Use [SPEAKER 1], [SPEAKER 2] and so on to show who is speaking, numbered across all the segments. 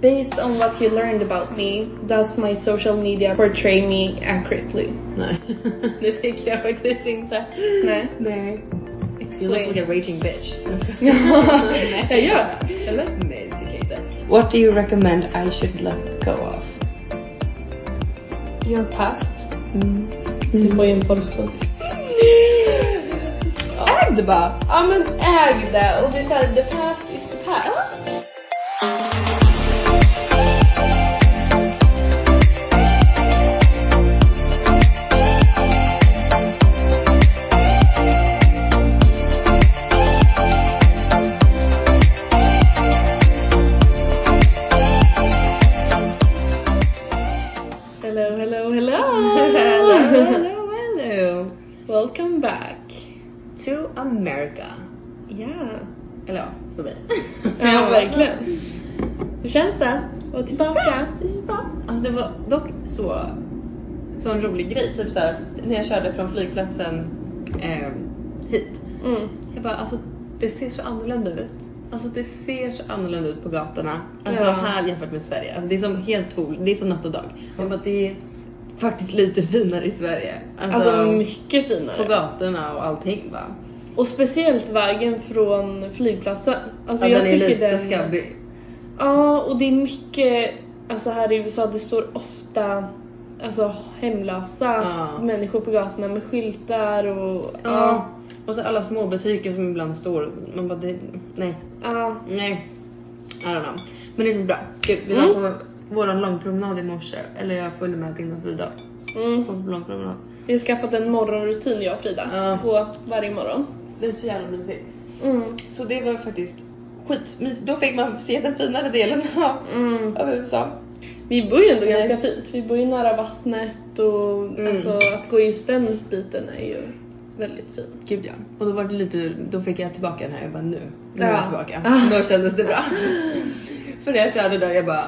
[SPEAKER 1] Based on what you learned about me, does my social media portray me accurately?
[SPEAKER 2] Nej.
[SPEAKER 1] Det tycker jag faktiskt inte. Nej.
[SPEAKER 2] Nej. You look like a raging bitch.
[SPEAKER 1] Ja, jag gör det. Eller?
[SPEAKER 2] Nej, det tycker jag inte. What do you recommend I should let go of?
[SPEAKER 1] Your past.
[SPEAKER 2] Mm.
[SPEAKER 1] Du får ju en porrskål.
[SPEAKER 2] Ägde bara!
[SPEAKER 1] Ja men äg det och det är såhär, the past is the past. Hello, hello,
[SPEAKER 2] Oh.
[SPEAKER 1] hello!
[SPEAKER 2] hello, hello!
[SPEAKER 1] Welcome back.
[SPEAKER 2] To America.
[SPEAKER 1] Yeah.
[SPEAKER 2] Eller ja, för mig.
[SPEAKER 1] Ja, verkligen. Hur känns det? Och tillbaka?
[SPEAKER 2] Det känns bra. Alltså det var dock så, så en rolig grej. Typ såhär, när jag körde från flygplatsen eh, hit.
[SPEAKER 1] Mm.
[SPEAKER 2] Jag bara, alltså det ser så annorlunda ut. Alltså det ser så annorlunda ut på gatorna. Alltså
[SPEAKER 1] Ja.
[SPEAKER 2] här jämfört med Sverige. Alltså det är som helt tol, det är som natt och dag. Jag bara, det är faktiskt lite finare i Sverige. Alltså,
[SPEAKER 1] Alltså, mycket finare.
[SPEAKER 2] på gatorna och allting va.
[SPEAKER 1] Och speciellt vägen från flygplatsen. Alltså
[SPEAKER 2] ja,
[SPEAKER 1] jag
[SPEAKER 2] den är
[SPEAKER 1] tycker
[SPEAKER 2] lite
[SPEAKER 1] den...
[SPEAKER 2] skabbig.
[SPEAKER 1] Ja, och det är mycket, alltså här i USA, det står ofta alltså hemlösa
[SPEAKER 2] Ja.
[SPEAKER 1] människor på gatorna med skyltar och
[SPEAKER 2] Ja.
[SPEAKER 1] ja.
[SPEAKER 2] Och så alla små butiker som ibland står. Man bara, det, nej.
[SPEAKER 1] ja.
[SPEAKER 2] Nej. I don't know. Men det känns bra. Gud, vi
[SPEAKER 1] Mm.
[SPEAKER 2] var på våran långpromenad i morse. Eller jag följde med innan Frida.
[SPEAKER 1] Mm.
[SPEAKER 2] På långpromenad.
[SPEAKER 1] Vi har skaffat en morgonrutin jag och Frida.
[SPEAKER 2] Ja.
[SPEAKER 1] På varje morgon.
[SPEAKER 2] Det är så jävla mysigt.
[SPEAKER 1] Mm.
[SPEAKER 2] Så det var faktiskt skitmysigt. Då fick man se den finare delen av,
[SPEAKER 1] Mm.
[SPEAKER 2] av USA.
[SPEAKER 1] Vi bor ju ändå
[SPEAKER 2] Nej.
[SPEAKER 1] ganska fint. Vi bor ju nära vattnet och
[SPEAKER 2] Mm.
[SPEAKER 1] alltså, att gå just den biten är ju väldigt fint.
[SPEAKER 2] Gud ja. Och då var det lite, då fick jag tillbaka den här. Jag bara nu. Nu är
[SPEAKER 1] Ja.
[SPEAKER 2] jag tillbaka.
[SPEAKER 1] Ah.
[SPEAKER 2] Då kändes det bra. För när jag körde där jag bara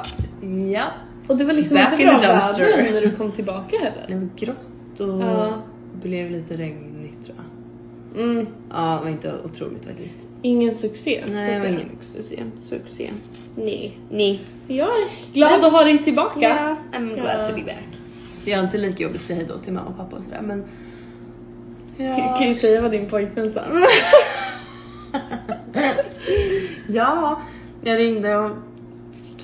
[SPEAKER 2] ja.
[SPEAKER 1] Och det var liksom
[SPEAKER 2] Back
[SPEAKER 1] inte
[SPEAKER 2] in
[SPEAKER 1] bra
[SPEAKER 2] the dumpster.
[SPEAKER 1] väder när du kom tillbaka heller.
[SPEAKER 2] Det var grått och
[SPEAKER 1] Ja.
[SPEAKER 2] blev lite regnigt tror jag.
[SPEAKER 1] Mm.
[SPEAKER 2] Ja, det var inte otroligt faktiskt.
[SPEAKER 1] Ingen succé. så
[SPEAKER 2] Nej,
[SPEAKER 1] att
[SPEAKER 2] det var
[SPEAKER 1] säga.
[SPEAKER 2] ingen succé. Succé.
[SPEAKER 1] Nej.
[SPEAKER 2] Nej.
[SPEAKER 1] Jag är glad att ha dig tillbaka.
[SPEAKER 2] I'm glad to be back. Det är alltid lika jobbigt att säga hejdå till mamma och pappa och sådär men...
[SPEAKER 1] Jag kan ju säga vad din pojkvän sa.
[SPEAKER 2] ja, jag ringde och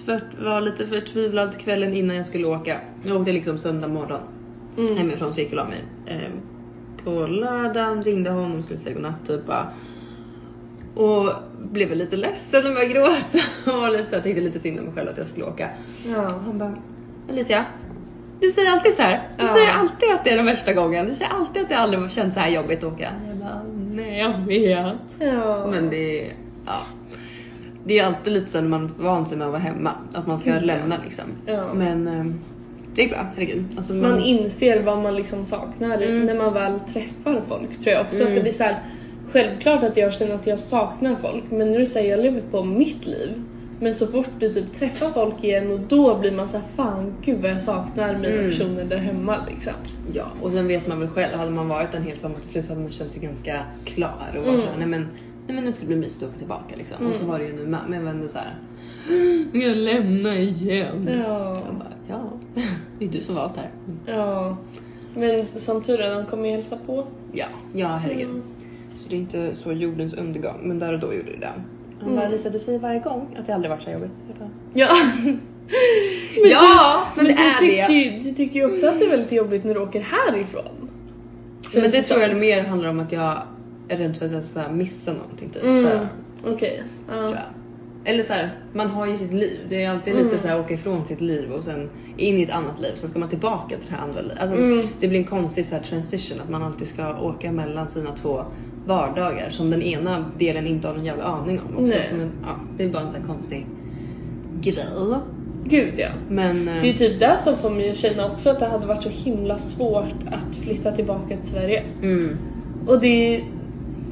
[SPEAKER 2] för, var lite förtvivlad kvällen innan jag skulle åka. Jag åkte liksom söndag morgon
[SPEAKER 1] Mm.
[SPEAKER 2] hemifrån så gick jag och la mig. Ehm, På lördagen ringde honom skulle säga godnatt typ bara. Och blev väl lite ledsen och började gråta. Och var lite så här, tyckte lite synd om mig själv att jag skulle åka. Och
[SPEAKER 1] Ja.
[SPEAKER 2] han bara, Alicia. Du säger alltid så här. Du
[SPEAKER 1] Ja.
[SPEAKER 2] säger alltid att det är den värsta gången. Du säger alltid att det aldrig har känts så här jobbigt att åka. Jag bara, nej jag vet.
[SPEAKER 1] ja.
[SPEAKER 2] Men det är, ja. Det är alltid lite så när man vant sig med att vara hemma. Att man ska
[SPEAKER 1] Mm.
[SPEAKER 2] lämna liksom.
[SPEAKER 1] Ja.
[SPEAKER 2] Men ehm, det är bra, herregud. Alltså,
[SPEAKER 1] man inser vad man liksom saknar
[SPEAKER 2] Mm.
[SPEAKER 1] när man väl träffar folk tror jag också.
[SPEAKER 2] Mm.
[SPEAKER 1] För det är så här, självklart att jag känner att jag saknar folk men nu säger jag lever på mitt liv. Men så fort du typ träffar folk igen och då blir man så här, fan gud vad jag saknar mina
[SPEAKER 2] Mm.
[SPEAKER 1] personer där hemma liksom.
[SPEAKER 2] Ja, och sen vet man väl själv, hade man varit en hel sommar till slut hade man känt sig ganska klar och
[SPEAKER 1] Mm.
[SPEAKER 2] mm. nej men, nej men nu ska det bli mysigt att åka tillbaka liksom. Och så
[SPEAKER 1] Mm.
[SPEAKER 2] var det ju nu med, men jag var ändå såhär, nu ska jag lämna igen.
[SPEAKER 1] Ja.
[SPEAKER 2] Jag bara, ja, det är du som valt här. Mm.
[SPEAKER 1] Ja. Men som tur är, de kommer ju hälsa på.
[SPEAKER 2] Ja, ja herregud.
[SPEAKER 1] Mm.
[SPEAKER 2] Så det är inte så jordens undergång, men där och då gjorde det det. Han
[SPEAKER 1] Mm.
[SPEAKER 2] bara, Lisa du säger varje gång att det aldrig varit så här jobbigt. Jag bara,
[SPEAKER 1] Ja.
[SPEAKER 2] ja,
[SPEAKER 1] Men, du, tycker ju, du tycker ju också att det är väldigt jobbigt när du åker härifrån.
[SPEAKER 2] Men
[SPEAKER 1] Känns
[SPEAKER 2] det
[SPEAKER 1] som.
[SPEAKER 2] tror jag mer handlar om att jag är rädd för att jag ska missa någonting typ.
[SPEAKER 1] Mm.
[SPEAKER 2] Såhär.
[SPEAKER 1] Okej.
[SPEAKER 2] tror
[SPEAKER 1] Ja.
[SPEAKER 2] jag. Eller så här, man har ju sitt liv. Det är alltid
[SPEAKER 1] Mm.
[SPEAKER 2] lite så här åka ifrån sitt liv och sen in i ett annat liv. Sen ska man tillbaka till det här andra livet. Alltså,
[SPEAKER 1] Mm.
[SPEAKER 2] Det blir en konstig så här transition att man alltid ska åka mellan sina två vardagar som den ena delen inte har någon jävla aning om. Också.
[SPEAKER 1] Nej.
[SPEAKER 2] Som en, ja, det är bara en så här konstig grej.
[SPEAKER 1] Gud ja.
[SPEAKER 2] Men
[SPEAKER 1] Det
[SPEAKER 2] eh,
[SPEAKER 1] är ju typ det som får mig att känna också att det hade varit så himla svårt att flytta tillbaka till Sverige.
[SPEAKER 2] mm,
[SPEAKER 1] Och det är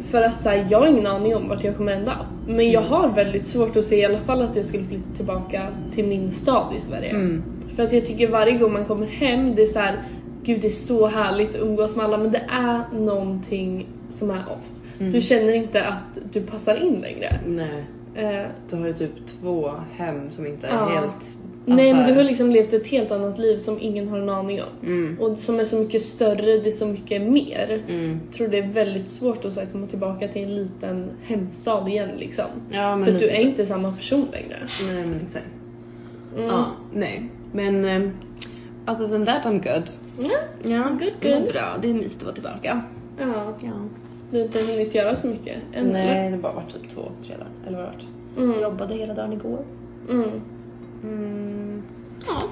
[SPEAKER 1] för att så här, jag har ingen aning om vart jag kommer ända. Men jag har väldigt svårt att se i alla fall att jag skulle flytta tillbaka till min stad i Sverige.
[SPEAKER 2] mm,
[SPEAKER 1] För att jag tycker varje gång man kommer hem, det är så här, gud det är så härligt att umgås med alla men det är någonting som är off.
[SPEAKER 2] Mm.
[SPEAKER 1] Du känner inte att du passar in längre.
[SPEAKER 2] nej.
[SPEAKER 1] Eh,
[SPEAKER 2] Du har ju typ två hem som inte är
[SPEAKER 1] Ja.
[SPEAKER 2] helt... Alltså,
[SPEAKER 1] nej men du har liksom levt ett helt annat liv som ingen har en aning om.
[SPEAKER 2] Mm.
[SPEAKER 1] Och som är så mycket större, det är så mycket mer.
[SPEAKER 2] Mm.
[SPEAKER 1] Jag tror det är väldigt svårt att så här, komma tillbaka till en liten hemstad igen liksom.
[SPEAKER 2] Ja, men
[SPEAKER 1] För att
[SPEAKER 2] lite
[SPEAKER 1] du är inte samma person längre.
[SPEAKER 2] Nej men exakt.
[SPEAKER 1] Mm.
[SPEAKER 2] Ja, nej. Men um, other than that I'm good.
[SPEAKER 1] Ja.
[SPEAKER 2] Ja,
[SPEAKER 1] good,
[SPEAKER 2] det var
[SPEAKER 1] good.
[SPEAKER 2] bra. Det är mysigt att vara tillbaka.
[SPEAKER 1] ja.
[SPEAKER 2] Ja.
[SPEAKER 1] Du har inte hunnit göra så mycket än eller?
[SPEAKER 2] Nej, det har bara varit typ två, tre dagar. Eller vad har det varit? Jag
[SPEAKER 1] Mm.
[SPEAKER 2] jobbade hela dagen igår.
[SPEAKER 1] Mm.
[SPEAKER 2] Mm. Ja.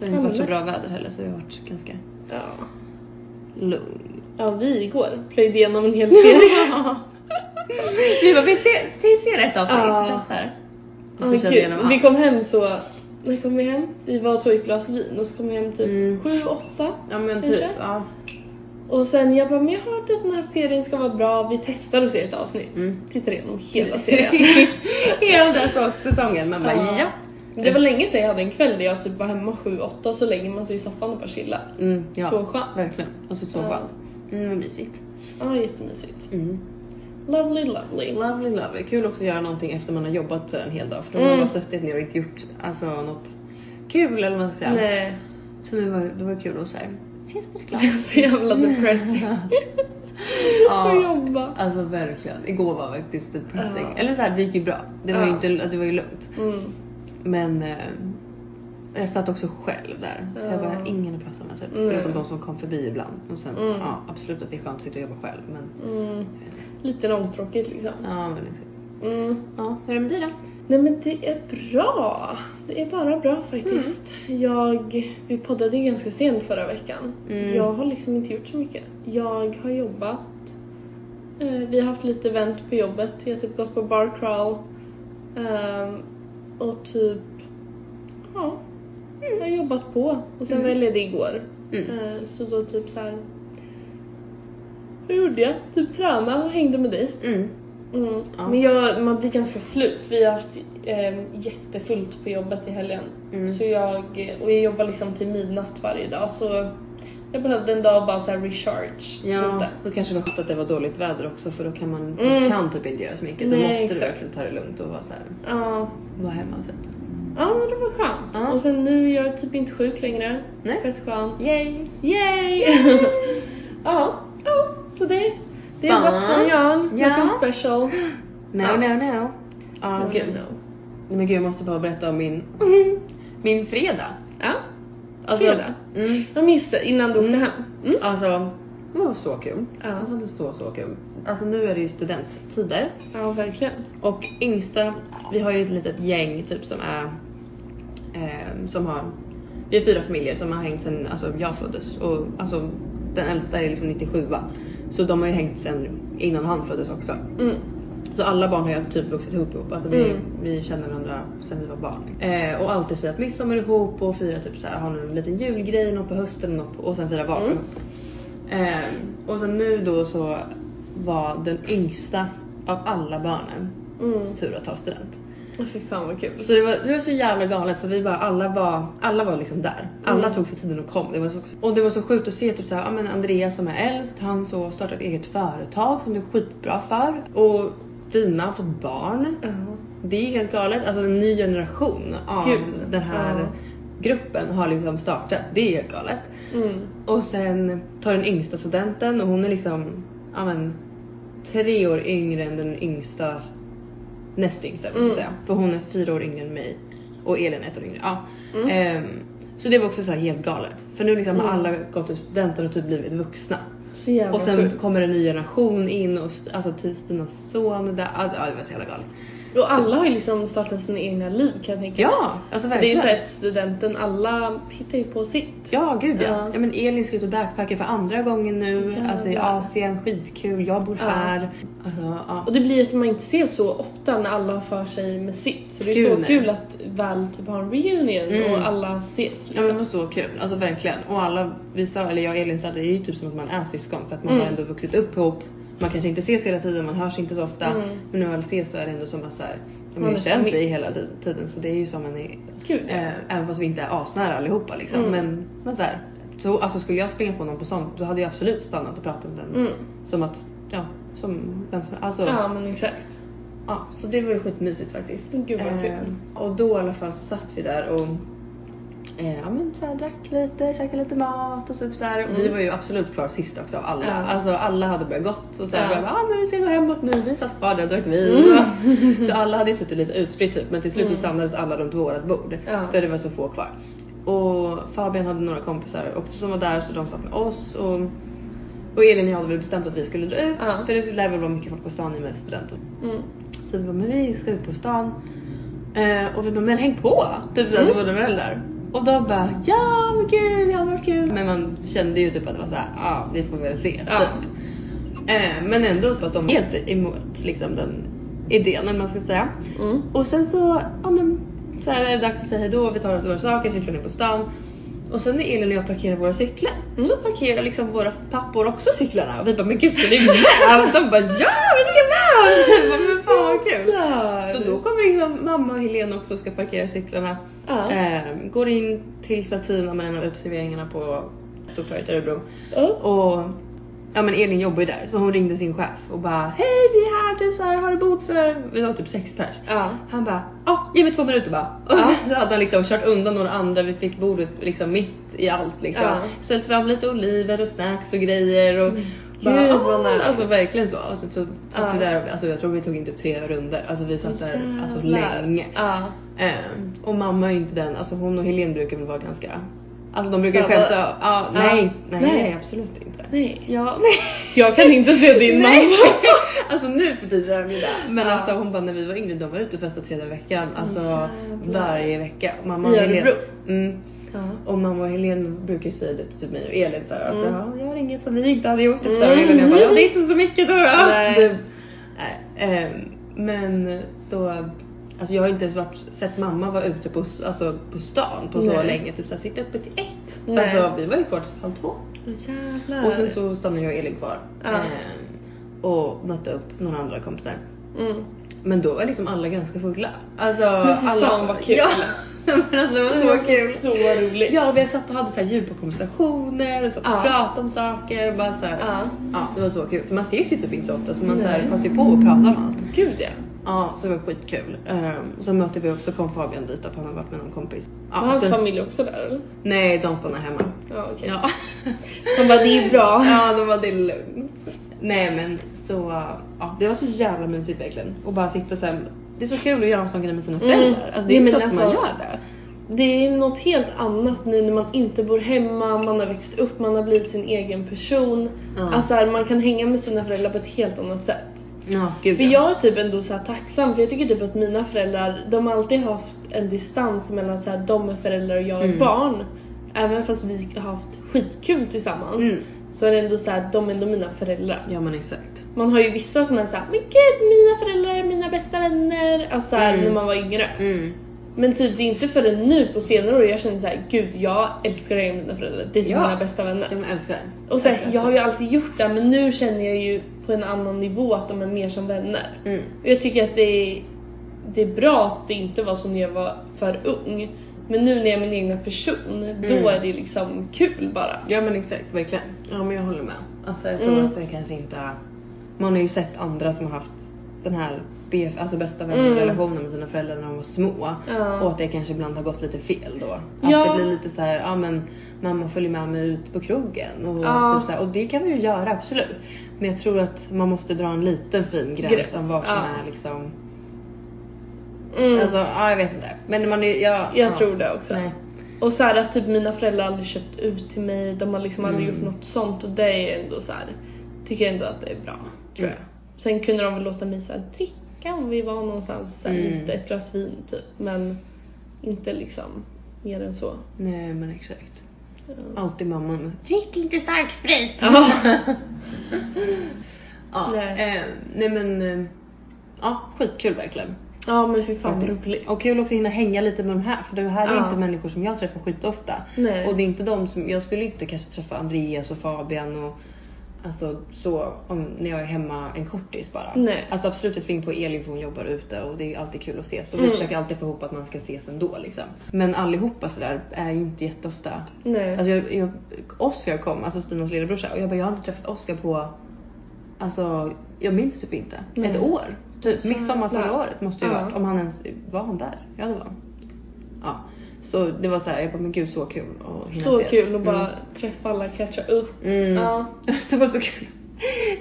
[SPEAKER 2] Det har
[SPEAKER 1] Ja,
[SPEAKER 2] inte varit så
[SPEAKER 1] nice.
[SPEAKER 2] bra väder heller så det har varit ganska
[SPEAKER 1] Ja.
[SPEAKER 2] lugnt.
[SPEAKER 1] ja, vi igår plöjde igenom en hel serie.
[SPEAKER 2] vi bara, vi ser, vi ser ett avsnitt,
[SPEAKER 1] Ja.
[SPEAKER 2] testar. Och
[SPEAKER 1] Ja,
[SPEAKER 2] så
[SPEAKER 1] men
[SPEAKER 2] kör
[SPEAKER 1] gud,
[SPEAKER 2] vi igenom
[SPEAKER 1] vi
[SPEAKER 2] allt.
[SPEAKER 1] kom hem så, när kom vi hem? Vi var och tog ett glas vin och så kom vi hem typ
[SPEAKER 2] Mm.
[SPEAKER 1] sju, åtta.
[SPEAKER 2] Ja men typ,
[SPEAKER 1] Kanske?
[SPEAKER 2] ja.
[SPEAKER 1] Och sen jag bara, men jag har hört att den här serien ska vara bra, vi testar och ser ett avsnitt.
[SPEAKER 2] Mm.
[SPEAKER 1] Tittar igenom hela serien.
[SPEAKER 2] Hela den så säsongen, man bara
[SPEAKER 1] Ja.
[SPEAKER 2] ja.
[SPEAKER 1] Men Det var länge sedan jag hade en kväll där jag typ var hemma sju, åtta och så lägger man sig i soffan och bara chillar.
[SPEAKER 2] Mm, ja.
[SPEAKER 1] Så skönt.
[SPEAKER 2] Verkligen. Alltså så
[SPEAKER 1] Ja.
[SPEAKER 2] skönt. Mm, vad mysigt.
[SPEAKER 1] Ja, jättemysigt. Lovely, lovely.
[SPEAKER 2] Lovely, lovely. Kul också att göra någonting efter man har jobbat så en hel dag. För då har
[SPEAKER 1] Mm.
[SPEAKER 2] man bara suttit ner och inte gjort alltså, något kul eller vad man ska säga.
[SPEAKER 1] Nej,
[SPEAKER 2] Så nu var det var kul att så här, ses på ett
[SPEAKER 1] jag är
[SPEAKER 2] glas.
[SPEAKER 1] så jävla depressing att
[SPEAKER 2] ja.
[SPEAKER 1] jobba.
[SPEAKER 2] Alltså verkligen. Igår var faktiskt depressing.
[SPEAKER 1] Ja.
[SPEAKER 2] Eller så här, det gick ju bra. Det var, ju,
[SPEAKER 1] Ja.
[SPEAKER 2] inte, det var ju lugnt.
[SPEAKER 1] Mm.
[SPEAKER 2] Men eh, jag satt också själv där. Så jag bara,
[SPEAKER 1] Ja.
[SPEAKER 2] ingen att prata med typ.
[SPEAKER 1] Nej.
[SPEAKER 2] Förutom de som kom förbi ibland. Och sen,
[SPEAKER 1] Mm.
[SPEAKER 2] ja absolut att det är skönt att sitta och jobba själv. Men
[SPEAKER 1] Mm. Lite långtråkigt liksom.
[SPEAKER 2] ja, men liksom.
[SPEAKER 1] Mm.
[SPEAKER 2] Ja, hur är det med dig då?
[SPEAKER 1] Nej men det är bra. Det är bara bra faktiskt. Jag, vi poddade ju ganska sent förra veckan.
[SPEAKER 2] Mm.
[SPEAKER 1] Jag har liksom inte gjort så mycket. Jag har jobbat. Eh, vi har haft lite event på jobbet. Jag har typ gått på bar crawl. Ehm, och typ, ja. Jag har jobbat på. Och sen
[SPEAKER 2] Mm.
[SPEAKER 1] var jag ledig igår.
[SPEAKER 2] Mm.
[SPEAKER 1] Eh, så då typ så här. Hur gjorde jag? Typ träna och hängde med dig.
[SPEAKER 2] Mm.
[SPEAKER 1] Mm.
[SPEAKER 2] Ja.
[SPEAKER 1] Men jag, man blir ganska slut. Vi har haft eh, jättefullt på jobbet i helgen.
[SPEAKER 2] Mm.
[SPEAKER 1] Så jag, och jag jobbar liksom till midnatt varje dag. Så jag behövde en dag bara så här recharge
[SPEAKER 2] Ja,
[SPEAKER 1] lite.
[SPEAKER 2] då kanske det var skönt att det var dåligt väder också för då kan man
[SPEAKER 1] Mm.
[SPEAKER 2] kan typ inte göra så mycket. Då
[SPEAKER 1] Nej,
[SPEAKER 2] måste
[SPEAKER 1] exakt.
[SPEAKER 2] du verkligen ta det lugnt och vara, så här,
[SPEAKER 1] Ja,
[SPEAKER 2] vara hemma typ.
[SPEAKER 1] ja men det var skönt.
[SPEAKER 2] Ja.
[SPEAKER 1] Och sen nu är jag typ inte sjuk längre.
[SPEAKER 2] Nej.
[SPEAKER 1] Fett skönt.
[SPEAKER 2] Yay!
[SPEAKER 1] Yay! ja, ja, så det, det är
[SPEAKER 2] Fan.
[SPEAKER 1] What's going on,
[SPEAKER 2] Ja.
[SPEAKER 1] nothing special.
[SPEAKER 2] No,
[SPEAKER 1] Ja.
[SPEAKER 2] no, no. Ja,
[SPEAKER 1] No, no,
[SPEAKER 2] gud.
[SPEAKER 1] no.
[SPEAKER 2] Men gud, jag måste bara berätta om min, min fredag.
[SPEAKER 1] Ja.
[SPEAKER 2] Alltså,
[SPEAKER 1] Fredag?
[SPEAKER 2] Mm,
[SPEAKER 1] ja, men just det, innan du åkte
[SPEAKER 2] Mm.
[SPEAKER 1] hem. Mm.
[SPEAKER 2] alltså, det var så kul.
[SPEAKER 1] Ja.
[SPEAKER 2] Alltså, det var så, så kul. Alltså, nu är det ju studenttider.
[SPEAKER 1] ja, verkligen.
[SPEAKER 2] Och yngsta, vi har ju ett litet gäng typ som är, ehm, som har, vi är fyra familjer som har hängt sedan alltså, jag föddes och alltså, den äldsta är liksom 97 Så de har ju hängt sedan innan han föddes också.
[SPEAKER 1] Mm.
[SPEAKER 2] Så alla barn har ju typ vuxit ihop ihop, alltså vi,
[SPEAKER 1] Mm.
[SPEAKER 2] vi känner varandra sedan vi var barn. Eh, och alltid firat midsommar ihop och firat typ så här, har en liten julgrej, något på hösten något på, och sen firar barn
[SPEAKER 1] Mm.
[SPEAKER 2] ihop. Eh, och sen nu då så var den yngsta av alla barnen
[SPEAKER 1] Mm.
[SPEAKER 2] tur att ta student.
[SPEAKER 1] Åh, Fy fan vad kul.
[SPEAKER 2] Så det var, det var så jävla galet för vi bara, alla var, alla var liksom där. Alla
[SPEAKER 1] Mm.
[SPEAKER 2] tog sig tiden och kom. Det var så, och det var så sjukt att se typ såhär, ja men Andreas som är äldst, han så startat eget företag som det är skitbra för. Och Stina har fått barn.
[SPEAKER 1] Ja.
[SPEAKER 2] Det är helt galet. Alltså en ny generation av
[SPEAKER 1] Gud.
[SPEAKER 2] den här
[SPEAKER 1] Ja.
[SPEAKER 2] gruppen har liksom startat. Det är helt galet.
[SPEAKER 1] Mm.
[SPEAKER 2] Och sen tar den yngsta studenten och hon är liksom ja, men, tre år yngre än den yngsta näst yngsta. måste jag
[SPEAKER 1] Mm.
[SPEAKER 2] Säga. För hon är fyra år yngre än mig och Elin är ett år yngre. Ja.
[SPEAKER 1] Mm.
[SPEAKER 2] Ehm, så det var också så här helt galet. För nu liksom har
[SPEAKER 1] Mm.
[SPEAKER 2] alla gått ut studenter och typ blivit vuxna.
[SPEAKER 1] Så jävla
[SPEAKER 2] och sen
[SPEAKER 1] sjukt.
[SPEAKER 2] kommer en ny generation in och st- alltså till Stinas son är där. Alltså, ja, det var så jävla galet.
[SPEAKER 1] Och alla har ju liksom startat sina egna liv kan jag tänka mig.
[SPEAKER 2] Ja, alltså
[SPEAKER 1] Det är ju
[SPEAKER 2] verkligen.
[SPEAKER 1] såhär efter studenten, alla hittar ju på sitt.
[SPEAKER 2] Ja, gud ja.
[SPEAKER 1] Ja.
[SPEAKER 2] ja. men Elin ska ut och backpacka för andra gången nu.
[SPEAKER 1] Jävlar.
[SPEAKER 2] Alltså i Asien, skitkul. Jag bor
[SPEAKER 1] Ja.
[SPEAKER 2] här. Alltså, ja.
[SPEAKER 1] Och det blir ju att man inte ser så ofta när alla har för sig med sitt. Så det är ju
[SPEAKER 2] Gud,
[SPEAKER 1] så
[SPEAKER 2] nej.
[SPEAKER 1] kul att väl typ ha en reunion
[SPEAKER 2] Mm.
[SPEAKER 1] och alla ses.
[SPEAKER 2] Ja men det
[SPEAKER 1] Liksom.
[SPEAKER 2] var så kul, alltså verkligen. Och alla, vi sa, eller jag och Elin sa det är ju typ som att man är syskon för att man
[SPEAKER 1] Mm.
[SPEAKER 2] har ändå vuxit upp ihop. Man kanske inte ses hela tiden, man hörs inte så ofta.
[SPEAKER 1] Mm.
[SPEAKER 2] Men när man väl ses så är det ändå som att så här, ja,
[SPEAKER 1] Man
[SPEAKER 2] man har
[SPEAKER 1] är
[SPEAKER 2] ju känt
[SPEAKER 1] familj.
[SPEAKER 2] dig hela ti- tiden så det är ju som en,
[SPEAKER 1] Kul.
[SPEAKER 2] eh, även fast vi inte är asnära allihopa liksom.
[SPEAKER 1] Mm.
[SPEAKER 2] Men, men så här, så, alltså skulle jag springa på någon på sånt då hade jag absolut stannat och pratat med den.
[SPEAKER 1] Mm.
[SPEAKER 2] Som att, ja, som vem som alltså.
[SPEAKER 1] Ja men exakt.
[SPEAKER 2] Ja, så det var ju skitmysigt faktiskt.
[SPEAKER 1] Gud, vad kul.
[SPEAKER 2] Eh, och då i alla fall så satt vi där och eh, ja, men, så här, drack lite, käkade lite mat och så, så här. Och vi
[SPEAKER 1] Mm.
[SPEAKER 2] var ju absolut kvar sist också av alla.
[SPEAKER 1] Ja.
[SPEAKER 2] Alltså alla hade börjat gått och så här,
[SPEAKER 1] Ja.
[SPEAKER 2] bara, ja men vi ska gå hemåt nu. Vi satt kvar där och drack vin. så alla hade ju suttit lite utspritt typ men till slut
[SPEAKER 1] Mm.
[SPEAKER 2] så samlades alla runt vårat bord.
[SPEAKER 1] Ja.
[SPEAKER 2] För det var så få kvar. Och Fabian hade några kompisar också som var där så de satt med oss. Och, och Elin och jag hade väl bestämt att vi skulle dra ut
[SPEAKER 1] Ja.
[SPEAKER 2] för det lär väl vara mycket folk på stan i och med studenten.
[SPEAKER 1] Mm.
[SPEAKER 2] Så vi bara, men vi ska ut på stan. Eh, och vi bara, men häng på! Typ såhär,
[SPEAKER 1] Mm.
[SPEAKER 2] mm. våra föräldrar. Och de bara, ja men gud, det hade varit kul. Men man kände ju typ att det var såhär, ja vi får väl se.
[SPEAKER 1] Ja.
[SPEAKER 2] Typ. Eh, men ändå att de var helt emot liksom den idén, eller vad man ska säga.
[SPEAKER 1] Mm.
[SPEAKER 2] Och sen så, ja men så här är det dags att säga hejdå, vi tar oss våra saker, cyklar ner på stan. Och sen när Elin och jag parkerar våra cyklar, så parkerar liksom våra pappor också cyklarna. Och vi bara, men gud ska ni med? De bara, ja vi ska med! Vi bara, men fan vad kul!
[SPEAKER 1] Jävlar.
[SPEAKER 2] Så då kommer liksom mamma och Helena också och ska parkera cyklarna.
[SPEAKER 1] Ja.
[SPEAKER 2] Ehm, går in till Statina med en av uteserveringarna på Stortorget i Örebro.
[SPEAKER 1] Ja.
[SPEAKER 2] Och ja men Elin jobbar ju där så hon ringde sin chef och bara hej vi är här typ så här har du bord för vi var typ sex pers.
[SPEAKER 1] Ja.
[SPEAKER 2] Han bara ja ge mig två minuter bara. Och
[SPEAKER 1] Ja.
[SPEAKER 2] så hade han liksom kört undan några andra vi fick bordet liksom mitt i allt liksom.
[SPEAKER 1] Ja.
[SPEAKER 2] Ställt fram lite oliver och snacks och grejer och
[SPEAKER 1] Gud,
[SPEAKER 2] "Åh!"
[SPEAKER 1] vad nice.
[SPEAKER 2] Alltså verkligen så. Och sen så satt
[SPEAKER 1] Ja.
[SPEAKER 2] vi där och alltså, jag tror vi tog in typ tre runder. Alltså vi satt där alltså
[SPEAKER 1] Jävlar.
[SPEAKER 2] länge.
[SPEAKER 1] Ja.
[SPEAKER 2] Ehm, och mamma är ju inte den, alltså hon och Helene brukar väl vara ganska, alltså de brukar ju
[SPEAKER 1] Snälla.
[SPEAKER 2] skämta, ja, nej, nej,
[SPEAKER 1] Nej.
[SPEAKER 2] nej absolut inte.
[SPEAKER 1] Nej.
[SPEAKER 2] Ja, nej.
[SPEAKER 1] Jag kan inte se din
[SPEAKER 2] Nej.
[SPEAKER 1] mamma.
[SPEAKER 2] Alltså nu för tiden är de ju där. Men
[SPEAKER 1] Ja.
[SPEAKER 2] alltså hon bara när vi var yngre, de var ute och festade tre dagar i veckan. Alltså
[SPEAKER 1] jävlar.
[SPEAKER 2] varje vecka. Mamma och
[SPEAKER 1] I
[SPEAKER 2] Helene.
[SPEAKER 1] Örebro?
[SPEAKER 2] Mm. Och mamma och Helene brukar ju säga det till typ mig och Elin så här, att ja, jag har inget som vi inte hade gjort. Typ, så här, och
[SPEAKER 1] Mm.
[SPEAKER 2] Elin jag bara, ja, det är inte så mycket då. då.
[SPEAKER 1] Nej.
[SPEAKER 2] Typ. Nej, ehm, men så, alltså jag har inte ens varit, sett mamma vara ute på, alltså, på stan på så
[SPEAKER 1] Nej.
[SPEAKER 2] länge. Typ så här, sitta uppe till ett.
[SPEAKER 1] Nej.
[SPEAKER 2] Alltså vi var ju kvar till halv två.
[SPEAKER 1] Åh, Jävlar.
[SPEAKER 2] Och sen så stannade jag och Elin kvar.
[SPEAKER 1] Ja.
[SPEAKER 2] Ehm, och mötte upp några andra kompisar.
[SPEAKER 1] Mm.
[SPEAKER 2] Men då var liksom alla ganska fulla. Alltså
[SPEAKER 1] Men fy
[SPEAKER 2] alla...
[SPEAKER 1] fan, vad kul.
[SPEAKER 2] Ja, men alltså det var
[SPEAKER 1] Det
[SPEAKER 2] så
[SPEAKER 1] var
[SPEAKER 2] kul.
[SPEAKER 1] så roligt.
[SPEAKER 2] Ja, vi satt och hade så här djupa konversationer och så
[SPEAKER 1] Ja.
[SPEAKER 2] och pratade om saker och bara så här.
[SPEAKER 1] Ja.
[SPEAKER 2] Ja, det var så kul. För man ses ju typ inte så ofta så man så här
[SPEAKER 1] Nej.
[SPEAKER 2] passar ju på att prata om allt.
[SPEAKER 1] Gud ja.
[SPEAKER 2] Ja, så det var skitkul. Um, så mötte vi upp, så kom Fabian dit att han hade varit med någon kompis. Ja,
[SPEAKER 1] Var hans
[SPEAKER 2] sen-
[SPEAKER 1] familj också där eller?
[SPEAKER 2] Nej, de stannade hemma.
[SPEAKER 1] Ja okej.
[SPEAKER 2] Ja.
[SPEAKER 1] De bara, det är bra.
[SPEAKER 2] Ja, de var det är lugnt. Nej men så, ja det var så jävla mysigt verkligen. Och bara sitta sen. Det är så kul att göra en sån grej med sina
[SPEAKER 1] Mm.
[SPEAKER 2] föräldrar. Alltså det är
[SPEAKER 1] Nej,
[SPEAKER 2] ju
[SPEAKER 1] men
[SPEAKER 2] klart att man
[SPEAKER 1] alltså-
[SPEAKER 2] gör det.
[SPEAKER 1] Det är något helt annat nu när man inte bor hemma, man har växt upp, man har blivit sin egen person.
[SPEAKER 2] Ja.
[SPEAKER 1] Alltså här, man kan hänga med sina föräldrar på ett helt annat sätt.
[SPEAKER 2] Ja, gud
[SPEAKER 1] För
[SPEAKER 2] ja.
[SPEAKER 1] jag är typ ändå så här tacksam för jag tycker typ att mina föräldrar, de har alltid haft en distans mellan så här, de är föräldrar och jag är
[SPEAKER 2] Mm.
[SPEAKER 1] barn. Även fast vi har haft skitkul tillsammans
[SPEAKER 2] Mm.
[SPEAKER 1] så är det ändå så här, de är ändå mina föräldrar.
[SPEAKER 2] Ja men exakt.
[SPEAKER 1] Man har ju vissa som är såhär, men gud mina föräldrar är mina bästa vänner. Alltså såhär
[SPEAKER 2] Mm.
[SPEAKER 1] när man var yngre.
[SPEAKER 2] Mm.
[SPEAKER 1] Men typ det är inte förrän nu på senare år jag känner såhär, gud jag älskar att hänga med mina föräldrar. Det är typ
[SPEAKER 2] Ja.
[SPEAKER 1] mina bästa vänner.
[SPEAKER 2] Jag älskar det.
[SPEAKER 1] Och så här,
[SPEAKER 2] Älskar det.
[SPEAKER 1] jag har ju alltid gjort det men nu känner jag ju på en annan nivå att de är mer som vänner.
[SPEAKER 2] Mm.
[SPEAKER 1] Och jag tycker att det är, det är bra att det inte var så när jag var för ung. Men nu när jag är min egna person,
[SPEAKER 2] Mm.
[SPEAKER 1] då är det liksom kul bara.
[SPEAKER 2] Ja men exakt, verkligen. Ja men jag håller med. Alltså jag tror
[SPEAKER 1] Mm.
[SPEAKER 2] att det kanske inte... Man har ju sett andra som har haft den här BF, alltså bästa vännerrelationen med sina föräldrar när de var små.
[SPEAKER 1] Ja.
[SPEAKER 2] Och att det kanske ibland har gått lite fel då. Att
[SPEAKER 1] Ja.
[SPEAKER 2] det blir lite så här, ja men mamma följer med mig ut på krogen. Och,
[SPEAKER 1] Ja.
[SPEAKER 2] typ så här, och det kan man ju göra absolut. Men jag tror att man måste dra en liten fin gräns,
[SPEAKER 1] Gräns,
[SPEAKER 2] om vad som
[SPEAKER 1] ja.
[SPEAKER 2] är liksom...
[SPEAKER 1] Mm.
[SPEAKER 2] Alltså ja jag vet inte. Men man är ja,
[SPEAKER 1] jag
[SPEAKER 2] ja.
[SPEAKER 1] tror det också.
[SPEAKER 2] Nej.
[SPEAKER 1] Och så här att typ mina föräldrar har aldrig köpt ut till mig, de har liksom aldrig
[SPEAKER 2] Mm.
[SPEAKER 1] gjort något sånt och det är ändå så här. tycker jag ändå att det är bra. Tror
[SPEAKER 2] Mm.
[SPEAKER 1] jag. Sen kunde de väl låta mig så här, dricka om vi var någonstans, så här,
[SPEAKER 2] Mm.
[SPEAKER 1] lite, ett glas vin typ. Men inte liksom mer än så.
[SPEAKER 2] Nej men exakt.
[SPEAKER 1] Ja.
[SPEAKER 2] Alltid mamman
[SPEAKER 3] Drick inte stark sprit.
[SPEAKER 2] Ja. ja.
[SPEAKER 1] Nej.
[SPEAKER 2] Nej. Eh, nej men, eh, ja skitkul verkligen.
[SPEAKER 1] Ja men fy fan vad
[SPEAKER 2] faktiskt.
[SPEAKER 1] roligt.
[SPEAKER 2] Och kul också att hinna hänga lite med de här för det här är ju
[SPEAKER 1] Ja.
[SPEAKER 2] inte människor som jag träffar skitofta.
[SPEAKER 1] Nej.
[SPEAKER 2] Och det är inte de som, jag skulle inte kanske träffa Andreas och Fabian och Alltså så om, när jag är hemma en kortis bara.
[SPEAKER 1] Nej.
[SPEAKER 2] Alltså absolut jag springer på Elin för hon jobbar ute och det är ju alltid kul att ses. Och vi
[SPEAKER 1] Mm.
[SPEAKER 2] försöker alltid få ihop att man ska ses ändå liksom. Men allihopa sådär är ju inte jätteofta.
[SPEAKER 1] Nej.
[SPEAKER 2] Alltså jag, jag, Oscar kom, alltså Stinas lillebrorsa och jag bara jag har inte träffat Oscar på, alltså jag minns typ inte,
[SPEAKER 1] Nej.
[SPEAKER 2] ett år. Typ Typ midsommar förra
[SPEAKER 1] Jävlar.
[SPEAKER 2] året måste ju
[SPEAKER 1] Ja.
[SPEAKER 2] varit. Om han ens, var han där? Ja det var han. Ja. Så det var så här, jag bara men gud så kul att hinna
[SPEAKER 1] Så
[SPEAKER 2] ses.
[SPEAKER 1] kul att bara träffa alla, catcha upp.
[SPEAKER 2] Mm. Mm.
[SPEAKER 1] Ja.
[SPEAKER 2] Det var så kul.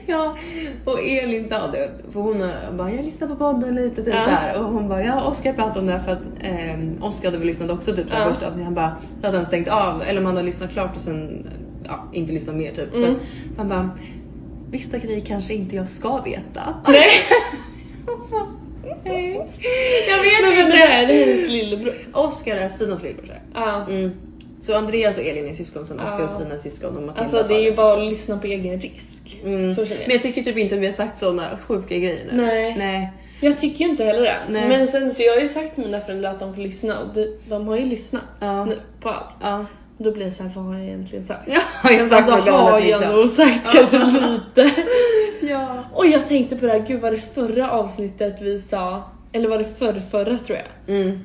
[SPEAKER 2] Ja, och Elin sa det, för hon eh, bara jag lyssnar på podden lite typ
[SPEAKER 1] Ja.
[SPEAKER 2] så här. och hon bara ja Oskar pratade om det här för att eh, Oskar hade väl lyssnat också typ på
[SPEAKER 1] Ja.
[SPEAKER 2] första avsnittet. Han bara så hade han stängt av eller om han hade lyssnat klart och sen eh, ja, inte lyssnat mer typ.
[SPEAKER 1] Mm.
[SPEAKER 2] För han bara vissa grejer kanske inte jag ska veta.
[SPEAKER 1] Nej.
[SPEAKER 2] Nej.
[SPEAKER 1] Jag vet men,
[SPEAKER 2] inte.
[SPEAKER 1] Men det här det här är hennes lillebror.
[SPEAKER 2] Oskar är Stinas lillebror tror jag.
[SPEAKER 1] Ja.
[SPEAKER 2] Mm. Så Andreas och Elin är syskon, sen Oskar
[SPEAKER 1] Ja.
[SPEAKER 2] och Stina är syskon och Matilda
[SPEAKER 1] Alltså det är ju
[SPEAKER 2] farlig.
[SPEAKER 1] bara att lyssna på egen risk.
[SPEAKER 2] Mm.
[SPEAKER 1] Så känner jag.
[SPEAKER 2] Men jag tycker typ inte vi har sagt sådana sjuka grejer nu.
[SPEAKER 1] Nej.
[SPEAKER 2] Nej.
[SPEAKER 1] Jag tycker ju inte heller det.
[SPEAKER 2] Nej.
[SPEAKER 1] Men sen så jag har ju sagt till mina föräldrar att de får lyssna och de, de har ju lyssnat
[SPEAKER 2] Ja.
[SPEAKER 1] nu på allt.
[SPEAKER 2] Ja.
[SPEAKER 1] Då blir det så här, vad har jag egentligen sagt?
[SPEAKER 2] Ja, jag har sagt
[SPEAKER 1] Alltså
[SPEAKER 2] något annat
[SPEAKER 1] har jag
[SPEAKER 2] liksom.
[SPEAKER 1] nog sagt kanske lite.
[SPEAKER 2] Ja.
[SPEAKER 1] Och jag tänkte på det här, gud var det förra avsnittet vi sa, eller var det förr, förra tror jag.
[SPEAKER 2] Mm.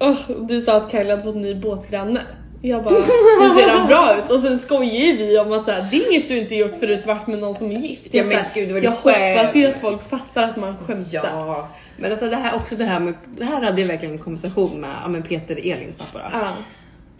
[SPEAKER 1] Åh, du sa att Kylie hade fått ny båtgranne. Jag bara, hur ser han bra ut? Och sen skojar vi om att så här, det är inget du inte gjort förut varit med någon som är gift.
[SPEAKER 2] Ja,
[SPEAKER 1] Jag,
[SPEAKER 2] men
[SPEAKER 1] så här,
[SPEAKER 2] gud, det var
[SPEAKER 1] jag
[SPEAKER 2] ditt skämt.
[SPEAKER 1] hoppas ju att folk fattar att man skämtar.
[SPEAKER 2] Ja. Men alltså det här också det här med, det här hade jag verkligen en konversation med, ja men Peter Elins pappa då.
[SPEAKER 1] Ja.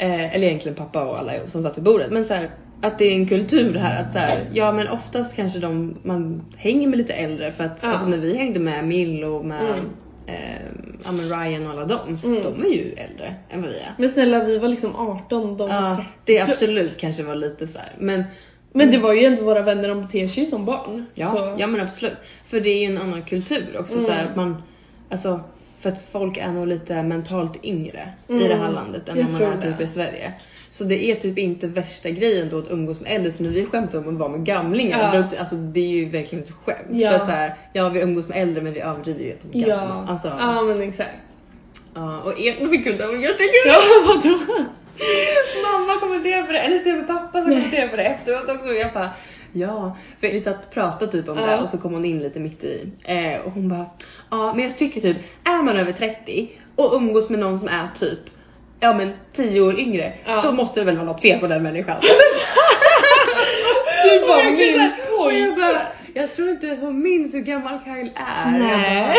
[SPEAKER 2] eh, eller egentligen pappa och alla som satt vid bordet, men så här, att det är en kultur här att så här, ja men oftast kanske de man hänger med lite äldre för att
[SPEAKER 1] Ja.
[SPEAKER 2] alltså, när vi hängde med Mill och med
[SPEAKER 1] Mm.
[SPEAKER 2] eh, ja, men Ryan och alla dem,
[SPEAKER 1] Mm.
[SPEAKER 2] de är ju äldre än vad vi är.
[SPEAKER 1] Men snälla vi var liksom 18, de var
[SPEAKER 2] Ja,
[SPEAKER 1] 30
[SPEAKER 2] det
[SPEAKER 1] plus.
[SPEAKER 2] absolut kanske var lite så här, men
[SPEAKER 1] Men det var ju ändå våra vänner, de beter sig ju som barn.
[SPEAKER 2] Ja,
[SPEAKER 1] så.
[SPEAKER 2] ja men absolut. För det är ju en annan kultur också.
[SPEAKER 1] Mm.
[SPEAKER 2] Så här, att man, alltså, för att folk är nog lite mentalt yngre i
[SPEAKER 1] Mm.
[SPEAKER 2] det här landet än
[SPEAKER 1] Jag
[SPEAKER 2] vad man
[SPEAKER 1] tror
[SPEAKER 2] är typ
[SPEAKER 1] det.
[SPEAKER 2] i Sverige. Så det är typ inte värsta grejen då att umgås med äldre. Så när vi skämtar om att vara med gamlingar,
[SPEAKER 1] Ja.
[SPEAKER 2] då, alltså, det är ju verkligen ett skämt.
[SPEAKER 1] Ja.
[SPEAKER 2] För så här, ja vi umgås med äldre men vi överdriver ju att de är
[SPEAKER 1] ja.
[SPEAKER 2] gamla. Alltså, ja.
[SPEAKER 1] ja men exakt.
[SPEAKER 2] och er, men gud det var jättekul!
[SPEAKER 1] Ja, vadå?
[SPEAKER 2] Mamma kommenterade på det, eller typ pappa som
[SPEAKER 1] Nej.
[SPEAKER 2] kommenterade på det efteråt också och jag bara Ja, för vi satt och pratade typ om
[SPEAKER 1] Ja.
[SPEAKER 2] det och så kom hon in lite mitt i eh, och hon bara Ja men jag tycker typ, är man över 30 och umgås med någon som är typ Ja men 10 år yngre,
[SPEAKER 1] Ja.
[SPEAKER 2] då måste det väl vara något fel på den människan.
[SPEAKER 1] Du
[SPEAKER 2] Och
[SPEAKER 1] var
[SPEAKER 2] jag kunde-
[SPEAKER 1] min
[SPEAKER 2] och jag
[SPEAKER 1] pojk.
[SPEAKER 2] bara, jag tror inte hon minns hur gammal Kyle är.
[SPEAKER 1] Nej.
[SPEAKER 2] Jag bara,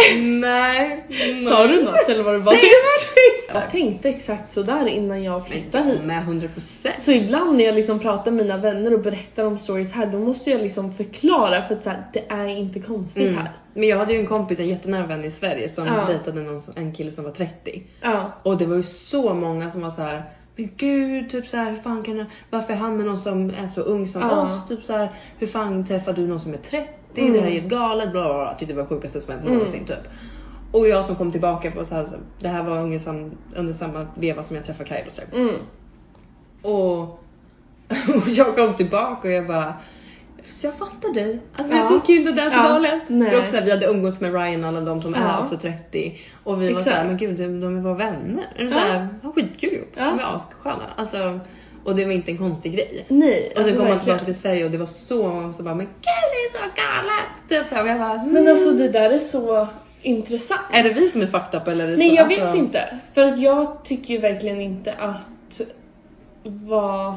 [SPEAKER 2] nej. nej.
[SPEAKER 1] Sa du något eller var du bara
[SPEAKER 2] Nej, jag var
[SPEAKER 1] Jag
[SPEAKER 2] tyst.
[SPEAKER 1] tänkte exakt sådär innan jag flyttade hit.
[SPEAKER 2] Men med 100%.
[SPEAKER 1] Så ibland när jag liksom pratar med mina vänner och berättar om stories här, då måste jag liksom förklara för att så här, det är inte konstigt
[SPEAKER 2] Mm.
[SPEAKER 1] här.
[SPEAKER 2] Men jag hade ju en kompis, en jättenära vän i Sverige som
[SPEAKER 1] Ja.
[SPEAKER 2] dejtade någon, som- en kille som var 30.
[SPEAKER 1] Ja.
[SPEAKER 2] Och det var ju så många som var så här. Men gud, typ så här, hur fan kan jag, varför är han med någon som är så ung som
[SPEAKER 1] Ja.
[SPEAKER 2] oss? Typ så här, hur fan träffar du någon som är 30? Det
[SPEAKER 1] Mm.
[SPEAKER 2] här är helt galet. Bla, bla, bla. Tyckte det var det sjukaste som hänt
[SPEAKER 1] Mm.
[SPEAKER 2] någonsin typ. Och jag som kom tillbaka var så här, så- det här var under, sam, under samma veva som jag träffade typ." Kaj då. Så här,
[SPEAKER 1] Mm.
[SPEAKER 2] och, och jag kom tillbaka och jag bara så jag fattar dig. Alltså
[SPEAKER 1] Ja.
[SPEAKER 2] jag tycker inte det är så
[SPEAKER 1] Ja.
[SPEAKER 2] galet.
[SPEAKER 1] Nej.
[SPEAKER 2] För också, här, vi hade umgåtts med Ryan och alla de som
[SPEAKER 1] Ja.
[SPEAKER 2] är också 30. Och vi
[SPEAKER 1] Exakt.
[SPEAKER 2] var såhär, men gud de de är våra vänner. Eller
[SPEAKER 1] Ja.
[SPEAKER 2] så här, har skitkul ihop.
[SPEAKER 1] Ja.
[SPEAKER 2] De är assköna. Alltså, och det var inte en konstig grej.
[SPEAKER 1] Nej,
[SPEAKER 2] Och så kom man
[SPEAKER 1] Alltså, verkligen.
[SPEAKER 2] tillbaka till Sverige och det var så många som bara, men gud det är så galet. Typ så här, och jag bara, mm.
[SPEAKER 1] Men alltså det där är så intressant.
[SPEAKER 2] Är det vi som är fucked up eller? Är det
[SPEAKER 1] Nej
[SPEAKER 2] så?
[SPEAKER 1] jag
[SPEAKER 2] Alltså,
[SPEAKER 1] vet inte. För att jag tycker ju verkligen inte att vara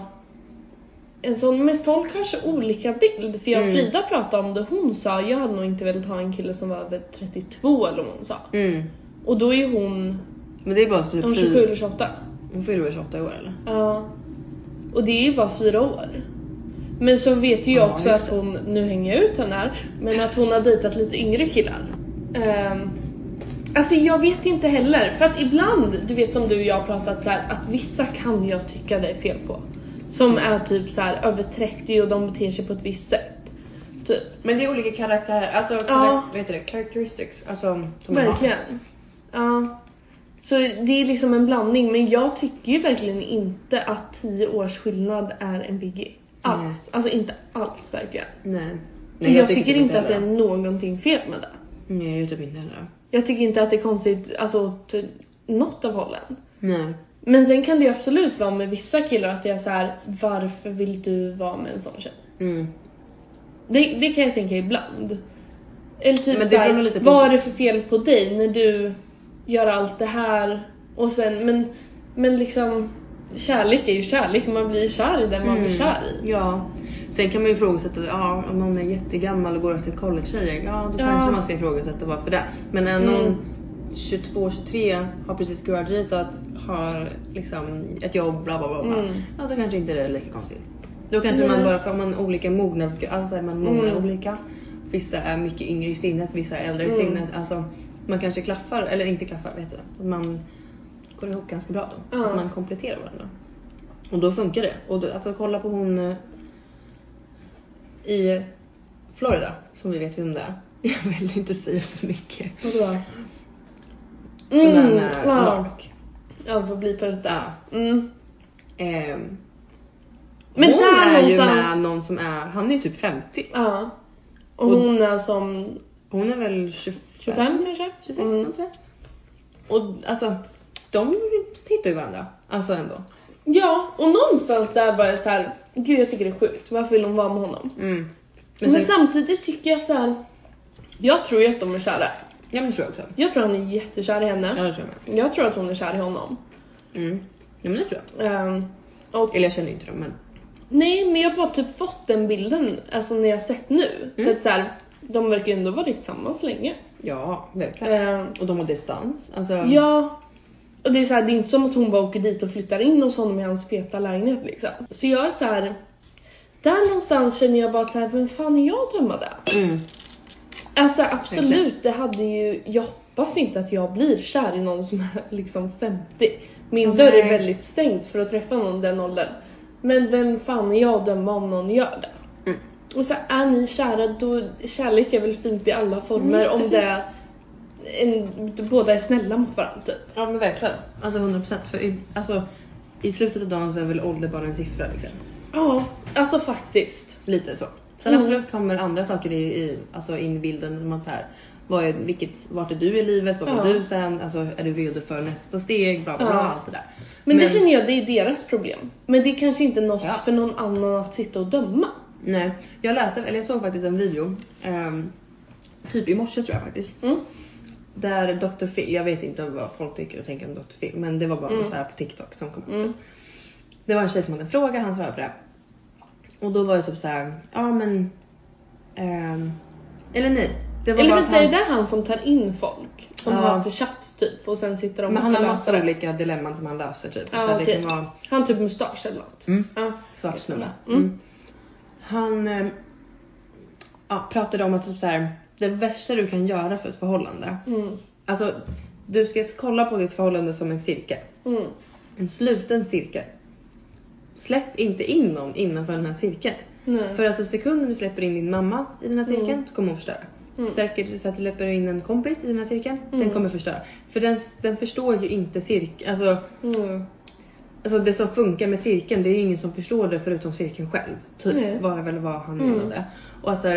[SPEAKER 1] en sån, men folk har så olika bild. För jag och
[SPEAKER 2] Mm.
[SPEAKER 1] Frida pratade om det, hon sa jag hade nog inte velat ha en kille som var över 32 eller vad hon sa.
[SPEAKER 2] Mm.
[SPEAKER 1] Och då är ju hon,
[SPEAKER 2] Men det är bara typ
[SPEAKER 1] hon är 27
[SPEAKER 2] fyra,
[SPEAKER 1] eller 28.
[SPEAKER 2] hon fyller väl 28 år eller?
[SPEAKER 1] Ja. Och det är ju bara fyra år. Men så vet ju jag
[SPEAKER 2] Ja,
[SPEAKER 1] också
[SPEAKER 2] just
[SPEAKER 1] att
[SPEAKER 2] det.
[SPEAKER 1] hon, nu hänger jag ut henne här, men att hon har dejtat lite yngre killar. Ehm, alltså jag vet inte heller, för att ibland, du vet som du och jag har pratat så här, att vissa kan jag tycka det är fel på. Som är typ så här över 30 och de beter sig på ett visst sätt. Typ.
[SPEAKER 2] Men det är olika karaktärer, alltså
[SPEAKER 1] Ja.
[SPEAKER 2] karak- vet du det, characteristics. Alltså, som man har.
[SPEAKER 1] Verkligen. Ja. Så det är liksom en blandning, men jag tycker ju verkligen inte att 10 års skillnad är en biggie. Alls.
[SPEAKER 2] Nej.
[SPEAKER 1] Alltså inte alls verkligen.
[SPEAKER 2] Nej.
[SPEAKER 1] jag, tycker,
[SPEAKER 2] typ
[SPEAKER 1] inte att det är
[SPEAKER 2] heller
[SPEAKER 1] någonting fel med det.
[SPEAKER 2] det. Nej, jag gör typ inte heller
[SPEAKER 1] Jag tycker inte att det är konstigt alltså, åt något av hållen.
[SPEAKER 2] Nej.
[SPEAKER 1] Men sen kan det ju absolut vara med vissa killar att jag är så här: varför vill du vara med en sån tjej?
[SPEAKER 2] Mm.
[SPEAKER 1] Det, det kan jag tänka ibland. Eller typ
[SPEAKER 2] Men det
[SPEAKER 1] så här,
[SPEAKER 2] beror nog lite på-
[SPEAKER 1] vad är det för fel på dig när du gör allt det här och sen, men, men liksom kärlek är ju kärlek, man blir kär i den man blir kär i.
[SPEAKER 2] Mm. Ja. Sen kan man ju ifrågasätta, ja, om någon är jättegammal och går efter college-tjejer, ja då
[SPEAKER 1] Ja.
[SPEAKER 2] kanske man ska ifrågasätta varför det. Men när någon
[SPEAKER 1] Mm.
[SPEAKER 2] 22-23 har precis graduatat, har liksom ett jobb, bla bla bla. bla.
[SPEAKER 1] Mm.
[SPEAKER 2] Ja, då kanske inte det är lika konstigt. Då kanske man
[SPEAKER 1] Nej.
[SPEAKER 2] bara, för har man olika mognadsgrad, alltså är man mognar
[SPEAKER 1] Mm.
[SPEAKER 2] olika. Vissa är mycket yngre i sinnet, vissa är äldre i
[SPEAKER 1] Mm.
[SPEAKER 2] sinnet. Alltså, man kanske klaffar, eller inte klaffar, vet du. Att man går ihop ganska bra då.
[SPEAKER 1] Ja.
[SPEAKER 2] Att man kompletterar varandra. Och då funkar det. Och då, alltså kolla på hon eh, i Florida, som vi vet vem det är. Jag vill inte säga för mycket.
[SPEAKER 1] Vadå?
[SPEAKER 2] Sån där
[SPEAKER 1] Mm,
[SPEAKER 2] med
[SPEAKER 1] wow.
[SPEAKER 2] Mark.
[SPEAKER 1] Ja, vi får blipa ut det.
[SPEAKER 2] Ja.
[SPEAKER 1] Mm.
[SPEAKER 2] Ehm,
[SPEAKER 1] Men
[SPEAKER 2] hon
[SPEAKER 1] där
[SPEAKER 2] är ju
[SPEAKER 1] någonstans-
[SPEAKER 2] med någon som är, han är ju typ 50.
[SPEAKER 1] Ja. Och
[SPEAKER 2] Och-
[SPEAKER 1] hon är som
[SPEAKER 2] Hon är väl 25?
[SPEAKER 1] 25 kanske?
[SPEAKER 2] 26
[SPEAKER 1] Mm.
[SPEAKER 2] något sådär. Och alltså, de hittar ju varandra. Alltså ändå.
[SPEAKER 1] Ja, och någonstans där var jag så här, gud jag tycker det är sjukt, varför vill hon vara med honom?
[SPEAKER 2] Mm.
[SPEAKER 1] Men,
[SPEAKER 2] Men sen,
[SPEAKER 1] samtidigt tycker jag så här, jag tror ju att de är kära.
[SPEAKER 2] ja men det tror jag också.
[SPEAKER 1] Jag tror han är jättekär i henne.
[SPEAKER 2] Ja det tror jag med.
[SPEAKER 1] Jag tror att hon är kär i honom.
[SPEAKER 2] Mm. Ja men det tror jag.
[SPEAKER 1] Ehm, och,
[SPEAKER 2] Eller jag känner ju inte dem men.
[SPEAKER 1] nej, men jag har bara typ fått den bilden, alltså när jag har sett nu.
[SPEAKER 2] Mm.
[SPEAKER 1] För att så här, de verkar ju ändå ha varit tillsammans länge.
[SPEAKER 2] Ja, verkligen.
[SPEAKER 1] Ehm,
[SPEAKER 2] Och de har distans. Alltså,
[SPEAKER 1] Ja. Och det är, så här, det är inte som att hon bara åker dit och flyttar in hos honom i hans feta lägenhet liksom. Så jag är så här. Där någonstans känner jag bara att så här, vem fan är jag att döma det?
[SPEAKER 2] Mm.
[SPEAKER 1] Alltså absolut, det hade ju, jag hoppas inte att jag blir kär i någon som är liksom 50. Min
[SPEAKER 2] Ja,
[SPEAKER 1] dörr är
[SPEAKER 2] nej.
[SPEAKER 1] väldigt stängd för att träffa någon den åldern. Men vem fan är jag att döma om någon gör det?
[SPEAKER 2] Mm.
[SPEAKER 1] Och så här, är ni kära, då kärlek är väl fint i alla former
[SPEAKER 2] Mm,
[SPEAKER 1] om det är en, båda är snälla mot varandra typ.
[SPEAKER 2] Ja men verkligen. Alltså 100% för i, alltså, i slutet av dagen så är väl ålder bara en siffra liksom.
[SPEAKER 1] Ja, alltså faktiskt.
[SPEAKER 2] Lite så. Sen
[SPEAKER 1] Mm.
[SPEAKER 2] absolut kommer andra saker i, i, alltså in i bilden. När man så här, vad är, vilket, vart är du i livet? Vad var
[SPEAKER 1] Ja.
[SPEAKER 2] du sen? Alltså, är du redo för nästa steg? Bla bla
[SPEAKER 1] Ja.
[SPEAKER 2] bla. Allt det där.
[SPEAKER 1] Men, det
[SPEAKER 2] Men-
[SPEAKER 1] känner jag, det är deras problem. Men det är kanske inte något
[SPEAKER 2] Ja.
[SPEAKER 1] för någon annan att sitta och döma.
[SPEAKER 2] Nej, jag läste, eller jag såg faktiskt en video. ehm, typ i morse tror jag faktiskt.
[SPEAKER 1] Mm.
[SPEAKER 2] Där Dr. Phil, jag vet inte vad folk tycker och tänker om Dr. Phil. Men det var bara
[SPEAKER 1] Mm.
[SPEAKER 2] så här på TikTok som kom upp.
[SPEAKER 1] Mm.
[SPEAKER 2] Det var en tjej som hade en fråga, han svarade på det. Och då var det typ så här, ja men... ehm, eller nej. Det var
[SPEAKER 1] Eller
[SPEAKER 2] bara
[SPEAKER 1] vänta,
[SPEAKER 2] att han-
[SPEAKER 1] är det han som tar in folk? Som
[SPEAKER 2] Ja.
[SPEAKER 1] har haft tjafs typ och sen sitter de
[SPEAKER 2] Men
[SPEAKER 1] och
[SPEAKER 2] han
[SPEAKER 1] ska
[SPEAKER 2] har
[SPEAKER 1] lösa
[SPEAKER 2] massor
[SPEAKER 1] det.
[SPEAKER 2] av olika dilemman som han löser typ.
[SPEAKER 1] Ja,
[SPEAKER 2] så här, Det
[SPEAKER 1] okej.
[SPEAKER 2] kan vara
[SPEAKER 1] Han har typ mustasch eller något.
[SPEAKER 2] Mm.
[SPEAKER 1] Ja.
[SPEAKER 2] svart snubbe.
[SPEAKER 1] Mm.
[SPEAKER 2] Mm. Han eh, ja, pratade om att typ så här, det värsta du kan göra för ett förhållande.
[SPEAKER 1] Mm.
[SPEAKER 2] Alltså du ska kolla på ditt förhållande som en cirkel.
[SPEAKER 1] Mm.
[SPEAKER 2] En sluten cirkel. Släpp inte in någon innanför den här cirkeln.
[SPEAKER 1] Nej.
[SPEAKER 2] För alltså sekunden du släpper in din mamma i den här cirkeln
[SPEAKER 1] Mm.
[SPEAKER 2] så kommer hon förstöra.
[SPEAKER 1] Mm.
[SPEAKER 2] Säkert så att du släpper in en kompis i den här cirkeln, den
[SPEAKER 1] Mm.
[SPEAKER 2] kommer förstöra. För den, den förstår ju inte cirkeln, alltså
[SPEAKER 1] Mm.
[SPEAKER 2] Alltså det som funkar med cirkeln, det är ju ingen som förstår det förutom cirkeln själv. Typ,
[SPEAKER 1] Nej.
[SPEAKER 2] var det väl vad han
[SPEAKER 1] Mm.
[SPEAKER 2] menade. Och alltså,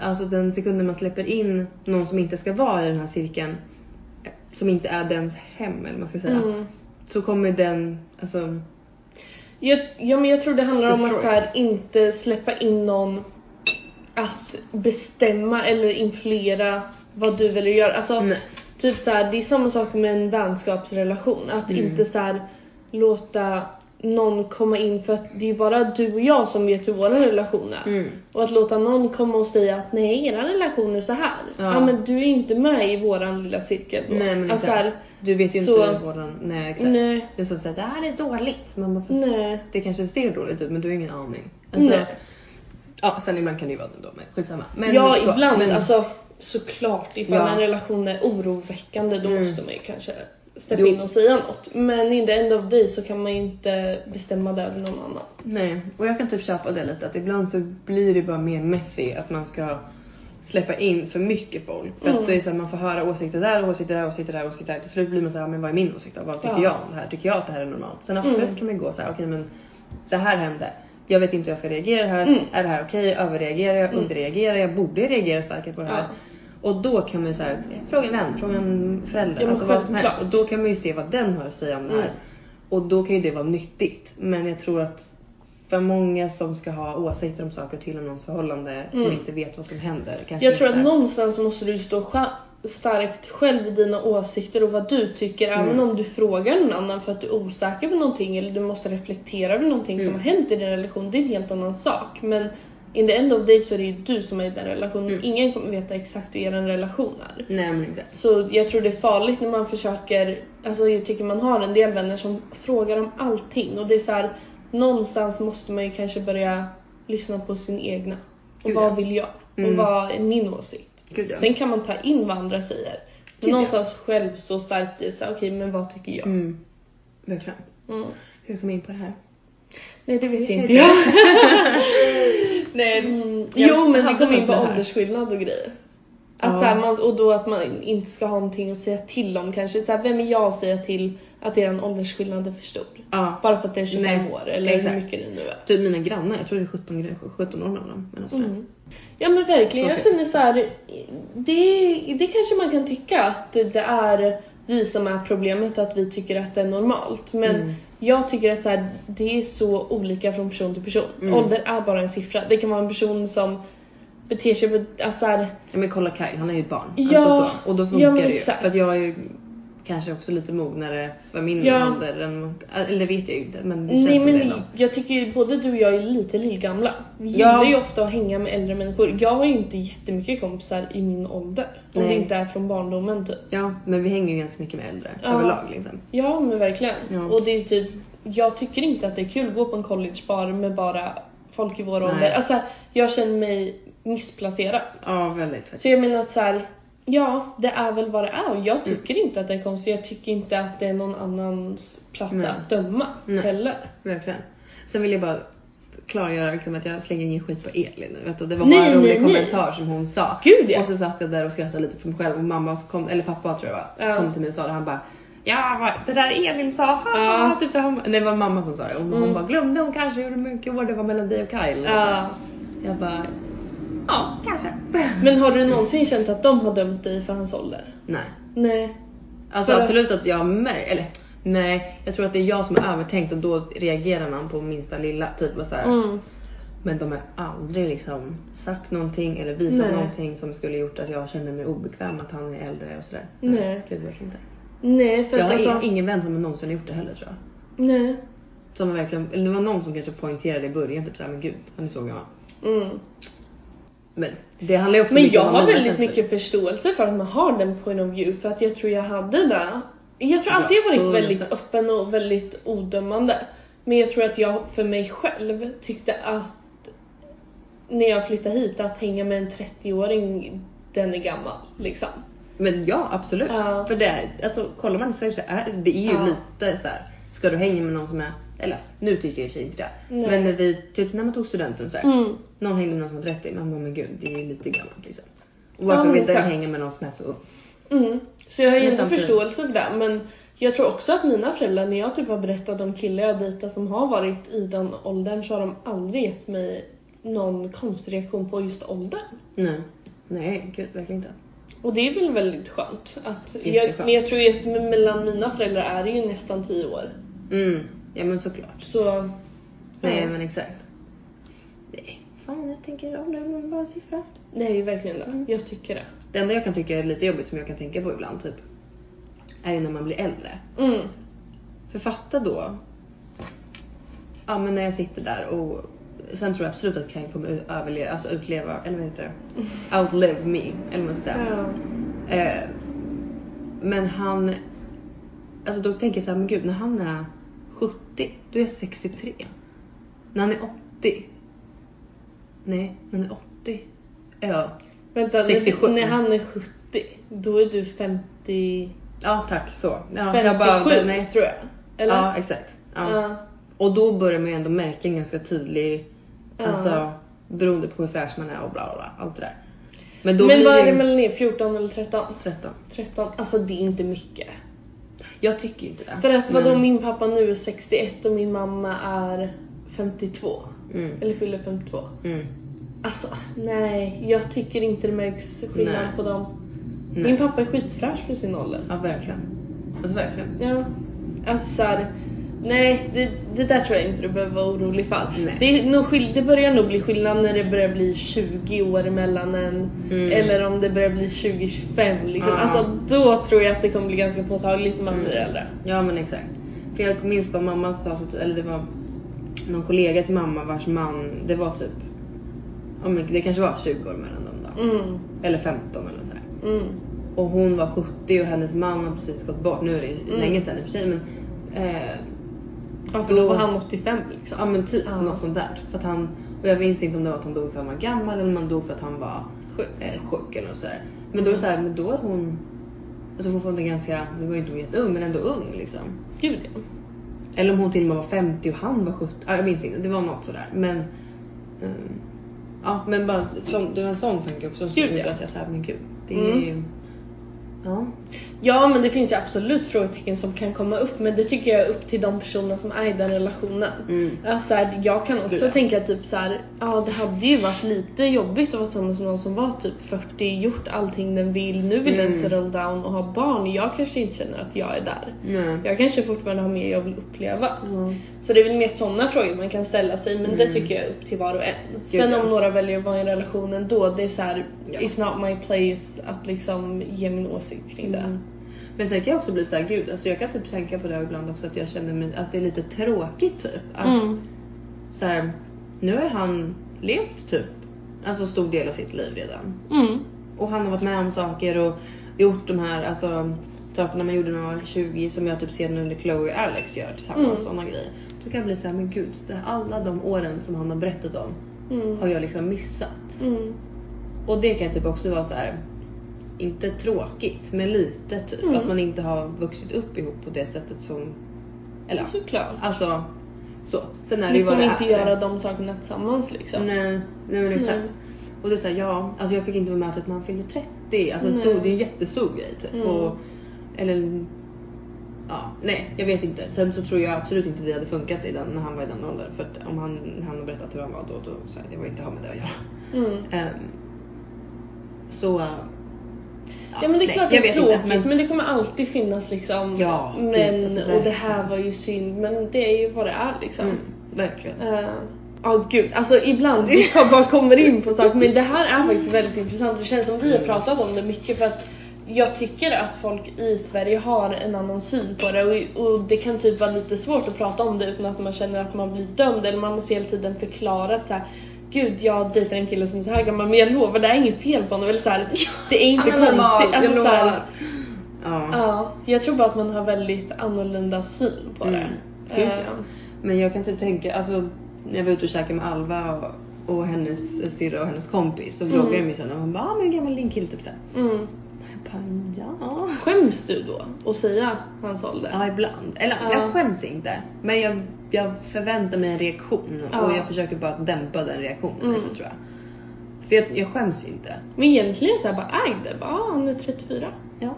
[SPEAKER 2] alltså den sekunden man släpper in någon som inte ska vara i den här cirkeln, eh, som inte är dens hem eller vad man ska säga,
[SPEAKER 1] Mm.
[SPEAKER 2] så kommer den, alltså,
[SPEAKER 1] Jag, ja, men jag tror det handlar om
[SPEAKER 2] Destroy
[SPEAKER 1] att så här, inte släppa in någon att bestämma eller influera vad du vill göra. Alltså,
[SPEAKER 2] Nej.
[SPEAKER 1] typ så här, det är samma sak med en vänskapsrelation. Att
[SPEAKER 2] Mm.
[SPEAKER 1] inte så här, låta någon komma in för att det är bara du och jag som vet hur våra relationer är.
[SPEAKER 2] Mm.
[SPEAKER 1] Och att låta någon komma och säga att nej, era relation är så här. Ja,
[SPEAKER 2] Ja.
[SPEAKER 1] men du är inte med i våran lilla cirkel då.
[SPEAKER 2] nej men
[SPEAKER 1] alltså, så
[SPEAKER 2] exakt.
[SPEAKER 1] här,
[SPEAKER 2] du vet ju inte
[SPEAKER 1] så-
[SPEAKER 2] hur våran, nej exakt.
[SPEAKER 1] nej,
[SPEAKER 2] Du som säger det här är dåligt, man bara, fast
[SPEAKER 1] nej.
[SPEAKER 2] det kanske ser dåligt ut men du har ingen aning. Alltså,
[SPEAKER 1] Nej.
[SPEAKER 2] Ja, sen ibland kan det ju vara det då, men skitsamma. Men,
[SPEAKER 1] ja,
[SPEAKER 2] så,
[SPEAKER 1] ibland.
[SPEAKER 2] men-
[SPEAKER 1] Alltså, såklart, ifall
[SPEAKER 2] Ja.
[SPEAKER 1] en relation är oroväckande då
[SPEAKER 2] Mm.
[SPEAKER 1] måste man ju kanske steppa
[SPEAKER 2] Jo.
[SPEAKER 1] in och säga något. Men in the end of day så kan man ju inte bestämma det över någon annan.
[SPEAKER 2] Nej, och jag kan typ köpa det lite att ibland så blir det bara mer messy att man ska släppa in för mycket folk. För
[SPEAKER 1] Mm.
[SPEAKER 2] att det är så här, man får höra åsikter där, åsikter där, åsikter där, åsikter där. Till slut blir man så här, men vad är min åsikt då? Vad tycker
[SPEAKER 1] Ja.
[SPEAKER 2] jag om det här? Tycker jag att det här är normalt? Sen absolut
[SPEAKER 1] Mm.
[SPEAKER 2] kan man gå så här, okej men det här hände. Jag vet inte hur jag ska reagera här.
[SPEAKER 1] Mm.
[SPEAKER 2] Är det här okej? Överreagerar jag?
[SPEAKER 1] Mm.
[SPEAKER 2] Underreagerar jag? Borde jag reagera starkare på det här? Och då kan man ju så här, fråga en vän, fråga en förälder,
[SPEAKER 1] Ja, men
[SPEAKER 2] alltså vad som helst. Och
[SPEAKER 1] självklart.
[SPEAKER 2] då kan man ju se vad den har att säga om det här.
[SPEAKER 1] Mm.
[SPEAKER 2] Och då kan ju det vara nyttigt. Men jag tror att för många som ska ha åsikter om saker till och någons förhållande som
[SPEAKER 1] Mm.
[SPEAKER 2] inte vet vad som händer. Kanske
[SPEAKER 1] Jag tror
[SPEAKER 2] inte.
[SPEAKER 1] att någonstans måste du stå, cha- starkt själv dina åsikter och vad du tycker även
[SPEAKER 2] Mm.
[SPEAKER 1] om du frågar någon annan för att du är osäker på någonting eller du måste reflektera över någonting
[SPEAKER 2] Mm.
[SPEAKER 1] som har hänt i din relation. Det är en helt annan sak. Men in the end of day så är det ju du som är i den relationen.
[SPEAKER 2] Mm.
[SPEAKER 1] Ingen kommer veta exakt hur er relation är.
[SPEAKER 2] Nej men exakt.
[SPEAKER 1] Så jag tror det är farligt när man försöker, alltså jag tycker man har en del vänner som frågar om allting och det är så här, någonstans måste man ju kanske börja lyssna på sin egna. Och
[SPEAKER 2] Gud, ja.
[SPEAKER 1] vad vill jag? Och
[SPEAKER 2] Mm.
[SPEAKER 1] vad är min åsikt?
[SPEAKER 2] Gud ja.
[SPEAKER 1] Sen kan man ta in vad andra säger.
[SPEAKER 2] Gud,
[SPEAKER 1] Men
[SPEAKER 2] ja.
[SPEAKER 1] någonstans själv stå starkt i så här, okej men vad tycker jag?
[SPEAKER 2] Mm. Verkligen.
[SPEAKER 1] Mm.
[SPEAKER 2] Hur kom jag in på det här?
[SPEAKER 1] Nej det vet
[SPEAKER 2] inte
[SPEAKER 1] inte jag.
[SPEAKER 2] Nej.
[SPEAKER 1] Mm.
[SPEAKER 2] Jag
[SPEAKER 1] Jo men
[SPEAKER 2] hade
[SPEAKER 1] vi kom in
[SPEAKER 2] nog
[SPEAKER 1] på
[SPEAKER 2] det här.
[SPEAKER 1] åldersskillnad och grejer. Att
[SPEAKER 2] Ja.
[SPEAKER 1] så här, man, och då att man inte ska ha någonting att säga till om kanske. Så här, vem är jag att säga till att er åldersskillnad är för stor?
[SPEAKER 2] Ja.
[SPEAKER 1] Bara för att det är 25
[SPEAKER 2] Nej,
[SPEAKER 1] år eller
[SPEAKER 2] exakt.
[SPEAKER 1] hur mycket det nu är.
[SPEAKER 2] Typ mina grannar, jag tror det är 17, gre- 17 år mellan dem. Men alltså,
[SPEAKER 1] Mm. Ja men verkligen,
[SPEAKER 2] Så
[SPEAKER 1] jag
[SPEAKER 2] fel.
[SPEAKER 1] känner så här, det, det kanske man kan tycka att det är vi som är problemet, att vi tycker att det är normalt. Men
[SPEAKER 2] Mm.
[SPEAKER 1] jag tycker att så här, det är så olika från person till person.
[SPEAKER 2] Mm.
[SPEAKER 1] Ålder är bara en siffra. Det kan vara en person som beter sig på... Alltså så här,
[SPEAKER 2] Ja, men kolla Kyle, han är ju ett barn.
[SPEAKER 1] Ja,
[SPEAKER 2] Alltså så. Och då
[SPEAKER 1] ja,
[SPEAKER 2] funkar
[SPEAKER 1] men
[SPEAKER 2] det ju.
[SPEAKER 1] exakt.
[SPEAKER 2] För att jag är ju kanske också lite mognare för min
[SPEAKER 1] Ja.
[SPEAKER 2] ålder. Än, eller det vet jag ju inte men det känns
[SPEAKER 1] nej
[SPEAKER 2] som det
[SPEAKER 1] men
[SPEAKER 2] ibland.
[SPEAKER 1] jag tycker ju både du och jag är lite lillgamla. Vi
[SPEAKER 2] Ja.
[SPEAKER 1] gillar ju ofta att hänga med äldre människor. Jag har ju inte jättemycket kompisar i min ålder. Om det
[SPEAKER 2] Nej.
[SPEAKER 1] inte är från barndomen typ.
[SPEAKER 2] Ja, men vi hänger ju ganska mycket med äldre
[SPEAKER 1] Ja.
[SPEAKER 2] överlag liksom.
[SPEAKER 1] Ja men verkligen.
[SPEAKER 2] Ja.
[SPEAKER 1] Och det är typ, jag tycker inte att det är kul att gå på en collegebar med bara folk i vår
[SPEAKER 2] Nej.
[SPEAKER 1] ålder. Alltså jag känner mig missplacerad.
[SPEAKER 2] Ja, väldigt faktiskt.
[SPEAKER 1] Så jag menar att så här, ja det är väl vad det är och
[SPEAKER 2] Mm.
[SPEAKER 1] jag tycker inte att det är konstigt. Jag tycker inte att det är någon annans plats
[SPEAKER 2] Nej.
[SPEAKER 1] att döma
[SPEAKER 2] Nej.
[SPEAKER 1] heller.
[SPEAKER 2] Verkligen. Sen vill jag bara klargöra liksom att jag slänger ingen skit på Elin nu. Vet du? Det var
[SPEAKER 1] Nej,
[SPEAKER 2] bara en rolig
[SPEAKER 1] nej, nej.
[SPEAKER 2] kommentar som hon sa.
[SPEAKER 1] Gud, ja.
[SPEAKER 2] Och så satt jag där och skrattade lite för mig själv och mamma som kom, eller pappa tror jag var,
[SPEAKER 1] Ja.
[SPEAKER 2] kom till mig och sa det. Han bara Ja, vad- det där Elin sa, ha,
[SPEAKER 1] Ja.
[SPEAKER 2] ha, typ så här, hon, Nej, det var mamma som sa det. Hon, hon
[SPEAKER 1] Mm.
[SPEAKER 2] bara glömde hon kanske hur mycket år det var mellan dig och Kyle. Och så här.
[SPEAKER 1] Ja.
[SPEAKER 2] Jag bara Ja, kanske.
[SPEAKER 1] Men har du någonsin känt att de har dömt dig för hans ålder?
[SPEAKER 2] nej.
[SPEAKER 1] Nej.
[SPEAKER 2] Alltså
[SPEAKER 1] För att-
[SPEAKER 2] absolut att jag märker, eller nej. Jag tror att det är jag som är övertänkt och då reagerar man på minsta lilla. Typ bara så här,
[SPEAKER 1] Mm.
[SPEAKER 2] Men de har aldrig liksom sagt någonting eller visat
[SPEAKER 1] Nej.
[SPEAKER 2] någonting som skulle gjort att jag kände mig obekväm att han är äldre och sådär.
[SPEAKER 1] Nej.
[SPEAKER 2] Gud, verkligen inte.
[SPEAKER 1] Nej för
[SPEAKER 2] Jag
[SPEAKER 1] att
[SPEAKER 2] har
[SPEAKER 1] alltså,
[SPEAKER 2] i- ingen vän som någonsin har gjort det heller tror jag.
[SPEAKER 1] nej.
[SPEAKER 2] Som har verkligen, eller det var någon som kanske poängterade i början typ såhär, men gud han är så gammal.
[SPEAKER 1] Mm.
[SPEAKER 2] Men det handlar ju också
[SPEAKER 1] Men
[SPEAKER 2] mycket
[SPEAKER 1] jag
[SPEAKER 2] om
[SPEAKER 1] har
[SPEAKER 2] mina
[SPEAKER 1] väldigt
[SPEAKER 2] känslor.
[SPEAKER 1] mycket förståelse för att man har den point of view för att jag tror jag hade det. Jag tror alltid jag
[SPEAKER 2] Ja,
[SPEAKER 1] varit väldigt
[SPEAKER 2] 100%.
[SPEAKER 1] öppen och väldigt odömande. Men jag tror att jag för mig själv tyckte att när jag flyttade hit att hänga med en 30-åring, den är gammal liksom.
[SPEAKER 2] Men ja, absolut.
[SPEAKER 1] Ja.
[SPEAKER 2] För det, är- alltså kollar man i Sverige så är det är ju
[SPEAKER 1] Ja.
[SPEAKER 2] lite så här. ska du hänga med någon som är, eller nu tycker jag i och för sig inte det.
[SPEAKER 1] Nej.
[SPEAKER 2] Men när vi, typ när man tog studenten så här,
[SPEAKER 1] Mm.
[SPEAKER 2] Någon hängde med någon som var 30, man bara men gud det är ju lite gammalt liksom. Och
[SPEAKER 1] Ja,
[SPEAKER 2] varför
[SPEAKER 1] men
[SPEAKER 2] vill den
[SPEAKER 1] exakt.
[SPEAKER 2] hänga med någon som är så ung?
[SPEAKER 1] Mm. Så jag har ju
[SPEAKER 2] Men
[SPEAKER 1] ändå
[SPEAKER 2] samtidigt-
[SPEAKER 1] förståelse för det. Men jag tror också att mina föräldrar, när jag typ har berättat om killar jag dejtat som har varit i den åldern så har de aldrig gett mig någon konstreaktion på just åldern.
[SPEAKER 2] Nej. Nej, gud verkligen inte.
[SPEAKER 1] Och det är väl väldigt skönt. Att jag,
[SPEAKER 2] Jätteskönt.
[SPEAKER 1] men jag tror ju att me- mellan mina föräldrar är det ju nästan 10 år.
[SPEAKER 2] Mm, ja men såklart.
[SPEAKER 1] Så
[SPEAKER 2] Nej
[SPEAKER 1] Ja.
[SPEAKER 2] men exakt. Nej, fan jag tänker ålder är bara en siffra.
[SPEAKER 1] det är ju verkligen det.
[SPEAKER 2] Mm.
[SPEAKER 1] Jag tycker det.
[SPEAKER 2] Det enda jag kan tycka är lite jobbigt som jag kan tänka på ibland typ. Är ju när man blir äldre.
[SPEAKER 1] Mm.
[SPEAKER 2] För fatta då. Ja men när jag sitter där och sen tror jag absolut att Kaj kommer ut- överleva, alltså utleva, eller vad heter det? Outlive me, eller vad man ska säga.
[SPEAKER 1] Ja.
[SPEAKER 2] Eh, men han... Alltså då tänker jag så här, men gud när han är 70, då är jag 63. När han är 80. Nej, när han är 80. Ja,
[SPEAKER 1] Vänta,
[SPEAKER 2] 67.
[SPEAKER 1] när, när han är 70, då är du 50,
[SPEAKER 2] ja tack så. Ja,
[SPEAKER 1] 57
[SPEAKER 2] jag bara, nej.
[SPEAKER 1] tror jag. Eller?
[SPEAKER 2] Ja, exakt. Ja.
[SPEAKER 1] Ja.
[SPEAKER 2] Och då börjar man ju ändå märka en ganska tydlig,
[SPEAKER 1] Ja.
[SPEAKER 2] alltså beroende på hur fräsch man är och bla bla bla, allt det där. Men då
[SPEAKER 1] men
[SPEAKER 2] blir
[SPEAKER 1] vad är
[SPEAKER 2] ju
[SPEAKER 1] det mellan er? 14 eller 13?
[SPEAKER 2] 13.
[SPEAKER 1] 13. Alltså det är inte mycket.
[SPEAKER 2] Jag tycker ju inte det.
[SPEAKER 1] För att vadå
[SPEAKER 2] Men-
[SPEAKER 1] min pappa nu är 61 och min mamma är 52.
[SPEAKER 2] Mm,
[SPEAKER 1] Eller fyller 52.
[SPEAKER 2] mm,
[SPEAKER 1] Alltså nej, jag tycker inte det märks skillnad
[SPEAKER 2] Nej.
[SPEAKER 1] på dem.
[SPEAKER 2] nej.
[SPEAKER 1] Min pappa är skitfräsch för sin ålder.
[SPEAKER 2] Ja verkligen. Alltså verkligen.
[SPEAKER 1] Ja. Alltså såhär, Nej, det, det där tror jag inte du behöver vara orolig för.
[SPEAKER 2] Nej.
[SPEAKER 1] Det, är nog skill- det börjar nog bli skillnad när det börjar bli 20 år mellan en
[SPEAKER 2] Mm.
[SPEAKER 1] eller om det börjar bli 20-25 liksom.
[SPEAKER 2] Ja.
[SPEAKER 1] Alltså då tror jag att det kommer bli ganska påtagligt när man
[SPEAKER 2] Mm.
[SPEAKER 1] blir äldre.
[SPEAKER 2] Ja men exakt. För jag minns bara mamma sa, så, eller det var någon kollega till mamma vars man, det var typ, ja, men det kanske var 20 år mellan dem då.
[SPEAKER 1] Mm.
[SPEAKER 2] Eller 15 eller sådär.
[SPEAKER 1] Mm.
[SPEAKER 2] Och hon var 70 och hennes man har precis gått bort. Nu är det
[SPEAKER 1] Mm.
[SPEAKER 2] länge sedan i och för sig men eh,
[SPEAKER 1] Ja, för då var han 85 liksom.
[SPEAKER 2] ja men typ
[SPEAKER 1] Ja.
[SPEAKER 2] något sånt där. För att han, och jag minns inte om det var att han dog för att han var gammal eller om han dog för att han var
[SPEAKER 1] Sjukt.
[SPEAKER 2] eh, sjuk eller något sådär. Men då är det såhär, men då är hon, alltså fortfarande ganska, nu var ju inte hon jätteung men ändå ung liksom.
[SPEAKER 1] Gud ja.
[SPEAKER 2] Eller om hon till och med var 50 och han var 70. Ah, jag minns inte, det var något sådär. Men, ehm, ja, men bara, som, det var en sån tanke också som
[SPEAKER 1] Gud,
[SPEAKER 2] gjorde
[SPEAKER 1] ja.
[SPEAKER 2] att jag sa, men gud. Det
[SPEAKER 1] Mm.
[SPEAKER 2] är ju, ja.
[SPEAKER 1] Ja men det finns ju absolut frågetecken som kan komma upp men det tycker jag är upp till de personerna som är i den relationen.
[SPEAKER 2] Mm.
[SPEAKER 1] Ja, så här, jag kan
[SPEAKER 2] Gud,
[SPEAKER 1] också
[SPEAKER 2] ja.
[SPEAKER 1] tänka typ så här, ja det hade ju varit lite jobbigt att vara tillsammans med någon som var typ 40, gjort allting den vill, nu vill den
[SPEAKER 2] Mm.
[SPEAKER 1] settle down och ha barn. Jag kanske inte känner att jag är där.
[SPEAKER 2] Nej.
[SPEAKER 1] Jag kanske fortfarande har mer jag vill uppleva.
[SPEAKER 2] Ja.
[SPEAKER 1] Så det är väl mer sådana frågor man kan ställa sig men det
[SPEAKER 2] Mm.
[SPEAKER 1] tycker jag är upp till var och en. Sen
[SPEAKER 2] ja.
[SPEAKER 1] om några väljer att vara i en relation ändå, det är så här,
[SPEAKER 2] Ja.
[SPEAKER 1] it's not my place att liksom ge min åsikt kring det.
[SPEAKER 2] Mm. Men sen kan jag också bli såhär, gud, alltså jag kan typ tänka på det ibland också att jag känner mig, att det är lite tråkigt typ. Att
[SPEAKER 1] Mm.
[SPEAKER 2] såhär, nu har han levt typ, alltså stor del av sitt liv redan.
[SPEAKER 1] Mm.
[SPEAKER 2] Och han har varit med om saker och gjort de här alltså, sakerna man gjorde när man var 20 som jag typ ser nu när Chloe och Alex gör tillsammans.
[SPEAKER 1] Mm.
[SPEAKER 2] Sådana grejer. Då kan jag bli såhär, men gud, det här, alla de åren som han har berättat om
[SPEAKER 1] Mm.
[SPEAKER 2] har jag liksom missat.
[SPEAKER 1] Mm.
[SPEAKER 2] Och det kan jag typ också vara så här. inte tråkigt men lite typ.
[SPEAKER 1] Mm.
[SPEAKER 2] Att man inte har vuxit upp ihop på det sättet som, eller ja,
[SPEAKER 1] Såklart.
[SPEAKER 2] alltså så. Sen är det
[SPEAKER 1] Ni
[SPEAKER 2] ju vad
[SPEAKER 1] kommer
[SPEAKER 2] det
[SPEAKER 1] inte
[SPEAKER 2] är.
[SPEAKER 1] göra de sakerna tillsammans liksom.
[SPEAKER 2] Nej, nej men exakt.
[SPEAKER 1] Nej.
[SPEAKER 2] Och det är såhär, ja, alltså jag fick inte vara med typ när han fyllde 30. Alltså en
[SPEAKER 1] Nej.
[SPEAKER 2] stor, det är en jättestor grej typ.
[SPEAKER 1] Mm.
[SPEAKER 2] Och, eller, ja, nej jag vet inte. Sen så tror jag absolut inte vi hade funkat i den, när han var i den åldern. För att om han, han har berättat hur han var då, då så här, det var inte ha med det att göra.
[SPEAKER 1] Mm.
[SPEAKER 2] Ehm, så, ja,
[SPEAKER 1] Ja men det är
[SPEAKER 2] nej,
[SPEAKER 1] klart det
[SPEAKER 2] jag
[SPEAKER 1] är
[SPEAKER 2] vet inte,
[SPEAKER 1] tråkigt men... det kommer alltid finnas liksom
[SPEAKER 2] Ja, gud,
[SPEAKER 1] men
[SPEAKER 2] alltså,
[SPEAKER 1] och det
[SPEAKER 2] verkligen.
[SPEAKER 1] här var ju synd men det är ju vad det är liksom.
[SPEAKER 2] mm, verkligen.
[SPEAKER 1] Eh, Ja gud, alltså ibland vi kom- bara kommer in på saker men det här är faktiskt väldigt intressant. Det känns som vi har
[SPEAKER 2] Mm.
[SPEAKER 1] pratat om det mycket för att jag tycker att folk i Sverige har en annan syn på det och, och det kan typ vara lite svårt att prata om det utan att man känner att man blir dömd eller man måste hela tiden förklara att så här, Gud jag dejtar en kille som är så här gammal men jag lovar det är inget fel på honom. Eller så här, det är inte
[SPEAKER 2] Han är normal,
[SPEAKER 1] konstigt.
[SPEAKER 2] jag
[SPEAKER 1] Alltså, så här,
[SPEAKER 2] lovar. Ja.
[SPEAKER 1] ja, jag tror bara att man har väldigt annorlunda syn på
[SPEAKER 2] Mm.
[SPEAKER 1] det.
[SPEAKER 2] Gud,
[SPEAKER 1] Eh,
[SPEAKER 2] ja. Men jag kan typ tänka, alltså när jag var ute och käkade med Alva och, och hennes syrra och hennes kompis så frågade de
[SPEAKER 1] Mm.
[SPEAKER 2] mig sen och hon bara ah, men hur gammal är din kille typ såhär.
[SPEAKER 1] mm.
[SPEAKER 2] Jag bara ja.
[SPEAKER 1] Skäms du då att säga hans ålder?
[SPEAKER 2] Ja ibland. Eller
[SPEAKER 1] Ja.
[SPEAKER 2] jag skäms inte. Men jag, jag förväntar mig en reaktion och
[SPEAKER 1] Ja.
[SPEAKER 2] jag försöker bara att dämpa den reaktionen
[SPEAKER 1] Mm.
[SPEAKER 2] lite tror jag. För jag, jag skäms ju inte.
[SPEAKER 1] Men egentligen så här bara äg det, bara ah, han är 34.
[SPEAKER 2] Ja.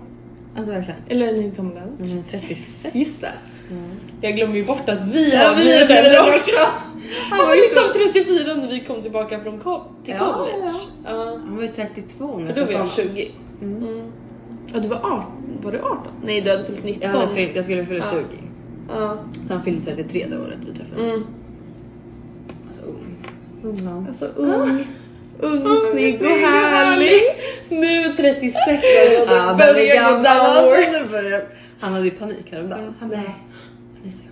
[SPEAKER 2] Alltså verkligen.
[SPEAKER 1] Eller hur gammal är han?
[SPEAKER 2] Men jag är 36.
[SPEAKER 1] Just det.
[SPEAKER 2] Mm.
[SPEAKER 1] Jag glömmer ju bort att vi
[SPEAKER 2] Ja,
[SPEAKER 1] har
[SPEAKER 2] vi
[SPEAKER 1] blivit
[SPEAKER 2] är
[SPEAKER 1] äldre
[SPEAKER 2] äldre
[SPEAKER 1] också. Han var
[SPEAKER 2] var ju
[SPEAKER 1] liksom 34 när vi kom tillbaka från co- till
[SPEAKER 2] Ja,
[SPEAKER 1] college. Ja,
[SPEAKER 2] Han var ju 32 när
[SPEAKER 1] För då var jag
[SPEAKER 2] träffade honom.
[SPEAKER 1] 20.
[SPEAKER 2] Mm.
[SPEAKER 1] Mm. Ja, du var 18. Var du 18? Nej, du hade fyllt 19.
[SPEAKER 2] Jag, hade fyllt, jag skulle fylla
[SPEAKER 1] Ja.
[SPEAKER 2] 20.
[SPEAKER 1] Ja.
[SPEAKER 2] Så han fyllde 33 det året vi träffades.
[SPEAKER 1] Mm.
[SPEAKER 2] Alltså ung. Ung man.
[SPEAKER 1] Alltså ung. Ung,
[SPEAKER 2] Ung,
[SPEAKER 1] snygg och
[SPEAKER 2] snygg och
[SPEAKER 1] härlig. Nu 36 år och
[SPEAKER 2] Ja,
[SPEAKER 1] det
[SPEAKER 2] han är
[SPEAKER 1] börjar gå
[SPEAKER 2] gammal.
[SPEAKER 1] downward.
[SPEAKER 2] Nu börjar- Han hade ju panik häromdagen. Han bara,
[SPEAKER 1] Nej.
[SPEAKER 2] Alicia,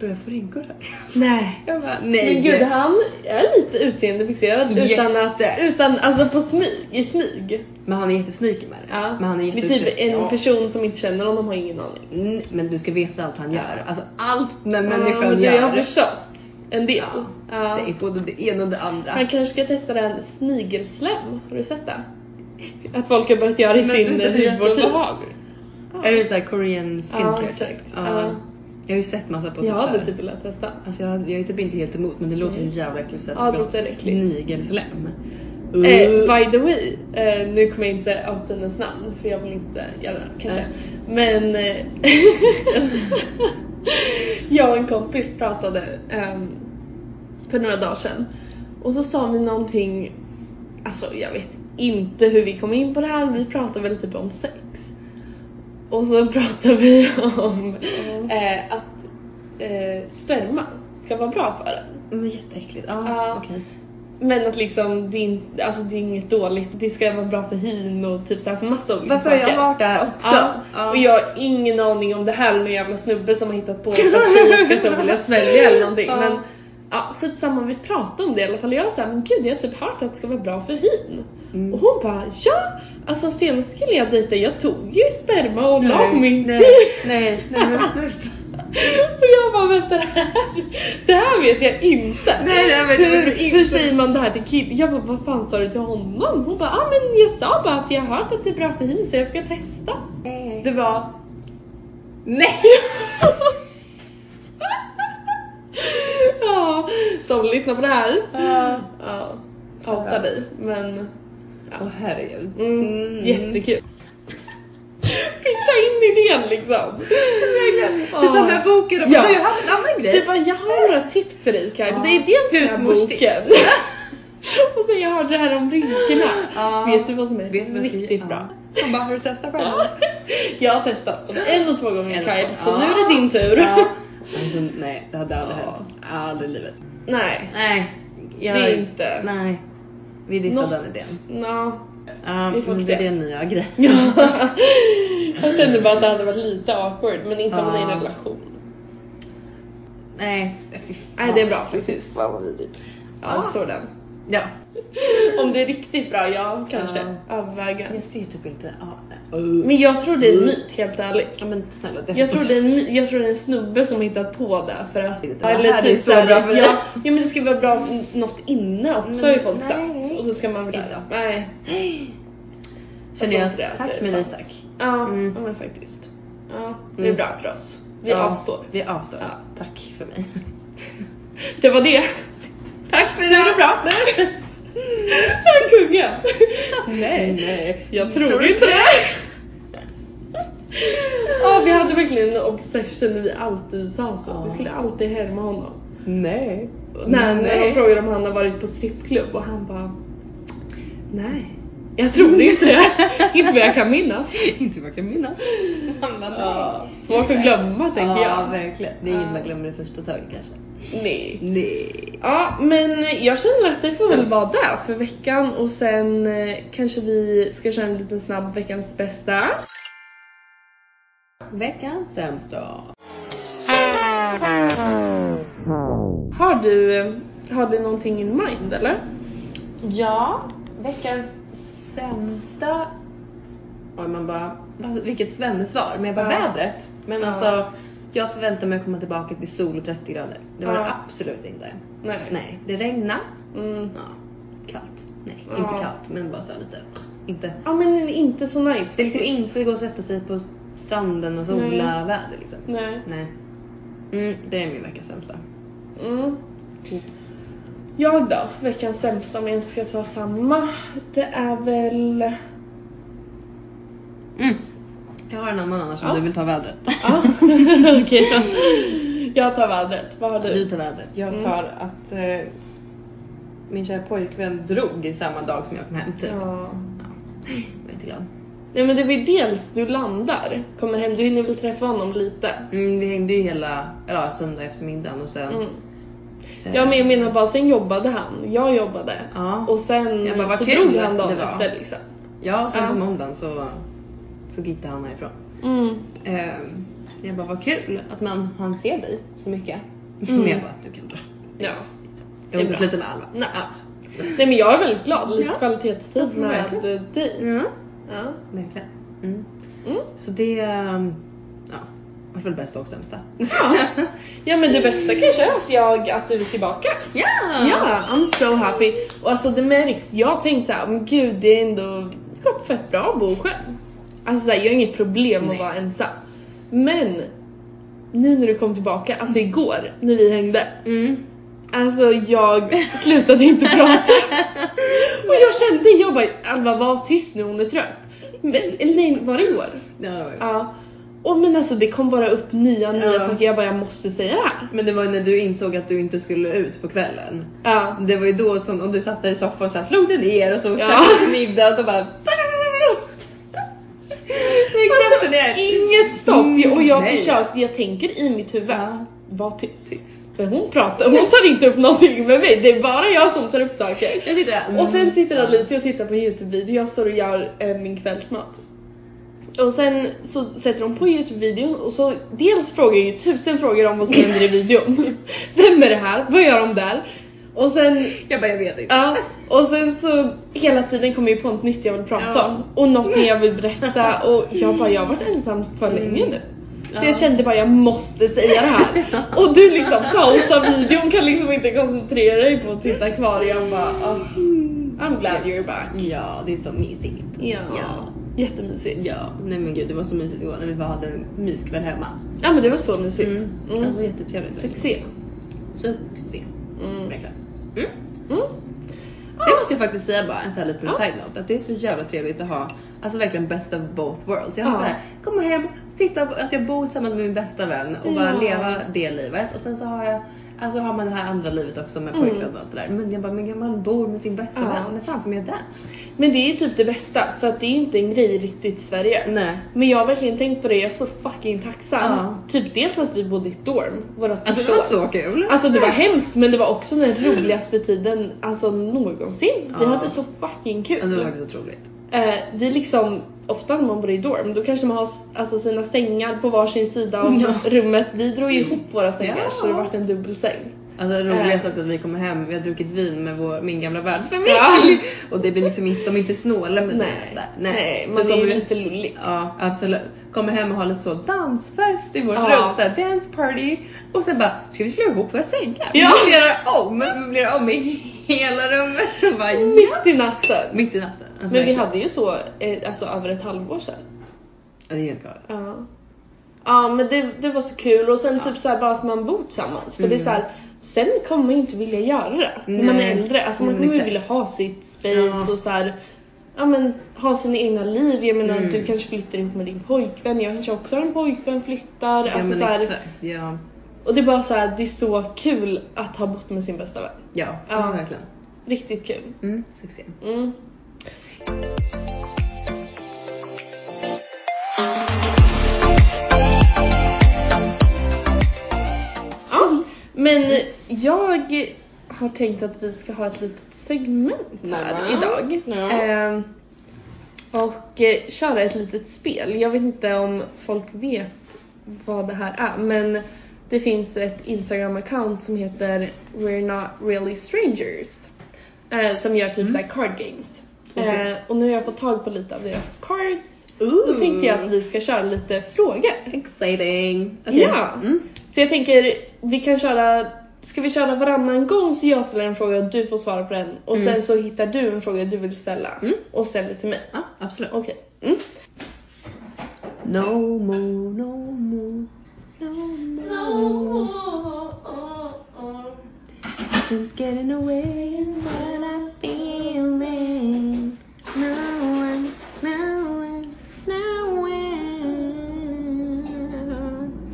[SPEAKER 2] börjar jag få rynkor här?
[SPEAKER 1] Nej.
[SPEAKER 2] Jag bara,
[SPEAKER 1] Men gud, han är lite utseendefixerad utan att,
[SPEAKER 2] Jätte.
[SPEAKER 1] utan, alltså på smyg, i smyg.
[SPEAKER 2] Men han är jättesneaky med det. Men han är
[SPEAKER 1] det är typ
[SPEAKER 2] jätteutrycklig.
[SPEAKER 1] en
[SPEAKER 2] Ja.
[SPEAKER 1] person som inte känner honom har ingen aning.
[SPEAKER 2] Mm, Men du ska veta allt han gör. Alltså allt den
[SPEAKER 1] Ja,
[SPEAKER 2] människan
[SPEAKER 1] men du,
[SPEAKER 2] gör.
[SPEAKER 1] jag har förstått en del.
[SPEAKER 2] Ja.
[SPEAKER 1] Ja.
[SPEAKER 2] Det är både det ena och det andra.
[SPEAKER 1] Han kanske ska testa den snigelslem, har du sett det? Att folk har börjat göra i
[SPEAKER 2] Men det är
[SPEAKER 1] sin typ.
[SPEAKER 2] inte det
[SPEAKER 1] hudvårdsbehag.
[SPEAKER 2] Är det såhär korean skincare?
[SPEAKER 1] Ja, exakt.
[SPEAKER 2] typ?
[SPEAKER 1] Ja.
[SPEAKER 2] Jag har ju sett massa på
[SPEAKER 1] Jag
[SPEAKER 2] så här-
[SPEAKER 1] hade typ velat testa.
[SPEAKER 2] Alltså jag, jag är typ inte helt emot men det låter ju
[SPEAKER 1] Mm.
[SPEAKER 2] jävla äckligt så att
[SPEAKER 1] Ja,
[SPEAKER 2] det ska
[SPEAKER 1] det
[SPEAKER 2] vara
[SPEAKER 1] låter äckligt.
[SPEAKER 2] snigelslem.
[SPEAKER 1] Eh,
[SPEAKER 2] Uh.
[SPEAKER 1] by the way, eh, nu kommer jag inte out hennes namn för jag vill inte göra det kanske.
[SPEAKER 2] Nej.
[SPEAKER 1] Men eh, jag och en kompis pratade ehm, för några dagar sedan och så sa vi någonting, alltså jag vet inte hur vi kom in på det här, vi pratade väl typ om sex. Och så pratade vi om
[SPEAKER 2] Ja.
[SPEAKER 1] eh, att eh, sperma ska vara bra för en.
[SPEAKER 2] Men jätteäckligt. Ja,
[SPEAKER 1] Ja.
[SPEAKER 2] okej.
[SPEAKER 1] Men att liksom det är, in, alltså det är inget dåligt. Det ska vara bra för hyn och typ så här för massa olika
[SPEAKER 2] Varför har jag varit där också?
[SPEAKER 1] Ja.
[SPEAKER 2] Ja.
[SPEAKER 1] Och jag har ingen aning om det här är någon jävla snubbe som har hittat på att tjejer ska så vilja svälja eller någonting.
[SPEAKER 2] Ja.
[SPEAKER 1] Men ja, skitsamma, vi pratade om det i alla fall. Jag sa men gud jag har typ hört att det ska vara bra för hyn.
[SPEAKER 2] Mm.
[SPEAKER 1] Och hon bara ja! Alltså senaste killen jag dejtade, jag tog ju sperma och la
[SPEAKER 2] nej,
[SPEAKER 1] min
[SPEAKER 2] nej, nej, nej, men vad snurrt.
[SPEAKER 1] Och jag bara vänta det här, det här vet jag inte.
[SPEAKER 2] Nej, nej, men-
[SPEAKER 1] hur, hur säger man det här till killen? Jag bara vad fan sa du till honom? Hon bara ah, men jag sa bara att jag har hört att det är bra för hyn så jag ska testa. Det var
[SPEAKER 2] Nej!
[SPEAKER 1] ja, som lyssnar på det här.
[SPEAKER 2] Ja.
[SPEAKER 1] Ja, outa dig. Men
[SPEAKER 2] Åh herregud.
[SPEAKER 1] mm,
[SPEAKER 2] Mm.
[SPEAKER 1] jättekul. Pitcha in idén liksom.
[SPEAKER 2] Du tar med boken och bara,
[SPEAKER 1] Ja.
[SPEAKER 2] du har haft en annan grej.
[SPEAKER 1] Du bara, jag har några tips till dig Kaj.
[SPEAKER 2] Ja.
[SPEAKER 1] Det är dels den här
[SPEAKER 2] Husmorstips.
[SPEAKER 1] boken. Och sen jag hörde det här om rynkorna.
[SPEAKER 2] Ja.
[SPEAKER 1] Vet du vad som är
[SPEAKER 2] Vet du vad jag ska-
[SPEAKER 1] riktigt
[SPEAKER 2] ja.
[SPEAKER 1] bra?
[SPEAKER 2] Hon bara, har du testat själv?
[SPEAKER 1] Ja. Jag har testat både en och två
[SPEAKER 2] En
[SPEAKER 1] gånger
[SPEAKER 2] och
[SPEAKER 1] Kaj,
[SPEAKER 2] två.
[SPEAKER 1] så
[SPEAKER 2] Ja.
[SPEAKER 1] nu är det din tur.
[SPEAKER 2] Ja. Alltså, nej, det hade aldrig
[SPEAKER 1] Ja.
[SPEAKER 2] hänt. Aldrig i livet.
[SPEAKER 1] Nej,
[SPEAKER 2] Nej. Jag,
[SPEAKER 1] det är inte.
[SPEAKER 2] Nej. Vi dissar
[SPEAKER 1] Något-
[SPEAKER 2] den idén.
[SPEAKER 1] Nå.
[SPEAKER 2] Ja,
[SPEAKER 1] Vi får
[SPEAKER 2] men
[SPEAKER 1] se.
[SPEAKER 2] det är en nya grej.
[SPEAKER 1] Ja. Jag känner bara att det hade varit lite awkward men inte om man är i
[SPEAKER 2] Ja.
[SPEAKER 1] en relation.
[SPEAKER 2] Nej, fy fan.
[SPEAKER 1] Nej, det är bra
[SPEAKER 2] faktiskt. Fan vad vidrigt.
[SPEAKER 1] Ja,
[SPEAKER 2] Ja.
[SPEAKER 1] det står den.
[SPEAKER 2] Ja.
[SPEAKER 1] Om det är riktigt bra, ja kanske.
[SPEAKER 2] Ja.
[SPEAKER 1] Överväga.
[SPEAKER 2] Jag ser typ inte... Ja,
[SPEAKER 1] Men jag tror det
[SPEAKER 2] Mm.
[SPEAKER 1] är en myt helt ärligt.
[SPEAKER 2] ja men snälla. Det
[SPEAKER 1] Jag tror, det är en, my- jag tror det är en snubbe som hittat på det för att...
[SPEAKER 2] Det här är så
[SPEAKER 1] såhär,
[SPEAKER 2] bra för
[SPEAKER 1] ja,
[SPEAKER 2] dig.
[SPEAKER 1] ja men det ska vara bra för något inne också har ju folk
[SPEAKER 2] nej.
[SPEAKER 1] sagt. Och så ska man väl...
[SPEAKER 2] Inte.
[SPEAKER 1] Nej.
[SPEAKER 2] Känner
[SPEAKER 1] tror
[SPEAKER 2] jag,
[SPEAKER 1] inte det, att det
[SPEAKER 2] tack
[SPEAKER 1] är
[SPEAKER 2] men nej
[SPEAKER 1] sant.
[SPEAKER 2] tack.
[SPEAKER 1] Ja,
[SPEAKER 2] Mm.
[SPEAKER 1] ja men faktiskt. Ja, det är
[SPEAKER 2] Mm.
[SPEAKER 1] bra för oss. Vi
[SPEAKER 2] Ja,
[SPEAKER 1] avstår.
[SPEAKER 2] Vi avstår.
[SPEAKER 1] Ja.
[SPEAKER 2] Tack för mig.
[SPEAKER 1] Det var det. Tack för idag. Är det bra? Sen kungen. Nej.
[SPEAKER 2] Nej.
[SPEAKER 1] Jag tror inte det. Ja, vi hade verkligen en obsession när vi alltid sa så.
[SPEAKER 2] Ja.
[SPEAKER 1] Vi skulle alltid härma honom.
[SPEAKER 2] Nej.
[SPEAKER 1] När, när
[SPEAKER 2] Nej.
[SPEAKER 1] de frågade om han har varit på strippklubb och han bara Nej, jag tror inte det. inte vad jag kan minnas.
[SPEAKER 2] inte vad jag kan minnas. Man bara,
[SPEAKER 1] Ja,
[SPEAKER 2] nej.
[SPEAKER 1] svårt att glömma tänker
[SPEAKER 2] Ja,
[SPEAKER 1] jag.
[SPEAKER 2] verkligen. Det är inget
[SPEAKER 1] Ja.
[SPEAKER 2] man glömmer i första taget kanske.
[SPEAKER 1] Nej.
[SPEAKER 2] Nej.
[SPEAKER 1] Ja, men jag känner att det får väl vara det för veckan och sen eh, kanske vi ska köra en liten snabb veckans bästa.
[SPEAKER 2] Veckans sämsta.
[SPEAKER 1] Har du, eh, har du någonting in mind eller?
[SPEAKER 2] Ja, veckans sämsta... Oj, man bara, alltså, vilket svar. men jag bara
[SPEAKER 1] Ja.
[SPEAKER 2] vädret. Men
[SPEAKER 1] Ja.
[SPEAKER 2] alltså, jag förväntar mig att komma tillbaka till sol och 30 grader. Det var
[SPEAKER 1] Ja.
[SPEAKER 2] det absolut inte.
[SPEAKER 1] Nej.
[SPEAKER 2] Nej, det regnade.
[SPEAKER 1] Mm.
[SPEAKER 2] Ja, kallt. Nej,
[SPEAKER 1] Ja.
[SPEAKER 2] inte kallt, men bara så här lite... Inte.
[SPEAKER 1] Ja men inte så nice.
[SPEAKER 2] Det är liksom inte gå och sätta sig på stranden och sola väder liksom.
[SPEAKER 1] Nej.
[SPEAKER 2] Nej. Mm, det är min veckas sämsta.
[SPEAKER 1] Mm. Jag då, veckans sämsta om jag inte ska ta samma. Det är väl...
[SPEAKER 2] Mm. Jag har en annan annars om
[SPEAKER 1] Ja.
[SPEAKER 2] du vill ta vädret.
[SPEAKER 1] Ja, okej då. Jag tar vädret, vad har
[SPEAKER 2] Du
[SPEAKER 1] du?
[SPEAKER 2] tar vädret. Jag
[SPEAKER 1] Mm.
[SPEAKER 2] tar att eh, min kära pojkvän drog i samma dag som jag kom hem typ.
[SPEAKER 1] Ja.
[SPEAKER 2] Jag är inte glad.
[SPEAKER 1] Nej men det är väl dels du landar, kommer hem, du hinner väl träffa honom lite.
[SPEAKER 2] Mm, vi hängde ju hela eller, ja, söndag eftermiddagen och sen...
[SPEAKER 1] Mm.
[SPEAKER 2] eh,
[SPEAKER 1] Ja men jag menar bara, sen jobbade han, jag jobbade.
[SPEAKER 2] Ja,
[SPEAKER 1] Och sen
[SPEAKER 2] Ja, men vad
[SPEAKER 1] så
[SPEAKER 2] kul
[SPEAKER 1] drog han
[SPEAKER 2] att
[SPEAKER 1] dagen
[SPEAKER 2] det var.
[SPEAKER 1] efter liksom.
[SPEAKER 2] ja och sen
[SPEAKER 1] Ja.
[SPEAKER 2] på måndagen så, så gittade han härifrån.
[SPEAKER 1] Mm.
[SPEAKER 2] Eh, jag bara, vad kul att man han ser dig så mycket.
[SPEAKER 1] Mm.
[SPEAKER 2] men jag bara, du kan dra.
[SPEAKER 1] Ja. Det
[SPEAKER 2] Jag
[SPEAKER 1] är
[SPEAKER 2] umgås
[SPEAKER 1] bra.
[SPEAKER 2] lite med Alva.
[SPEAKER 1] Nej. Nej men jag är väldigt glad, lite
[SPEAKER 2] Ja.
[SPEAKER 1] kvalitetstid
[SPEAKER 2] Alltså,
[SPEAKER 1] med
[SPEAKER 2] verkligen.
[SPEAKER 1] eh, dig.
[SPEAKER 2] Mm.
[SPEAKER 1] Ja.
[SPEAKER 2] Verkligen. Mm.
[SPEAKER 1] Mm.
[SPEAKER 2] Så det... ehm, Ja, var väl bästa och sämsta.
[SPEAKER 1] Ja. ja men det bästa kanske är att, jag, att du är tillbaka.
[SPEAKER 2] Ja!
[SPEAKER 1] Ja, I'm so happy. Och alltså det märks, jag tänkte såhär, men gud det är ändå det går fett bra att bo själv. Alltså såhär, jag har inget problem
[SPEAKER 2] Nej.
[SPEAKER 1] att vara ensam. Men nu när du kom tillbaka, alltså igår när vi hängde,
[SPEAKER 2] Mm.
[SPEAKER 1] alltså jag slutade inte prata. Och jag kände, jag bara Alva var tyst nu hon är trött. Men, eller nej, var det igår?
[SPEAKER 2] Ja, det var ju-
[SPEAKER 1] Ja. Och men alltså det kom bara upp nya, nya
[SPEAKER 2] Ja.
[SPEAKER 1] saker, jag bara jag måste säga det här.
[SPEAKER 2] Men det var ju när du insåg att du inte skulle ut på kvällen.
[SPEAKER 1] Ja.
[SPEAKER 2] Det var ju då som, och du satt där i soffan och så här, slog dig ner och så
[SPEAKER 1] Ja.
[SPEAKER 2] käkade du middag och bara... Det är exakt det.
[SPEAKER 1] Inget stopp!
[SPEAKER 2] Mm,
[SPEAKER 1] och jag
[SPEAKER 2] nej.
[SPEAKER 1] försöker, jag tänker i mitt huvud.
[SPEAKER 2] Mm, Ja.
[SPEAKER 1] var tyst. För hon pratar, hon tar inte upp någonting med mig. Det är bara jag som tar upp saker.
[SPEAKER 2] Jag sitter där. mm.
[SPEAKER 1] Och sen sitter Alicia och tittar på Youtube-video. Jag står och gör eh, min kvällsmat. Och sen så sätter hon på Youtube-videon och så dels frågar jag ju tusen frågor om vad som händer i videon. Vem är det här? Vad gör de där? Och sen,
[SPEAKER 2] Jag bara, jag vet inte.
[SPEAKER 1] ja, och sen så hela tiden kommer jag ju på något nytt jag vill prata
[SPEAKER 2] Ja.
[SPEAKER 1] om och någonting jag vill berätta och jag bara, jag har varit ensam för
[SPEAKER 2] Mm.
[SPEAKER 1] länge nu. Så jag kände bara jag måste säga det här. Och du liksom pausar videon, kan liksom inte koncentrera dig på att titta kvar. Jag bara, ah, I'm glad you're back.
[SPEAKER 2] Ja, det är så mysigt.
[SPEAKER 1] Ja.
[SPEAKER 2] Ja.
[SPEAKER 1] Jättemysigt.
[SPEAKER 2] Ja, nej men gud det var så mysigt igår när vi bara hade en myskväll hemma.
[SPEAKER 1] Ja men det var så mysigt.
[SPEAKER 2] Mm. Alltså, det var
[SPEAKER 1] Mm.
[SPEAKER 2] jättetrevligt.
[SPEAKER 1] Succé.
[SPEAKER 2] Succé.
[SPEAKER 1] Mm.
[SPEAKER 2] Verkligen. Mm.
[SPEAKER 1] Mm.
[SPEAKER 2] Det måste jag faktiskt säga bara, en sån här liten
[SPEAKER 1] Ja.
[SPEAKER 2] side-note. Att det är så jävla trevligt att ha, alltså verkligen best of both worlds. Jag har
[SPEAKER 1] Ja.
[SPEAKER 2] så här, komma hem, sitta, på- alltså jag bor tillsammans med min bästa vän och bara
[SPEAKER 1] Ja.
[SPEAKER 2] leva det livet. Och sen så har jag, alltså har man det här andra livet också med
[SPEAKER 1] Mm.
[SPEAKER 2] pojkvän och allt det där. Men jag bara, men man bor med sin bästa
[SPEAKER 1] Ja.
[SPEAKER 2] vän, när fan som är det?
[SPEAKER 1] Men det är ju typ det bästa för att det är ju inte en grej riktigt i Sverige.
[SPEAKER 2] Nej.
[SPEAKER 1] Men jag har verkligen tänkt på det, jag är så fucking tacksam.
[SPEAKER 2] Ja.
[SPEAKER 1] Typ dels att vi bodde i ett dorm, våra
[SPEAKER 2] Alltså det var så kul.
[SPEAKER 1] Alltså det var hemskt men det var också den roligaste tiden alltså någonsin. Vi
[SPEAKER 2] Ja.
[SPEAKER 1] hade så fucking kul.
[SPEAKER 2] Alltså det var faktiskt otroligt.
[SPEAKER 1] eh, vi liksom, ofta när man bor i dorm då kanske man har s- alltså, sina sängar på varsin sida av
[SPEAKER 2] Ja.
[SPEAKER 1] rummet. Vi drog ju ihop våra sängar
[SPEAKER 2] Ja.
[SPEAKER 1] så det vart en dubbelsäng.
[SPEAKER 2] Alltså det roligaste
[SPEAKER 1] Eh.
[SPEAKER 2] också att vi kommer hem, vi har druckit vin med vår, min gamla värdfamilj.
[SPEAKER 1] Ja.
[SPEAKER 2] Och det blir liksom inte, de är inte snåla
[SPEAKER 1] Nej,
[SPEAKER 2] med vinet där.
[SPEAKER 1] nej,
[SPEAKER 2] Så
[SPEAKER 1] man är
[SPEAKER 2] kommer
[SPEAKER 1] ju
[SPEAKER 2] vi-
[SPEAKER 1] lite lullig.
[SPEAKER 2] Ja, absolut. Kommer hem och har lite så dansfest i vårt
[SPEAKER 1] Ja.
[SPEAKER 2] rum, såhär dance party. Och sen bara, ska vi slå ihop våra sängar?
[SPEAKER 1] Ja.
[SPEAKER 2] Möblera om, möblera om i hela rummet. Och bara, ja.
[SPEAKER 1] Mitt i natten.
[SPEAKER 2] Mitt i natten. Alltså,
[SPEAKER 1] Men vi
[SPEAKER 2] verkligen.
[SPEAKER 1] hade ju så eh, alltså, över ett halvår sedan.
[SPEAKER 2] Ja, det är helt galet.
[SPEAKER 1] Ja. Ja men det, det var så kul och sen typ så här bara att man bor tillsammans. För det är så här, sen kommer man ju inte vilja göra det när man är
[SPEAKER 2] Mm. Nej.
[SPEAKER 1] äldre. Alltså man
[SPEAKER 2] Mm,
[SPEAKER 1] kommer ju
[SPEAKER 2] exakt.
[SPEAKER 1] vilja ha sitt space
[SPEAKER 2] Ja.
[SPEAKER 1] och så här, ja men ha sina egna liv. Jag menar
[SPEAKER 2] Mm.
[SPEAKER 1] du kanske flyttar ihop med din pojkvän, jag kanske också har en pojkvän, flyttar.
[SPEAKER 2] Ja,
[SPEAKER 1] alltså
[SPEAKER 2] men
[SPEAKER 1] så här,
[SPEAKER 2] exakt. Ja,
[SPEAKER 1] och det är bara så här, det är så kul att ha bott med sin bästa vän.
[SPEAKER 2] ja, alltså
[SPEAKER 1] Ja.
[SPEAKER 2] verkligen.
[SPEAKER 1] Riktigt kul.
[SPEAKER 2] Mm, succé.
[SPEAKER 1] Mm. Ja, men jag har tänkt att vi ska ha ett litet segment här
[SPEAKER 2] Ja.
[SPEAKER 1] idag.
[SPEAKER 2] Ja.
[SPEAKER 1] Ehm, och eh, köra ett litet spel. Jag vet inte om folk vet vad det här är men det finns ett Instagram-account som heter We're Not Really Strangers. Eh, som gör typ
[SPEAKER 2] Mm.
[SPEAKER 1] såhär card games.
[SPEAKER 2] Okej.
[SPEAKER 1] Eh, och nu har jag fått tag på lite av deras cards. Då tänkte jag att vi ska köra lite frågor.
[SPEAKER 2] Exciting!
[SPEAKER 1] Ja.
[SPEAKER 2] Mm.
[SPEAKER 1] Så jag tänker, vi kan köra, ska vi köra varannan gång så jag ställer en fråga och du får svara på den och
[SPEAKER 2] Mm.
[SPEAKER 1] sen så hittar du en fråga du vill ställa
[SPEAKER 2] Mm.
[SPEAKER 1] och ställer till mig.
[SPEAKER 2] ja, absolut.
[SPEAKER 1] Okej. Mm.
[SPEAKER 2] No more, no more. Nothing's getting away what I'm feeling. No one, no one, no one.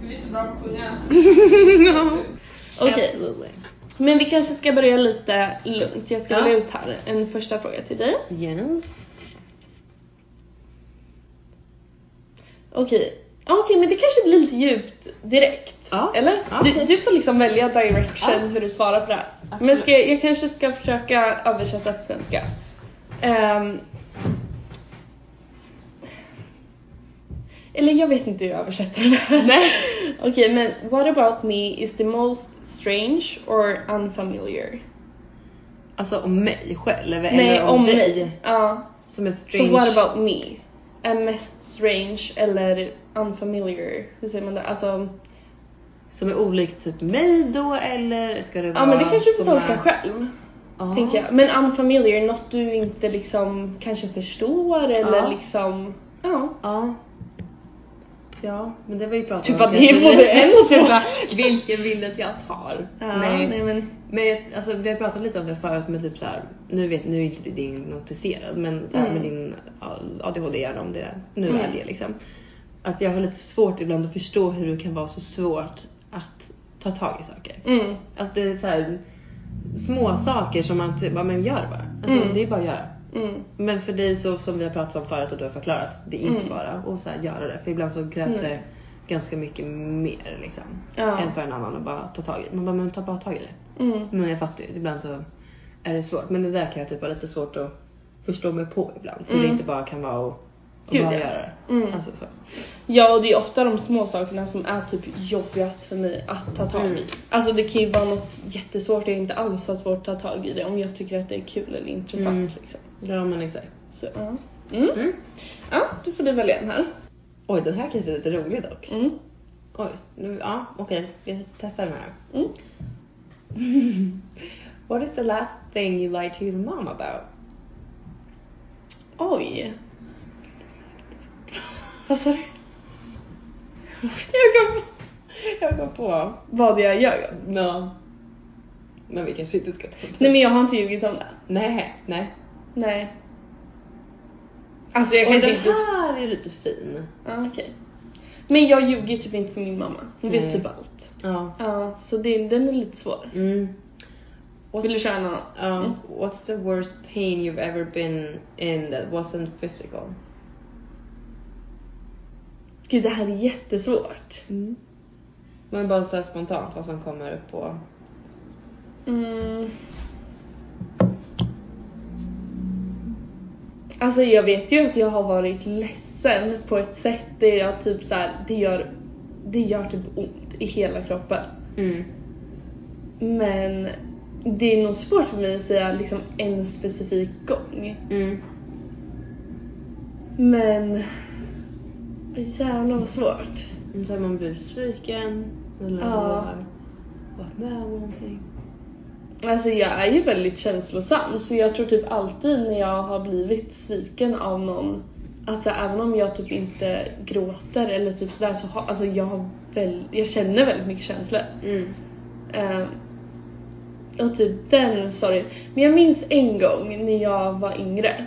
[SPEAKER 1] Du är så bra på att sjunga. Okej,
[SPEAKER 2] Okej. Absolutely.
[SPEAKER 1] men vi kanske ska börja lite lugnt. Jag ska
[SPEAKER 2] Ja.
[SPEAKER 1] välja ut här en första fråga till dig.
[SPEAKER 2] Yes.
[SPEAKER 1] Okej, Ja, okej men det kanske blir lite djupt direkt.
[SPEAKER 2] Ja.
[SPEAKER 1] Eller?
[SPEAKER 2] Ja,
[SPEAKER 1] Du,
[SPEAKER 2] okej.
[SPEAKER 1] du får liksom välja direction
[SPEAKER 2] Ja.
[SPEAKER 1] hur du svarar på det här. Men
[SPEAKER 2] Absolut.
[SPEAKER 1] ska, jag jag kanske ska försöka översätta till svenska. Ehm. eller jag vet inte hur jag översätter det här.
[SPEAKER 2] Nej.
[SPEAKER 1] Okej, men what about me is the most strange or unfamiliar?
[SPEAKER 2] Alltså om mig själv
[SPEAKER 1] Nej,
[SPEAKER 2] eller om,
[SPEAKER 1] om
[SPEAKER 2] dig.
[SPEAKER 1] Ja.
[SPEAKER 2] Som är
[SPEAKER 1] Så
[SPEAKER 2] strange.
[SPEAKER 1] so what about me? Är mest strange eller unfamiliar? Hur säger man det? Alltså,
[SPEAKER 2] Som är olikt typ mig då eller ska det vara
[SPEAKER 1] ja men det kanske du får
[SPEAKER 2] som
[SPEAKER 1] tolka
[SPEAKER 2] är-
[SPEAKER 1] själv.
[SPEAKER 2] Ja.
[SPEAKER 1] Tänker jag. Men unfamiliar, något du inte liksom kanske förstår eller
[SPEAKER 2] Ja.
[SPEAKER 1] liksom... Ja.
[SPEAKER 2] Ja. Ja, men det var ju pratat
[SPEAKER 1] Typ
[SPEAKER 2] om
[SPEAKER 1] att det är
[SPEAKER 2] kanske-
[SPEAKER 1] både en och två.
[SPEAKER 2] Bara, Typ Vilken bild att jag tar.
[SPEAKER 1] ja
[SPEAKER 2] nej.
[SPEAKER 1] nej. men...
[SPEAKER 2] Men jag, alltså, vi har pratat lite om det förut med typ så här. Nu, vet, nu är inte du diagnostiserad men så här,
[SPEAKER 1] Mm.
[SPEAKER 2] med din ADHD eller om det nu
[SPEAKER 1] Mm.
[SPEAKER 2] är det liksom. Att jag har lite svårt ibland att förstå hur det kan vara så svårt att ta tag i saker.
[SPEAKER 1] Mm.
[SPEAKER 2] Alltså det är så här, små saker som man typ, ja men gör bara. Alltså
[SPEAKER 1] Mm.
[SPEAKER 2] det är bara att göra.
[SPEAKER 1] Mm.
[SPEAKER 2] Men för dig så som vi har pratat om förut och du har förklarat, det är inte
[SPEAKER 1] Mm.
[SPEAKER 2] bara att så här, göra det. För ibland så krävs
[SPEAKER 1] Mm.
[SPEAKER 2] det ganska mycket mer liksom.
[SPEAKER 1] Ja.
[SPEAKER 2] Än för en annan att bara ta tag i. Man bara, men ta bara tag i det.
[SPEAKER 1] Mm.
[SPEAKER 2] Men jag fattar ju, ibland så är det svårt. Men det där kan jag typ vara lite svårt att förstå mig på ibland. Hur det
[SPEAKER 1] Mm.
[SPEAKER 2] inte bara kan vara att att
[SPEAKER 1] Gud,
[SPEAKER 2] bara
[SPEAKER 1] ja.
[SPEAKER 2] göra det.
[SPEAKER 1] Mm.
[SPEAKER 2] Alltså, så.
[SPEAKER 1] Ja, och det är ofta de små sakerna som är typ jobbigast för mig att ta tag i.
[SPEAKER 2] Mm.
[SPEAKER 1] Alltså det kan ju vara något jättesvårt, jag inte alls har svårt att ta tag i det om jag tycker att det är kul eller intressant
[SPEAKER 2] Mm.
[SPEAKER 1] liksom.
[SPEAKER 2] Ja men exakt.
[SPEAKER 1] Så ja. Mm.
[SPEAKER 2] Mm.
[SPEAKER 1] Ja, då får du välja en här.
[SPEAKER 2] Oj den här kanske är lite rolig dock.
[SPEAKER 1] Mm.
[SPEAKER 2] Oj, nu, ja okej. Jag testar den här.
[SPEAKER 1] Mm.
[SPEAKER 2] What is the last thing you lied to your mom about?
[SPEAKER 1] Oj. Vad sa du?
[SPEAKER 2] Jag kom, jag kom på.
[SPEAKER 1] Vad jag gör?
[SPEAKER 2] No. Men vi kanske inte ska tänka.
[SPEAKER 1] Nej men jag har inte ljugit om det.
[SPEAKER 2] nej. nej.
[SPEAKER 1] Nej. Alltså jag
[SPEAKER 2] Och
[SPEAKER 1] kanske
[SPEAKER 2] den
[SPEAKER 1] inte...
[SPEAKER 2] här är lite fin.
[SPEAKER 1] Ja, okej. Men jag ljuger typ inte för min mamma. Hon vet
[SPEAKER 2] Nej.
[SPEAKER 1] typ allt.
[SPEAKER 2] Ja.
[SPEAKER 1] Ja, så det, den är lite svår.
[SPEAKER 2] Mm. What's,
[SPEAKER 1] Vill du köra en annan?
[SPEAKER 2] um,
[SPEAKER 1] Mm.
[SPEAKER 2] What's the worst pain you've ever been in that wasn't physical?
[SPEAKER 1] Gud, det här är jättesvårt.
[SPEAKER 2] Mm. Men bara så här spontant vad som kommer upp på.
[SPEAKER 1] Mm. Alltså jag vet ju att jag har varit ledsen på ett sätt där jag typ så här, det gör, det gör typ ont i hela kroppen.
[SPEAKER 2] Mm.
[SPEAKER 1] Men det är nog svårt för mig att säga liksom en specifik gång.
[SPEAKER 2] Mm.
[SPEAKER 1] Men... Jävlar vad svårt.
[SPEAKER 2] Mm, Så här, man blir besviken. Eller
[SPEAKER 1] Ja.
[SPEAKER 2] man har varit med om någonting.
[SPEAKER 1] Alltså jag är ju väldigt känslosam så jag tror typ alltid när jag har blivit sviken av någon, alltså även om jag typ inte gråter eller typ sådär så har, alltså jag har väl, jag känner väldigt mycket känslor.
[SPEAKER 2] Mm.
[SPEAKER 1] Eh, och typ den sorgen. Men jag minns en gång när jag var yngre.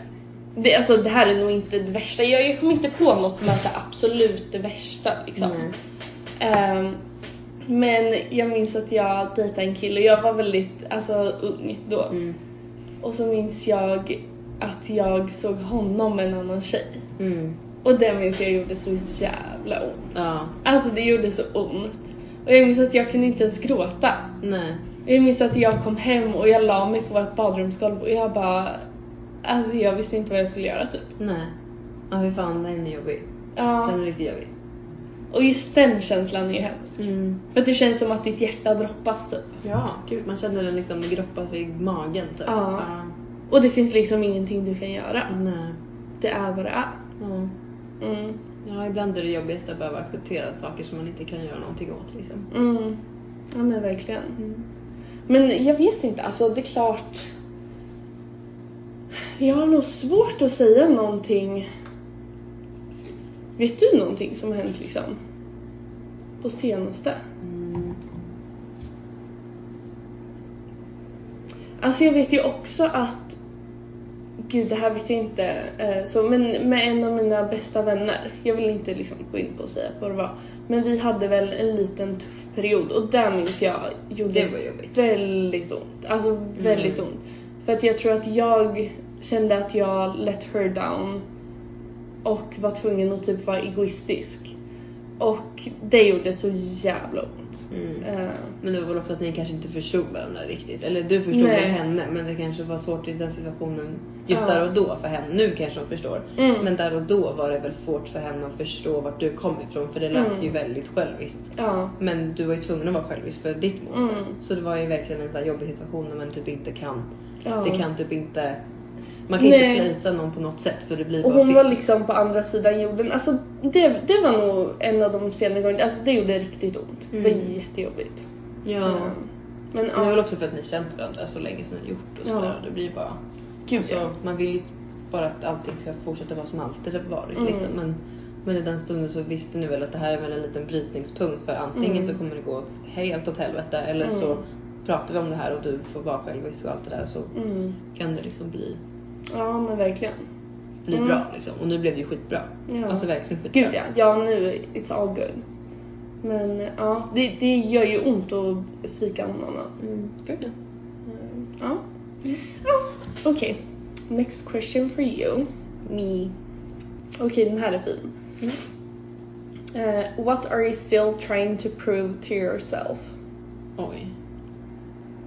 [SPEAKER 1] Det, alltså det här är nog inte det värsta, jag, jag kommer inte på något som är så här absolut det värsta liksom.
[SPEAKER 2] Mm.
[SPEAKER 1] Ehm, men jag minns att jag dejtade en kille och jag var väldigt alltså, ung då.
[SPEAKER 2] Mm.
[SPEAKER 1] Och så minns jag att jag såg honom med en annan tjej.
[SPEAKER 2] Mm.
[SPEAKER 1] Och det minns jag gjorde så jävla ont.
[SPEAKER 2] Ja.
[SPEAKER 1] Alltså det gjorde så ont. Och jag minns att jag kunde inte ens gråta.
[SPEAKER 2] Nej.
[SPEAKER 1] Jag minns att jag kom hem och jag la mig på vårt badrumsgolv och jag bara... Alltså jag visste inte vad jag skulle göra typ.
[SPEAKER 2] Nej. Ja fy fan den är jobbig. Den
[SPEAKER 1] Ja.
[SPEAKER 2] är riktigt jobbig.
[SPEAKER 1] Och just den känslan är ju hemsk.
[SPEAKER 2] Mm.
[SPEAKER 1] För att det känns som att ditt hjärta droppas typ.
[SPEAKER 2] Ja, gud man känner den liksom groppa sig i magen typ.
[SPEAKER 1] Ja. Och det finns liksom ingenting du kan göra.
[SPEAKER 2] Ja. Nej.
[SPEAKER 1] Det är vad det är.
[SPEAKER 2] Ja.
[SPEAKER 1] Mm.
[SPEAKER 2] ja, ibland är det jobbigast att behöva acceptera saker som man inte kan göra någonting åt liksom.
[SPEAKER 1] Mm. Ja men verkligen. Men jag vet inte, alltså det är klart. Jag har nog svårt att säga någonting. Vet du någonting som har hänt liksom? På senaste?
[SPEAKER 2] Mm.
[SPEAKER 1] Alltså jag vet ju också att Gud, det här vet jag inte. eh, Så, men med en av mina bästa vänner, jag vill inte liksom gå in på och säga vad det var, men vi hade väl en liten tuff period och där minns jag gjorde
[SPEAKER 2] Det var Mm. jobbigt.
[SPEAKER 1] väldigt ont. Alltså väldigt ont. För att jag tror att jag kände att jag let her down och var tvungen att typ vara egoistisk. Och det gjorde så jävla ont.
[SPEAKER 2] Mm.
[SPEAKER 1] Eh,
[SPEAKER 2] Men det var väl också att ni kanske inte förstod varandra riktigt. Eller du förstod
[SPEAKER 1] Nej.
[SPEAKER 2] väl henne men det kanske var svårt i den situationen just
[SPEAKER 1] Ja.
[SPEAKER 2] där och då för henne. Nu kanske hon förstår.
[SPEAKER 1] Mm.
[SPEAKER 2] Men där och då var det väl svårt för henne att förstå vart du kom ifrån för det lät
[SPEAKER 1] Mm.
[SPEAKER 2] ju väldigt själviskt.
[SPEAKER 1] ja.
[SPEAKER 2] Men du var ju tvungen att vara självisk för ditt mål.
[SPEAKER 1] Mm.
[SPEAKER 2] Så det var ju verkligen en så här jobbig situation när man typ inte kan.
[SPEAKER 1] ja.
[SPEAKER 2] Det kan typ inte. Man kan
[SPEAKER 1] Nej.
[SPEAKER 2] inte placea någon på något sätt för det blir
[SPEAKER 1] Och
[SPEAKER 2] bara
[SPEAKER 1] hon
[SPEAKER 2] fel.
[SPEAKER 1] var liksom på andra sidan jorden. Alltså det, det var nog en av de senare gångerna. Alltså det gjorde riktigt ont. Det var
[SPEAKER 2] Mm.
[SPEAKER 1] jättejobbigt.
[SPEAKER 2] Ja.
[SPEAKER 1] Mm. Men
[SPEAKER 2] Men det är väl
[SPEAKER 1] ja,
[SPEAKER 2] också för att ni känt varandra så länge som ni har gjort och
[SPEAKER 1] Ja.
[SPEAKER 2] sådär. Det blir ju bara.
[SPEAKER 1] gud
[SPEAKER 2] Alltså,
[SPEAKER 1] ja.
[SPEAKER 2] Man vill ju bara att allting ska fortsätta vara som alltid har varit
[SPEAKER 1] Mm.
[SPEAKER 2] liksom. Men, men i den stunden så visste ni väl att det här är väl en liten brytningspunkt för antingen
[SPEAKER 1] Mm.
[SPEAKER 2] så kommer det gå åt- helt åt helvete eller
[SPEAKER 1] Mm.
[SPEAKER 2] så pratar vi om det här och du får vara självisk och allt det där så
[SPEAKER 1] Mm.
[SPEAKER 2] kan det liksom bli,
[SPEAKER 1] Ja men verkligen.
[SPEAKER 2] bli
[SPEAKER 1] Mm.
[SPEAKER 2] bra liksom. Och nu blev det ju skitbra.
[SPEAKER 1] Ja.
[SPEAKER 2] Alltså verkligen skitbra.
[SPEAKER 1] Gud ja. Ja nu, it's all good. Men ja, det, det gör ju ont att svika någon annan.
[SPEAKER 2] Mm. Gud ja.
[SPEAKER 1] Mm, Ja. ja. Okej. Next question for you.
[SPEAKER 2] Me.
[SPEAKER 1] Okej, den här är fin.
[SPEAKER 2] Mm.
[SPEAKER 1] Eh, what are you still trying to prove to yourself?
[SPEAKER 2] Oj.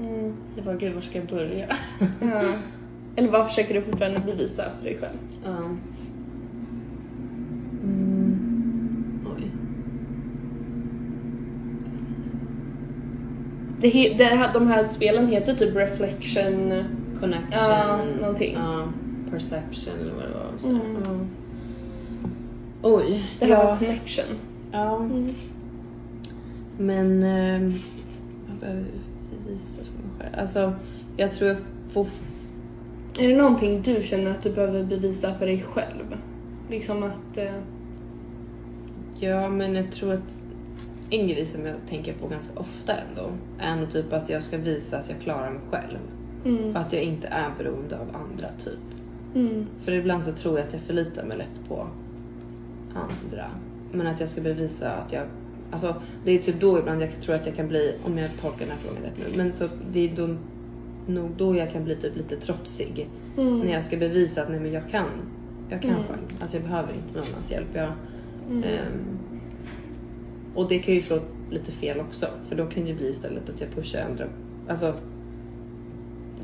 [SPEAKER 1] Mm.
[SPEAKER 2] Jag bara, gud var ska jag börja?
[SPEAKER 1] Ja. Eller vad försöker du fortfarande bevisa för dig själv?
[SPEAKER 2] Ja. Mm. Oj.
[SPEAKER 1] Det he- det här, de här spelen heter typ reflection...
[SPEAKER 2] Connection.
[SPEAKER 1] Ja, någonting.
[SPEAKER 2] Ja, perception eller vad det var. Så.
[SPEAKER 1] Mm.
[SPEAKER 2] Ja. Oj.
[SPEAKER 1] Det här
[SPEAKER 2] ja. Mm.
[SPEAKER 1] var connection.
[SPEAKER 2] Ja. Men ehm, jag behöver bevisa för mig själv. Alltså jag tror jag får...
[SPEAKER 1] Är det någonting du känner att du behöver bevisa för dig själv? Liksom att... Eh,
[SPEAKER 2] Ja men jag tror att en grej som jag tänker på ganska ofta ändå är nog typ att jag ska visa att jag klarar mig själv.
[SPEAKER 1] mm,
[SPEAKER 2] Och att jag inte är beroende av andra typ.
[SPEAKER 1] mm,
[SPEAKER 2] För ibland så tror jag att jag förlitar mig lätt på andra. Men att jag ska bevisa att jag Alltså det är typ då ibland jag tror att jag kan bli, om jag tolkar den här frågan rätt nu, men så det är då, nog då jag kan bli typ lite trotsig.
[SPEAKER 1] mm,
[SPEAKER 2] När jag ska bevisa att nej men jag kan. Jag kan
[SPEAKER 1] Mm.
[SPEAKER 2] själv. Alltså jag behöver inte någon annans hjälp. Jag,
[SPEAKER 1] mm,
[SPEAKER 2] ehm, och det kan ju slå lite fel också. För då kan det ju bli istället att jag pushar andra. Alltså,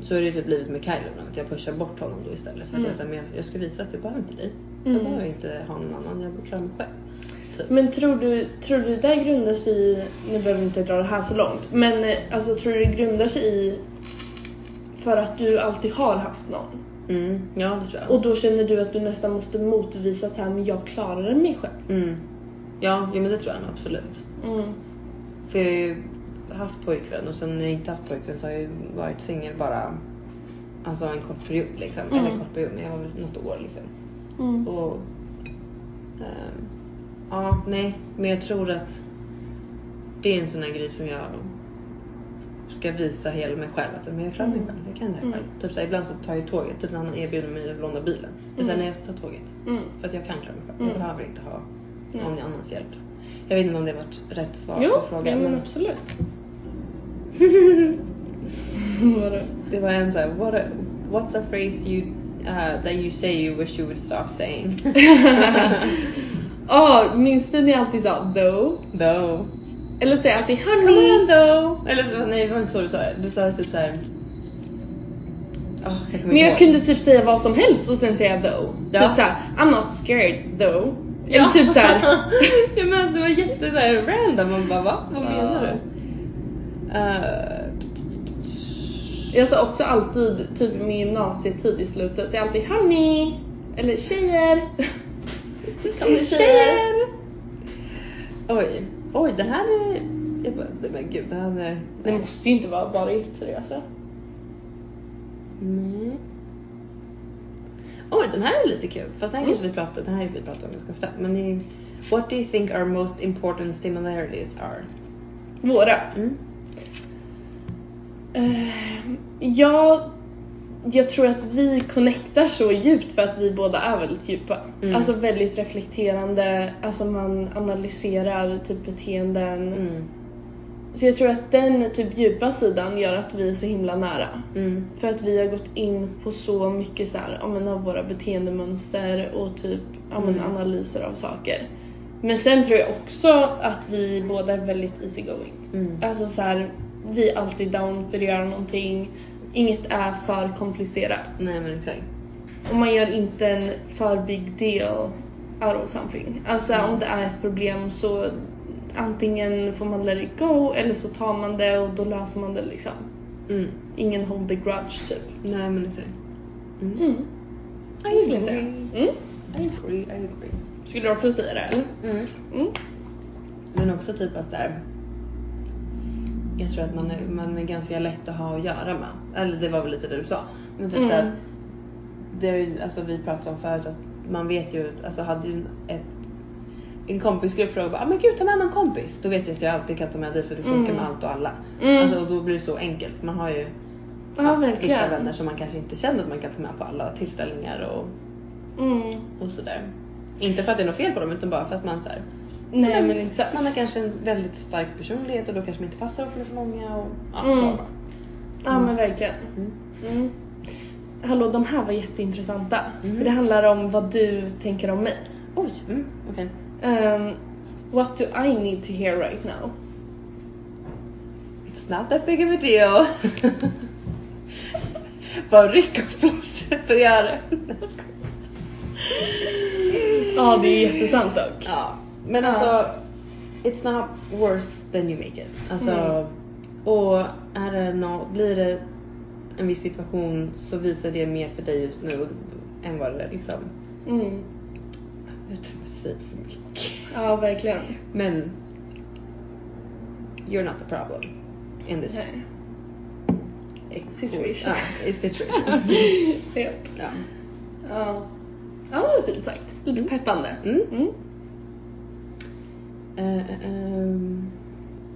[SPEAKER 2] så har det ju typ blivit med Kylo ibland. Att jag pushar bort honom då istället. För att
[SPEAKER 1] Mm.
[SPEAKER 2] jag, säger, men jag, jag ska visa att jag behöver inte dig. Jag
[SPEAKER 1] mm.
[SPEAKER 2] behöver inte ha någon annan. Jag klarar mig själv.
[SPEAKER 1] Men tror du, tror du det där grundar sig i, nu behöver vi inte dra det här så långt, men eh, alltså tror du det grundar sig i för att du alltid har haft någon?
[SPEAKER 2] Mm, ja det tror jag.
[SPEAKER 1] Och då känner du att du nästan måste motvisa att här, men jag klarar mig själv.
[SPEAKER 2] Mm. Ja, ja men det tror jag nog absolut.
[SPEAKER 1] Mm.
[SPEAKER 2] För jag har ju haft pojkvän och sen när jag inte haft pojkvän så har jag ju varit singel bara alltså en kort period liksom.
[SPEAKER 1] Mm.
[SPEAKER 2] Eller en kort period, men jag var väl något år liksom.
[SPEAKER 1] Mm.
[SPEAKER 2] Och, ehm, ja, nej, men jag tror att det är en sån här grej som jag ska visa hela mig själv. Alltså, men jag klarar mig
[SPEAKER 1] Mm.
[SPEAKER 2] själv, jag kan det här
[SPEAKER 1] Mm.
[SPEAKER 2] själv. Typ så här, ibland så tar jag tåget, typ när han erbjuder mig att låna bilen. Men sen när jag tar tåget,
[SPEAKER 1] Mm.
[SPEAKER 2] för att jag kan klara mig själv.
[SPEAKER 1] Mm.
[SPEAKER 2] Jag behöver inte ha
[SPEAKER 1] Nej.
[SPEAKER 2] någon annans hjälp. Jag vet inte om det varit rätt svar
[SPEAKER 1] Jo,
[SPEAKER 2] på
[SPEAKER 1] ja,
[SPEAKER 2] frågan.
[SPEAKER 1] men
[SPEAKER 2] men-
[SPEAKER 1] absolut. Vadå?
[SPEAKER 2] Det var en såhär, what a, what's a phrase you, uh, that you say you wish you would stop saying?
[SPEAKER 1] Ja, minns du när jag alltid sa no?
[SPEAKER 2] Though.
[SPEAKER 1] Eller säger jag alltid
[SPEAKER 2] Come
[SPEAKER 1] honey?
[SPEAKER 2] on though! Eller nej det var inte så du sa det. Du sa det typ såhär... Oh, jag kommer
[SPEAKER 1] Men jag
[SPEAKER 2] ihåg.
[SPEAKER 1] kunde typ säga vad som helst och sen säga though.
[SPEAKER 2] Ja.
[SPEAKER 1] Typ såhär, I'm not scared though. Eller typ såhär,
[SPEAKER 2] ja men alltså det var jätte såhär random. Man bara va? Vad menar du? Eh,
[SPEAKER 1] jag sa också alltid typ min gymnasietid i slutet, så jag alltid honey. Eller tjejer.
[SPEAKER 2] Kom nu, tjejer. Oj. Oj det här är... Jag bara, nej, men gud det här är...
[SPEAKER 1] Det måste ju inte vara bara seriösa.
[SPEAKER 2] Nej. Oj, den här är lite kul. Fast den här kanske vi pratar, den här har vi pratat om ganska ofta. Men det är, what do you think our most important similarities are?
[SPEAKER 1] Våra.
[SPEAKER 2] Mm.
[SPEAKER 1] Eh, jag, jag tror att vi connectar så djupt för att vi båda är väldigt djupa.
[SPEAKER 2] Mm.
[SPEAKER 1] Alltså väldigt reflekterande, alltså man analyserar typ beteenden.
[SPEAKER 2] Mm.
[SPEAKER 1] Så jag tror att den typ djupa sidan gör att vi är så himla nära.
[SPEAKER 2] Mm.
[SPEAKER 1] För att vi har gått in på så mycket så här, ja, men av våra beteendemönster och typ ja, men
[SPEAKER 2] Mm.
[SPEAKER 1] analyser av saker. Men sen tror jag också att vi båda är väldigt easygoing.
[SPEAKER 2] Mm.
[SPEAKER 1] Alltså så här, vi är alltid down för att göra någonting. Inget är för komplicerat.
[SPEAKER 2] Nej men exakt.
[SPEAKER 1] Och man gör inte en för big deal out of something. Alltså
[SPEAKER 2] Mm.
[SPEAKER 1] om det är ett problem så antingen får man let it go eller så tar man det och då löser man det liksom.
[SPEAKER 2] Mm.
[SPEAKER 1] Ingen hold the grudge typ.
[SPEAKER 2] Nej men exakt. Mm.
[SPEAKER 1] Mm. Det skulle jag säga. Mm.
[SPEAKER 2] I agree, I agree.
[SPEAKER 1] Skulle du också säga det? eller?
[SPEAKER 2] Mm.
[SPEAKER 1] Mm.
[SPEAKER 2] Men också typ att så här. Jag tror att man är, man är ganska lätt att ha att göra med. Eller det var väl lite det du sa. Men typ
[SPEAKER 1] Mm.
[SPEAKER 2] så här, det är ju, alltså vi pratade om förut att man vet ju, alltså hade ju ett, en kompisgrupp frågade bara, ah, men gud ta med någon kompis. Då vet jag att jag alltid kan ta med dig för du funkar
[SPEAKER 1] Mm.
[SPEAKER 2] med allt och alla.
[SPEAKER 1] Mm.
[SPEAKER 2] Alltså, och då blir det så enkelt. Man har ju
[SPEAKER 1] Ja,
[SPEAKER 2] vissa
[SPEAKER 1] verkligen.
[SPEAKER 2] vänner som man kanske inte känner att man kan ta med på alla tillställningar och,
[SPEAKER 1] Mm.
[SPEAKER 2] och sådär. Inte för att det är något fel på dem utan bara för att man så här,
[SPEAKER 1] Nej
[SPEAKER 2] men
[SPEAKER 1] men exakt.
[SPEAKER 2] man har kanske en väldigt stark personlighet och då kanske man inte passar ihop med så många. Och, ja,
[SPEAKER 1] Mm.
[SPEAKER 2] bla, bla.
[SPEAKER 1] Ja men verkligen.
[SPEAKER 2] Mm.
[SPEAKER 1] Mm. Hallå, de här var jätteintressanta.
[SPEAKER 2] Mhm.
[SPEAKER 1] För det handlar om vad du tänker om mig.
[SPEAKER 2] Oj, mm, okej.
[SPEAKER 1] Ehm, What do I need to hear right now?
[SPEAKER 2] It's not that big of a deal. Bara ryck upp plåstret och gör det. Jag skojar.
[SPEAKER 1] Ja, det är jättesant dock.
[SPEAKER 2] Ja, men
[SPEAKER 1] Ja.
[SPEAKER 2] alltså it's not worse than you make it. Alltså,
[SPEAKER 1] Mm.
[SPEAKER 2] och är det nå- blir det en viss situation så visar det mer för dig just nu än vad det liksom
[SPEAKER 1] Mm.
[SPEAKER 2] jag tror jag säger för mycket.
[SPEAKER 1] Ja, verkligen.
[SPEAKER 2] Men you're not the problem in this
[SPEAKER 1] Nej.
[SPEAKER 2] situation. Ja, i Ah, situation.
[SPEAKER 1] Japp.
[SPEAKER 2] ja.
[SPEAKER 1] Ja. Ja, det var fint sagt. Lite peppande.
[SPEAKER 2] Mm. Eh, ehm.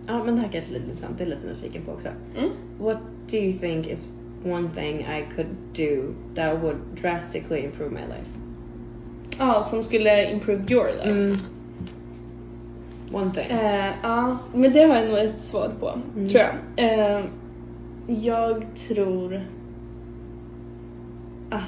[SPEAKER 2] ja, men det här kanske är lite intressant. Det är lite nyfiken på också.
[SPEAKER 1] Mm.
[SPEAKER 2] What do you think is one thing I could do that would drastically improve my life?
[SPEAKER 1] Ja, som skulle improve your life.
[SPEAKER 2] Mm. One thing.
[SPEAKER 1] Eh, ja, men det har jag nog ett svar på,
[SPEAKER 2] Mm.
[SPEAKER 1] tror jag. Eh, jag tror att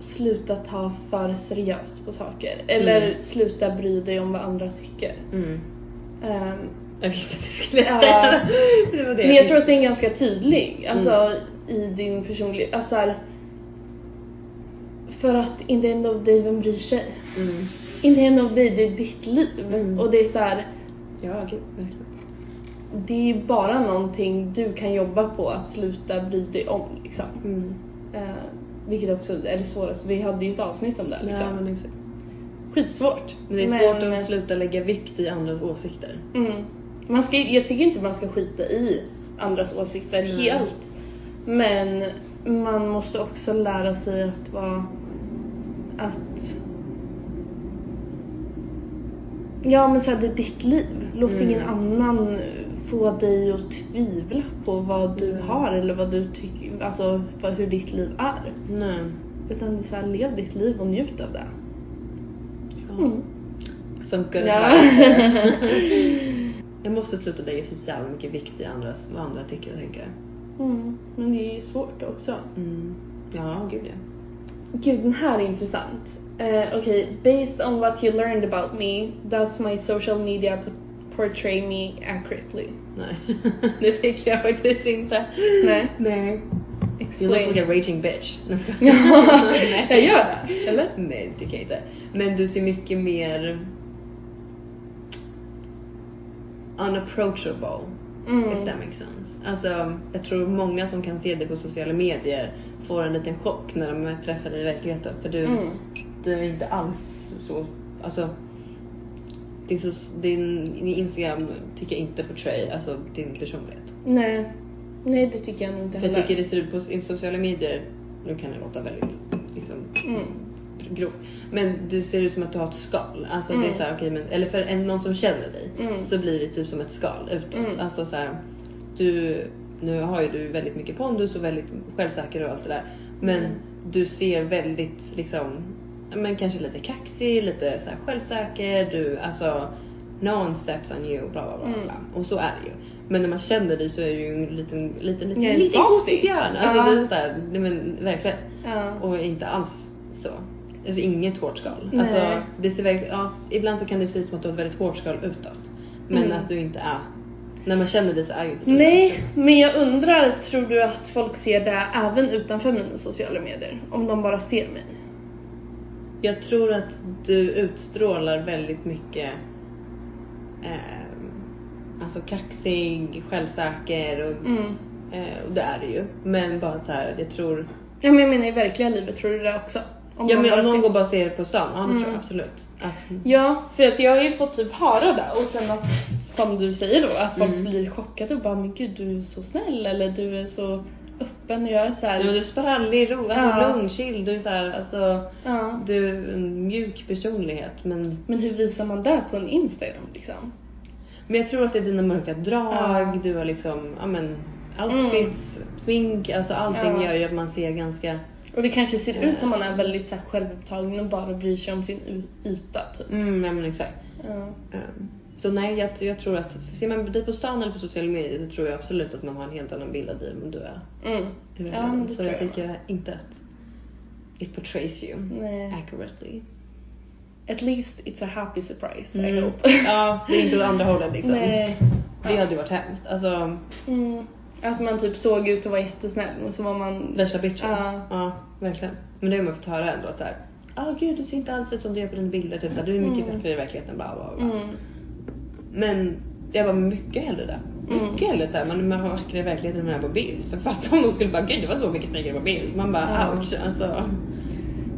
[SPEAKER 1] sluta ta för seriöst på saker. Eller
[SPEAKER 2] Mm.
[SPEAKER 1] sluta bry dig om vad andra tycker.
[SPEAKER 2] Mm.
[SPEAKER 1] Ehm,
[SPEAKER 2] Jag visste att du skulle
[SPEAKER 1] Ja.
[SPEAKER 2] säga det. det. var det
[SPEAKER 1] Men jag tror att den är ganska tydlig alltså, i din personlighet. Alltså, så här, för att in the end of day, vem bryr sig?
[SPEAKER 2] Mm.
[SPEAKER 1] In the end of day, det är ditt liv.
[SPEAKER 2] Mm.
[SPEAKER 1] Och det är så här,
[SPEAKER 2] Ja, gud, verkligen.
[SPEAKER 1] det är bara någonting du kan jobba på att sluta bry dig om. Liksom.
[SPEAKER 2] Mm.
[SPEAKER 1] Eh, vilket också är det svåraste. Vi hade ju ett avsnitt om det. Liksom.
[SPEAKER 2] Ja, men exakt.
[SPEAKER 1] Skitsvårt.
[SPEAKER 2] Men det är
[SPEAKER 1] Men-
[SPEAKER 2] svårt att sluta lägga vikt i andras åsikter.
[SPEAKER 1] Mm. Man ska, jag tycker inte man ska skita i andras åsikter
[SPEAKER 2] Nej.
[SPEAKER 1] helt. Men man måste också lära sig att vara... Att... Ja men såhär, det är ditt liv. Låt
[SPEAKER 2] Mm.
[SPEAKER 1] ingen annan få dig att tvivla på vad du
[SPEAKER 2] Mm.
[SPEAKER 1] har eller vad du tycker, alltså vad, hur ditt liv är.
[SPEAKER 2] Nej.
[SPEAKER 1] Utan det är såhär, lev ditt liv och njut av det. Mm.
[SPEAKER 2] Som good
[SPEAKER 1] Ja.
[SPEAKER 2] advice. Jag måste sluta lägga så jävla mycket vikt i andras, vad andra tycker och tänker.
[SPEAKER 1] Mm. Men det är ju svårt också.
[SPEAKER 2] Mm. Ja, gud ja.
[SPEAKER 1] Gud, den här är intressant. Eh, Okej, based on what you learned about me, does my social media p- portray me accurately?
[SPEAKER 2] Nej, det tycker jag faktiskt inte.
[SPEAKER 1] Nej.
[SPEAKER 2] Nej. You look like
[SPEAKER 1] Explain.
[SPEAKER 2] a raging bitch. Nej, ska-
[SPEAKER 1] Ja,
[SPEAKER 2] Nej.
[SPEAKER 1] jag gör det, eller?
[SPEAKER 2] Nej, det tycker jag inte. Men du ser mycket mer unapproachable,
[SPEAKER 1] Mm.
[SPEAKER 2] if that makes sense. Alltså, jag tror många som kan se dig på sociala medier får en liten chock när de träffar dig i verkligheten. För du,
[SPEAKER 1] Mm.
[SPEAKER 2] du är inte alls så, alltså det är så, din, din Instagram tycker jag inte portray alltså din personlighet.
[SPEAKER 1] Nej. Nej, det tycker jag nog inte
[SPEAKER 2] För jag
[SPEAKER 1] heller.
[SPEAKER 2] tycker det ser ut på i sociala medier, nu kan det låta väldigt liksom,
[SPEAKER 1] Mm.
[SPEAKER 2] grovt, men du ser ut som att du har ett skal. Alltså, det är
[SPEAKER 1] Mm.
[SPEAKER 2] så här, okej, men, eller för en, någon som känner dig
[SPEAKER 1] Mm.
[SPEAKER 2] så blir det typ som ett skal utåt.
[SPEAKER 1] Mm.
[SPEAKER 2] Alltså, så här, du, nu har ju du väldigt mycket pondus och väldigt självsäker och allt det där. Men
[SPEAKER 1] Mm.
[SPEAKER 2] du ser väldigt liksom, ja, men kanske lite kaxig, lite så här självsäker, du alltså no one steps on you, bla bla bla.
[SPEAKER 1] Mm.
[SPEAKER 2] bla. Och så är det ju. Men när man känner dig så är du ju en liten, liten, liten,
[SPEAKER 1] Jag är en
[SPEAKER 2] liten
[SPEAKER 1] softie.
[SPEAKER 2] gosig björn. Alltså
[SPEAKER 1] Ja.
[SPEAKER 2] det är så här, nej men verkligen.
[SPEAKER 1] Ja.
[SPEAKER 2] Och inte alls så. Alltså inget hårt skal.
[SPEAKER 1] Nej.
[SPEAKER 2] Alltså, det ser verkligen, ja, ibland så kan det se ut som att du har ett väldigt hårt skal utåt. Men
[SPEAKER 1] Mm.
[SPEAKER 2] att du inte är. När man känner dig så är ju inte du
[SPEAKER 1] Nej, men jag undrar, tror du att folk ser det även utanför mina sociala medier? Om de bara ser mig?
[SPEAKER 2] Jag tror att du utstrålar väldigt mycket ehm, alltså kaxig, självsäker och,
[SPEAKER 1] Mm.
[SPEAKER 2] eh, och det är det ju. Men bara så här, jag tror...
[SPEAKER 1] Ja, men jag menar i verkliga livet, tror du det också? Om
[SPEAKER 2] ja
[SPEAKER 1] de
[SPEAKER 2] men
[SPEAKER 1] bara
[SPEAKER 2] om någon
[SPEAKER 1] ser-
[SPEAKER 2] går bara ser på stan, ja det tror
[SPEAKER 1] Mm.
[SPEAKER 2] jag absolut. Att,
[SPEAKER 1] Ja, för att jag har ju fått typ höra det och sen att, som du säger då, att folk
[SPEAKER 2] Mm.
[SPEAKER 1] blir chockade och bara men gud du är så snäll eller du är så öppen och jag är
[SPEAKER 2] ja,
[SPEAKER 1] såhär,
[SPEAKER 2] men du
[SPEAKER 1] ja,
[SPEAKER 2] är sprallig, ro, alltså
[SPEAKER 1] Ja.
[SPEAKER 2] lugn, chill, du är så här, alltså... Du är en mjuk personlighet men,
[SPEAKER 1] Men hur visar man det på en Instagram liksom?
[SPEAKER 2] men jag tror att det är dina mörka drag,
[SPEAKER 1] Ja.
[SPEAKER 2] du har liksom ja, men, outfits, smink, alltså allting
[SPEAKER 1] Ja.
[SPEAKER 2] gör ju att man ser ganska...
[SPEAKER 1] Och det kanske ser
[SPEAKER 2] Mm.
[SPEAKER 1] ut som man är väldigt så här, självupptagen och bara bryr sig om sin y- yta typ.
[SPEAKER 2] Mm, ja, men exakt.
[SPEAKER 1] Ja.
[SPEAKER 2] Ehm, Så nej, jag, jag tror att ser man dig på stan eller på sociala medier så tror jag absolut att man har en helt annan bild av dig än du är.
[SPEAKER 1] Mm.
[SPEAKER 2] Ehm,
[SPEAKER 1] Ja, men det
[SPEAKER 2] så
[SPEAKER 1] tror
[SPEAKER 2] jag
[SPEAKER 1] jag.
[SPEAKER 2] tycker inte att it portrays you
[SPEAKER 1] Nej.
[SPEAKER 2] accurately.
[SPEAKER 1] at least it's a happy surprise I
[SPEAKER 2] Mm.
[SPEAKER 1] hope.
[SPEAKER 2] Ja, det är inte åt andra hållet liksom.
[SPEAKER 1] Nej.
[SPEAKER 2] Det hade ju varit hemskt. Alltså,
[SPEAKER 1] Mm. Att man typ såg ut att vara jättesnäll och så var man...
[SPEAKER 2] värsta bitchen.
[SPEAKER 1] Ja.
[SPEAKER 2] Ja, verkligen. Men det har man fått höra ändå att såhär, ja gud du ser inte alls ut som du gör på dina bilder, typ, så här, du är mycket
[SPEAKER 1] Mm.
[SPEAKER 2] vackert i verkligheten, bla bla bla.
[SPEAKER 1] Mm.
[SPEAKER 2] Men jag var mycket hellre det.
[SPEAKER 1] Mm.
[SPEAKER 2] Mycket hellre såhär, man, man var vackrare i verkligheten än man är på bild. För fatta om de skulle bara, gud du var så mycket snyggare på bild. Man bara,
[SPEAKER 1] Ja.
[SPEAKER 2] ouch alltså.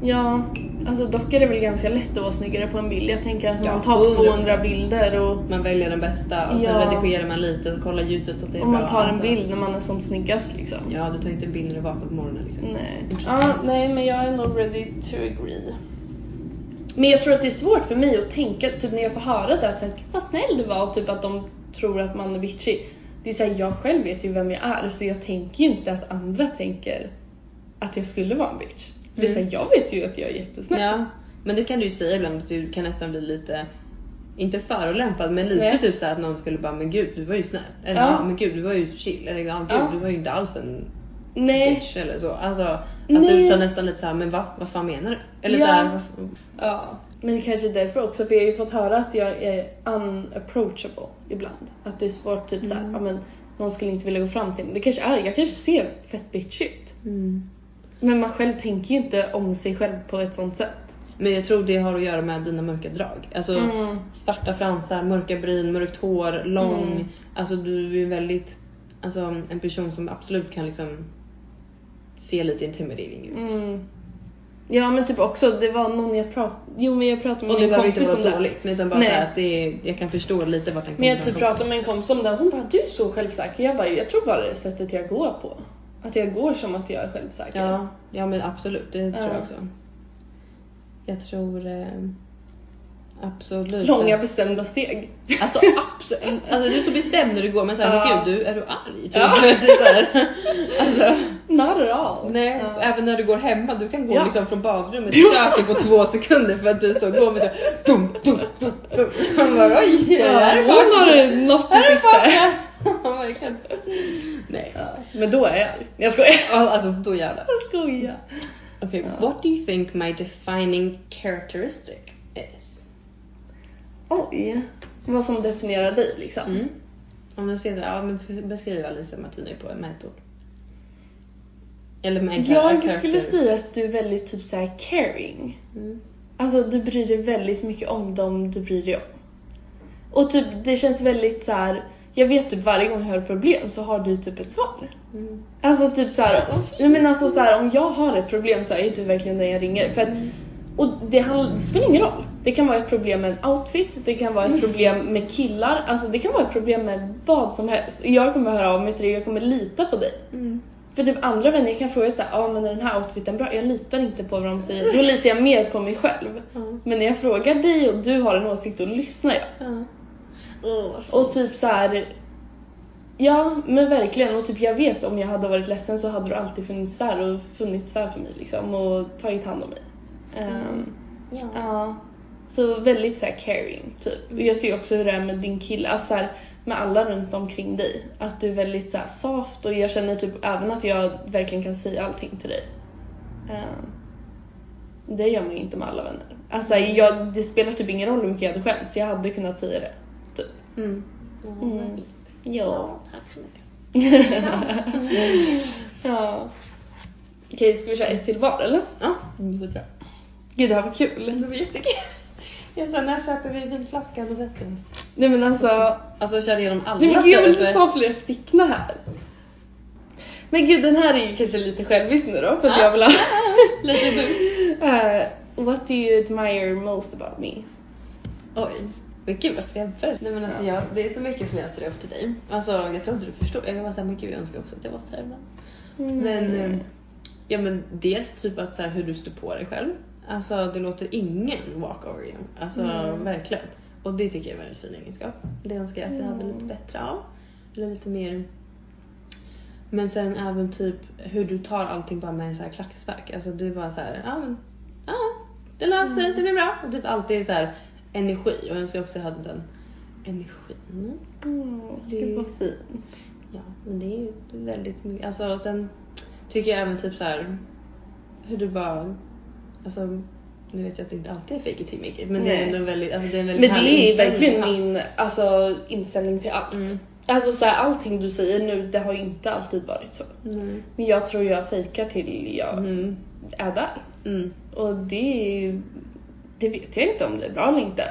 [SPEAKER 1] Ja, alltså dock är det väl ganska lätt att vara snyggare på en bild. Jag tänker att man
[SPEAKER 2] Ja,
[SPEAKER 1] tar
[SPEAKER 2] 100%.
[SPEAKER 1] 200 bilder och
[SPEAKER 2] Man väljer den bästa och sen
[SPEAKER 1] Ja.
[SPEAKER 2] redigerar man lite och kollar ljuset så att det är
[SPEAKER 1] om man
[SPEAKER 2] bra,
[SPEAKER 1] tar en
[SPEAKER 2] alltså.
[SPEAKER 1] bild när man är som snyggast liksom.
[SPEAKER 2] Ja, du tar ju inte en bild när du vaknar på morgonen liksom.
[SPEAKER 1] Nej.
[SPEAKER 2] Intressant.
[SPEAKER 1] Ja, nej men jag är nog ready to agree. Men jag tror att det är svårt för mig att tänka, typ när jag får höra det att såhär, "Gud, vad snäll du var och typ att de tror att man är bitchig. Det är såhär, jag själv vet ju vem jag är så jag tänker ju inte att andra tänker att jag skulle vara en bitch. Det är
[SPEAKER 2] Mm.
[SPEAKER 1] såhär, jag vet ju att jag är jättesnäll.
[SPEAKER 2] Ja, men det kan du ju säga ibland att du kan nästan bli lite, inte förolämpad men lite
[SPEAKER 1] Nej.
[SPEAKER 2] typ så här att någon skulle bara men gud du var ju snäll. Eller
[SPEAKER 1] Ja.
[SPEAKER 2] ja. men gud du var ju chill. Eller ja, gud
[SPEAKER 1] Ja.
[SPEAKER 2] du var ju inte alls en
[SPEAKER 1] Nej.
[SPEAKER 2] bitch eller så. Alltså att
[SPEAKER 1] Nej.
[SPEAKER 2] du tar nästan lite så här men va? Vad fan menar du? Eller
[SPEAKER 1] Ja.
[SPEAKER 2] så här, "Vad f-
[SPEAKER 1] Ja. Men det kanske är därför också, för jag har ju fått höra att jag är unapproachable ibland. Att det är svårt, typ
[SPEAKER 2] Mm.
[SPEAKER 1] såhär, ja men någon skulle inte vilja gå fram till mig. Det kanske är, jag kanske ser fett bitch ut. Mm. Men man själv tänker ju inte om sig själv på ett sånt sätt.
[SPEAKER 2] Men jag tror det har att göra med dina mörka drag. Alltså
[SPEAKER 1] Mm.
[SPEAKER 2] svarta fransar, mörka bryn, mörkt hår, lång.
[SPEAKER 1] Mm.
[SPEAKER 2] Alltså du är ju väldigt, alltså en person som absolut kan liksom se lite intimidating ut.
[SPEAKER 1] Mm. Ja men typ också, det var någon jag pratade Jo men jag pratade med
[SPEAKER 2] Och det
[SPEAKER 1] min
[SPEAKER 2] behöver inte
[SPEAKER 1] kompis om
[SPEAKER 2] vara
[SPEAKER 1] det.
[SPEAKER 2] dåligt, men utan bara
[SPEAKER 1] Nej.
[SPEAKER 2] så här att det är, jag kan förstå lite vart den
[SPEAKER 1] Men
[SPEAKER 2] kommer
[SPEAKER 1] jag typ pratade med en kompis om det och hon bara du är så självsäker. Jag bara jag tror bara det är sättet jag går på. Att jag går som att jag är självsäker.
[SPEAKER 2] Ja, ja men absolut, det tror
[SPEAKER 1] Ja.
[SPEAKER 2] jag också. Jag tror eh, absolut.
[SPEAKER 1] Långa
[SPEAKER 2] att-
[SPEAKER 1] bestämda steg.
[SPEAKER 2] Alltså absolut, alltså, du är så bestämd när du går men såhär,
[SPEAKER 1] Ja.
[SPEAKER 2] men gud du, är du arg? Typ.
[SPEAKER 1] Ja.
[SPEAKER 2] Det är så här, alltså,
[SPEAKER 1] Not at all.
[SPEAKER 2] nej.
[SPEAKER 1] Ja.
[SPEAKER 2] Även när du går hemma, du kan gå
[SPEAKER 1] Ja.
[SPEAKER 2] liksom från badrummet i köket på två sekunder för att du så går med såhär dum, dum, dum, dum. Man bara oj, det
[SPEAKER 1] Ja,
[SPEAKER 2] där är
[SPEAKER 1] hon har något i sikte.
[SPEAKER 2] Ja, verkligen. Nej.
[SPEAKER 1] Ja. Men då är jag arg. Jag skojar.
[SPEAKER 2] Ja, Alltså då jävlar.
[SPEAKER 1] Jag skojar.
[SPEAKER 2] Okej,
[SPEAKER 1] Ja.
[SPEAKER 2] what do you think my defining characteristic is?
[SPEAKER 1] Oj. Vad som definierar dig liksom.
[SPEAKER 2] Mm. Om du ser det, ja men för- beskriv Alicia Martini på med ett ord. Eller med en
[SPEAKER 1] Jag
[SPEAKER 2] characteristic.
[SPEAKER 1] skulle säga att du är väldigt typ så här caring.
[SPEAKER 2] Mm.
[SPEAKER 1] Alltså du bryr dig väldigt mycket om dem du bryr dig om. Och typ det känns väldigt så här. jag vet typ varje gång jag har problem så har du typ ett svar.
[SPEAKER 2] Mm.
[SPEAKER 1] Alltså typ så här, jag menar alltså så här, om jag har ett problem så är ju du verkligen den jag ringer. För att, och det, handlar, det spelar ingen roll. Det kan vara ett problem med en outfit, det kan vara ett problem med killar, alltså det kan vara ett problem med vad som helst. Och Jag kommer höra av mig till dig och jag kommer lita på dig.
[SPEAKER 2] Mm.
[SPEAKER 1] För typ andra vänner jag kan fråga så här, ja men är den här outfiten bra? Jag litar inte på vad de säger. Då litar jag mer på mig själv.
[SPEAKER 2] Ja.
[SPEAKER 1] Men när jag frågar dig och du har en åsikt, då lyssnar jag.
[SPEAKER 2] Ja.
[SPEAKER 1] Och typ så här. Ja, men verkligen. Och typ jag vet om jag hade varit ledsen så hade du alltid funnits där och funnits där för mig liksom och tagit hand om mig. Ehm,
[SPEAKER 2] Ja.
[SPEAKER 1] Ja. Så väldigt så här caring typ. Och Jag ser ju också hur det är med din kille, alltså så här, med alla runt omkring dig. Att du är väldigt så här soft och jag känner typ även att jag verkligen kan säga allting till dig. Ehm, det gör man ju inte med alla vänner. Alltså jag, det spelar typ ingen roll hur mycket jag hade skämt så jag hade kunnat säga det. Typ.
[SPEAKER 2] Mm.
[SPEAKER 1] Mm. Ja.
[SPEAKER 3] tack så mycket.
[SPEAKER 1] ja. Okej, ska vi köra ett till var eller?
[SPEAKER 2] Ja, det är bra.
[SPEAKER 1] Gud, det här var kul.
[SPEAKER 2] Det var jättekul. Jag sa, när köper vi vinflaskan och sätter oss?
[SPEAKER 1] Nej men alltså,
[SPEAKER 2] Alltså kör igenom alla.
[SPEAKER 1] nej, men gud, jag vill
[SPEAKER 2] så
[SPEAKER 1] inte
[SPEAKER 2] här-
[SPEAKER 1] ta flera stickna här. Men gud, den här är ju kanske lite självisk nu då, för att
[SPEAKER 2] Ja.
[SPEAKER 1] jag vill ha...
[SPEAKER 2] Lite du.
[SPEAKER 1] Eh, what do you admire most about me?
[SPEAKER 2] Oj. Men gud vad skrämper. Nej men alltså jag, det är så mycket som jag ser upp till dig. Alltså jag tror inte du förstår. Jag kan vara såhär, men gud jag önskar också att jag var såhär ibland. Men,
[SPEAKER 1] Mm.
[SPEAKER 2] eh, ja men dels typ att så här, hur du står på dig själv. Alltså det låter ingen walk over you. Alltså
[SPEAKER 1] Mm.
[SPEAKER 2] verkligen. Och det tycker jag är en väldigt fin egenskap. Det önskar jag att jag hade lite bättre av. Eller lite mer. Men sen även typ hur du tar allting bara med en så här klackspark. Alltså du är bara så här, ja men, ja det löser sig, det blir bra. Och typ alltid så här energi. Och jag önskar också att jag hade den energin.
[SPEAKER 1] Mm, gud vad fin.
[SPEAKER 2] Ja, men det är ju väldigt mycket. Alltså och sen tycker jag även typ så här hur du bara, alltså Nu vet jag att det inte alltid är fake it till make it men det
[SPEAKER 1] Nej.
[SPEAKER 2] är ändå en väldigt, alltså det är en
[SPEAKER 1] Men
[SPEAKER 2] väldigt härlig
[SPEAKER 1] det är
[SPEAKER 2] inställning.
[SPEAKER 1] verkligen
[SPEAKER 2] Ja.
[SPEAKER 1] min alltså, inställning till allt.
[SPEAKER 2] Mm.
[SPEAKER 1] Alltså så här, allting du säger nu, det har ju inte alltid varit så.
[SPEAKER 2] Nej.
[SPEAKER 1] Men jag tror jag fejkar till jag
[SPEAKER 2] Mm.
[SPEAKER 1] är där.
[SPEAKER 2] Mm.
[SPEAKER 1] Och det, är ju- det vet jag inte om det är bra eller inte.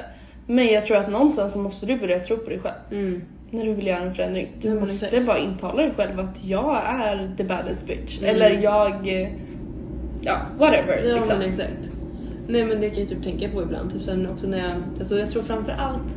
[SPEAKER 1] Men jag tror att någonstans så måste du börja tro på dig själv.
[SPEAKER 2] Mm.
[SPEAKER 1] När du vill göra en förändring. Du
[SPEAKER 2] Ja, men
[SPEAKER 1] måste
[SPEAKER 2] exakt.
[SPEAKER 1] bara intala dig själv att jag är the baddest bitch.
[SPEAKER 2] Mm.
[SPEAKER 1] Eller jag... eh, Ja, whatever.
[SPEAKER 2] Ja
[SPEAKER 1] liksom.
[SPEAKER 2] men exakt. Nej men det kan jag typ tänka på ibland. Typ sen också när jag, alltså jag tror framförallt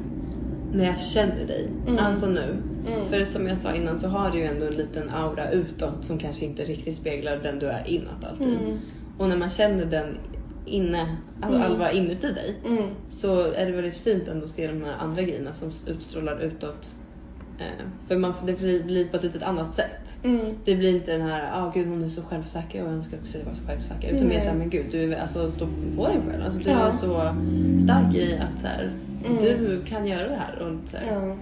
[SPEAKER 2] när jag känner dig.
[SPEAKER 1] Mm.
[SPEAKER 2] Alltså nu.
[SPEAKER 1] Mm.
[SPEAKER 2] För som jag sa innan så har du ju ändå en liten aura utåt som kanske inte riktigt speglar den du är inåt alltid.
[SPEAKER 1] Mm.
[SPEAKER 2] Och när man känner den inne, alltså
[SPEAKER 1] Mm.
[SPEAKER 2] Alva inuti dig.
[SPEAKER 1] Mm.
[SPEAKER 2] Så är det väldigt fint ändå att se de här andra grejerna som utstrålar utåt. Eh, för man, det blir blir på ett litet annat sätt.
[SPEAKER 1] Mm.
[SPEAKER 2] Det blir inte den här, ah gud hon är så självsäker och jag önskar också att jag var så självsäker. Utan mer
[SPEAKER 1] Nej.
[SPEAKER 2] såhär, men gud du är- alltså, står på dig själv. Alltså, du
[SPEAKER 1] Ja.
[SPEAKER 2] är så stark i att så här,
[SPEAKER 1] Mm.
[SPEAKER 2] du kan göra det här. Och, så här,
[SPEAKER 1] Ja.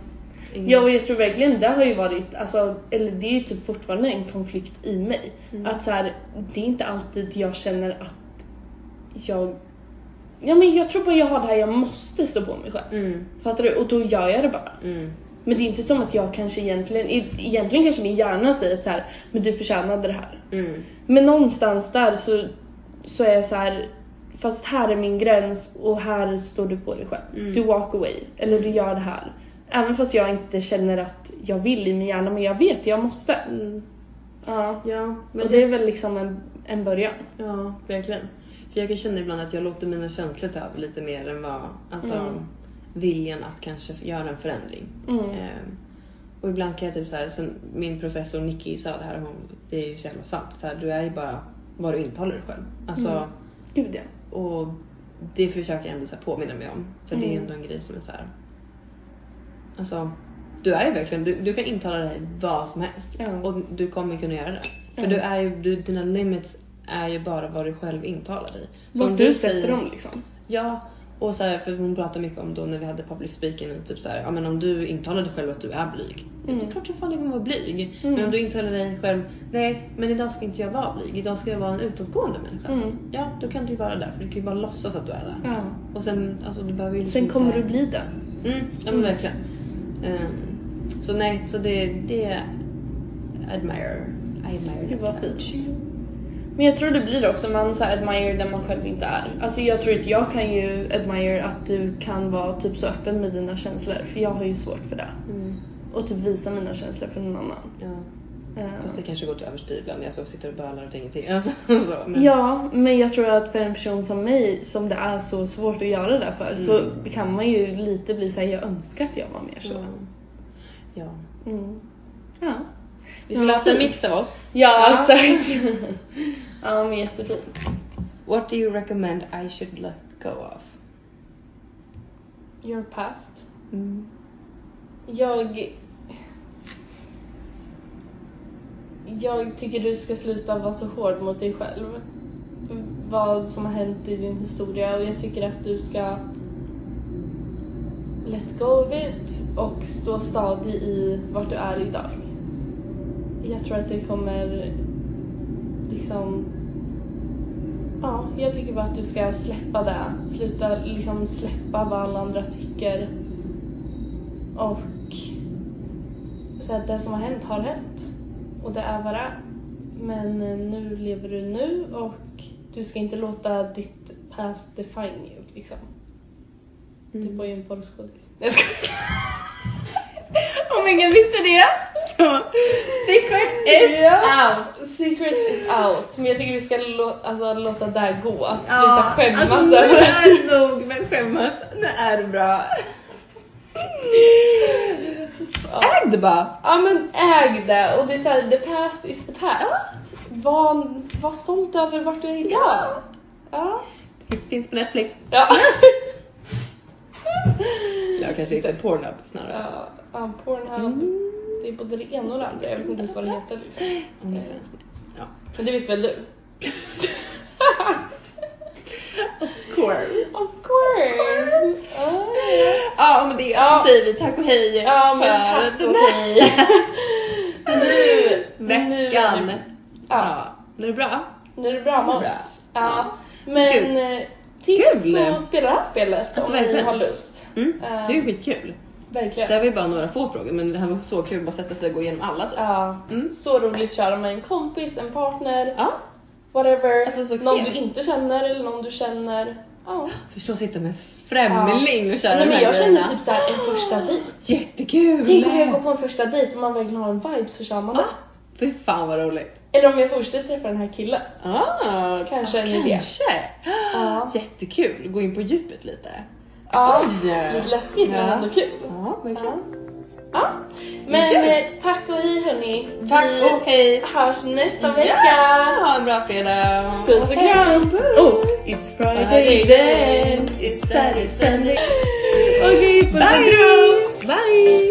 [SPEAKER 2] ingen-
[SPEAKER 1] Ja och jag tror verkligen det har ju varit, alltså, eller det är ju typ fortfarande en konflikt i mig.
[SPEAKER 2] Mm.
[SPEAKER 1] Att så här, det är inte alltid jag känner att jag, ja men jag tror bara jag har det här, jag måste stå på mig själv.
[SPEAKER 2] Mm,
[SPEAKER 1] Fattar du? Och då gör jag det bara.
[SPEAKER 2] mm,
[SPEAKER 1] Men det är inte som att jag kanske egentligen, e- egentligen kanske min hjärna säger att så här, men du förtjänade det här.
[SPEAKER 2] mm,
[SPEAKER 1] Men någonstans där så, så är jag så här, fast här är min gräns och här står du på dig själv.
[SPEAKER 2] Mm.
[SPEAKER 1] Du walk away, eller du gör det här. Även fast jag inte känner att jag vill i min hjärna, men jag vet, jag måste.
[SPEAKER 2] mm.
[SPEAKER 1] Ja.
[SPEAKER 2] Ja, men
[SPEAKER 1] och det är väl liksom en, en början.
[SPEAKER 2] Ja, verkligen. För jag kan känna ibland att jag låter mina känslor ta över lite mer än vad, alltså
[SPEAKER 1] Mm.
[SPEAKER 2] viljan att kanske göra en förändring.
[SPEAKER 1] Mm.
[SPEAKER 2] Ehm, och ibland kan jag typ så här, sen min professor Nicky sa det här, hon, det är ju så jävla sant. Så här, du är ju bara vad du intalar dig själv. Alltså,
[SPEAKER 1] Mm. Gud ja.
[SPEAKER 2] Och det försöker jag ändå så här påminna mig om. För det är ju
[SPEAKER 1] Mm.
[SPEAKER 2] ändå en grej som är så här. Alltså, du är ju verkligen, du, du kan intala dig vad som helst.
[SPEAKER 1] Ja.
[SPEAKER 2] Och du kommer kunna göra det. För
[SPEAKER 1] Mm.
[SPEAKER 2] du är ju, du, dina limits är ju bara vad du själv intalar dig. Så om
[SPEAKER 1] Vart du
[SPEAKER 2] säger-
[SPEAKER 1] sätter dem liksom.
[SPEAKER 2] Ja, och så här, för hon pratade mycket om då när vi hade public speaking, typ så här, ja men om du intalar dig själv att du är blyg. ja, Det
[SPEAKER 1] Mm.
[SPEAKER 2] är klart som fan du kommer vara blyg.
[SPEAKER 1] Mm.
[SPEAKER 2] Men om du intalar dig själv, nej men idag ska inte jag vara blyg, idag ska jag vara en utåtgående människa.
[SPEAKER 1] Mm.
[SPEAKER 2] Ja, då kan du ju vara där, för du kan ju bara låtsas att du är där.
[SPEAKER 1] Ja.
[SPEAKER 2] Och sen, alltså du behöver ju liksom
[SPEAKER 1] Mm. Sen kommer du
[SPEAKER 2] inte-
[SPEAKER 1] bli den.
[SPEAKER 2] Mm, ja men
[SPEAKER 1] Mm.
[SPEAKER 2] verkligen. Ehm, så nej, så det, det admire. I admire
[SPEAKER 1] Gud vad
[SPEAKER 2] that.
[SPEAKER 1] fint. Men jag tror det blir också, man så här admire den man själv inte är. Alltså jag tror att jag kan ju admire att du kan vara typ så öppen med dina känslor. För jag har ju svårt för det.
[SPEAKER 2] Mm,
[SPEAKER 1] Och typ visa mina känslor för någon annan.
[SPEAKER 2] ja.
[SPEAKER 1] Eh,
[SPEAKER 2] Fast det kanske går till överstyr ibland när jag så sitter och bölar och tänker till. Alltså, så, men,
[SPEAKER 1] Ja, men jag tror att för en person som mig som det är så svårt att göra det för så
[SPEAKER 2] Mm.
[SPEAKER 1] kan man ju lite bli såhär, jag önskar att jag var mer så.
[SPEAKER 2] Ja. ja.
[SPEAKER 1] Mm. Ja. Men
[SPEAKER 2] Vi skulle
[SPEAKER 1] vad
[SPEAKER 2] haft en
[SPEAKER 1] fint.
[SPEAKER 2] mix av oss.
[SPEAKER 1] Ja, exakt. ja, men jättefint.
[SPEAKER 2] What do you recommend I should let go of?
[SPEAKER 1] Your past.
[SPEAKER 2] Mm.
[SPEAKER 1] Jag... Jag tycker du ska sluta vara så hård mot dig själv. Vad som har hänt i din historia och jag tycker att du ska let go of it och stå stadig i vart du är idag. Jag tror att det kommer liksom... Ja, jag tycker bara att du ska släppa det. Sluta liksom släppa vad alla andra tycker. Och så att det som har hänt har hänt. Och det är vad det är. Men eh, nu lever du nu och du ska inte låta ditt past define you. Liksom.
[SPEAKER 2] Mm.
[SPEAKER 1] Du var ju en porrskådis. Nej, jag skojar.
[SPEAKER 2] Om ingen visste det så secret is
[SPEAKER 1] Ja.
[SPEAKER 2] out.
[SPEAKER 1] Secret is out. Men jag tycker du ska lå- alltså, låta det här gå. Att sluta
[SPEAKER 2] Ja,
[SPEAKER 1] skämmas
[SPEAKER 2] alltså,
[SPEAKER 1] över
[SPEAKER 2] nu
[SPEAKER 1] det.
[SPEAKER 2] är det nog, men skämmas, nu är det bra. Äg det bara.
[SPEAKER 1] Ja men äg det. Och det är såhär, the past is the past. Var, var stolt över vart du är idag.
[SPEAKER 2] Ja.
[SPEAKER 1] ja.
[SPEAKER 2] Det finns på Netflix.
[SPEAKER 1] Ja.
[SPEAKER 2] Jag kanske hittar Pornhub snarare.
[SPEAKER 1] Ja, ja, Pornhub.
[SPEAKER 2] Mm.
[SPEAKER 1] Det
[SPEAKER 2] typ.
[SPEAKER 1] är både det ena och det andra. Jag vet inte ens vad det heter. Liksom.
[SPEAKER 2] Om det finns. Ja.
[SPEAKER 1] Men det vet väl du?
[SPEAKER 2] Core.
[SPEAKER 1] of course! Ja, ja.
[SPEAKER 2] Ja, men det
[SPEAKER 1] Ja.
[SPEAKER 2] så säger vi tack och hej
[SPEAKER 1] Ja, men tack och hej.
[SPEAKER 2] Nu, veckan.
[SPEAKER 1] Nu är
[SPEAKER 2] ja.
[SPEAKER 1] det- Ja,
[SPEAKER 2] Nu är det Ah. bra.
[SPEAKER 1] nu är det bra
[SPEAKER 2] Nu
[SPEAKER 1] med
[SPEAKER 2] är det
[SPEAKER 1] oss. Ja. Men eh, tips
[SPEAKER 2] Kul!
[SPEAKER 1] och spela det här spelet
[SPEAKER 2] Alltså,
[SPEAKER 1] om ni
[SPEAKER 2] verkligen.
[SPEAKER 1] har lust. Eh,
[SPEAKER 2] Mm. Det är ju skitkul.
[SPEAKER 1] Verkligen.
[SPEAKER 2] Det här var ju bara några få frågor men det här var så kul att bara sätta sig och gå igenom alla. typ.
[SPEAKER 1] Ja.
[SPEAKER 2] Mm.
[SPEAKER 1] Så roligt att köra med en kompis, en partner,
[SPEAKER 2] Ja,
[SPEAKER 1] whatever.
[SPEAKER 2] Alltså, succé.
[SPEAKER 1] någon du inte känner eller någon du känner. Ja.
[SPEAKER 2] förstå att sitta med en främling och köra
[SPEAKER 1] Nej,
[SPEAKER 2] de
[SPEAKER 1] men
[SPEAKER 2] här
[SPEAKER 1] jag
[SPEAKER 2] grejerna.
[SPEAKER 1] känner typ så här en första dejt.
[SPEAKER 2] Jättekul!
[SPEAKER 1] Tänk om jag går på en första dejt och man verkligen har en vibe så kör man det.
[SPEAKER 2] Ja, fy fan vad roligt.
[SPEAKER 1] Eller om jag fortsätter träffa den här killen.
[SPEAKER 2] Ah,
[SPEAKER 1] Kanske en idé.
[SPEAKER 2] Kanske!
[SPEAKER 1] Ja.
[SPEAKER 2] Jättekul, gå in på djupet lite.
[SPEAKER 1] Ja,
[SPEAKER 2] Ja.
[SPEAKER 1] lite läskigt men
[SPEAKER 2] Ja.
[SPEAKER 1] ändå kul.
[SPEAKER 2] Ja,
[SPEAKER 1] Ja.
[SPEAKER 2] verkligen.
[SPEAKER 1] ja. Men
[SPEAKER 2] Ja.
[SPEAKER 1] eh, tack och hej hörni.
[SPEAKER 2] Tack
[SPEAKER 1] Vi
[SPEAKER 2] och hej!
[SPEAKER 1] hörs nästa
[SPEAKER 2] Ja,
[SPEAKER 1] vecka.
[SPEAKER 2] ha en bra fredag!
[SPEAKER 1] Puss och kram.
[SPEAKER 2] Oh, it's Friday then, it's Saturday, Sunday.
[SPEAKER 1] Okej, puss och kram.
[SPEAKER 2] Bye!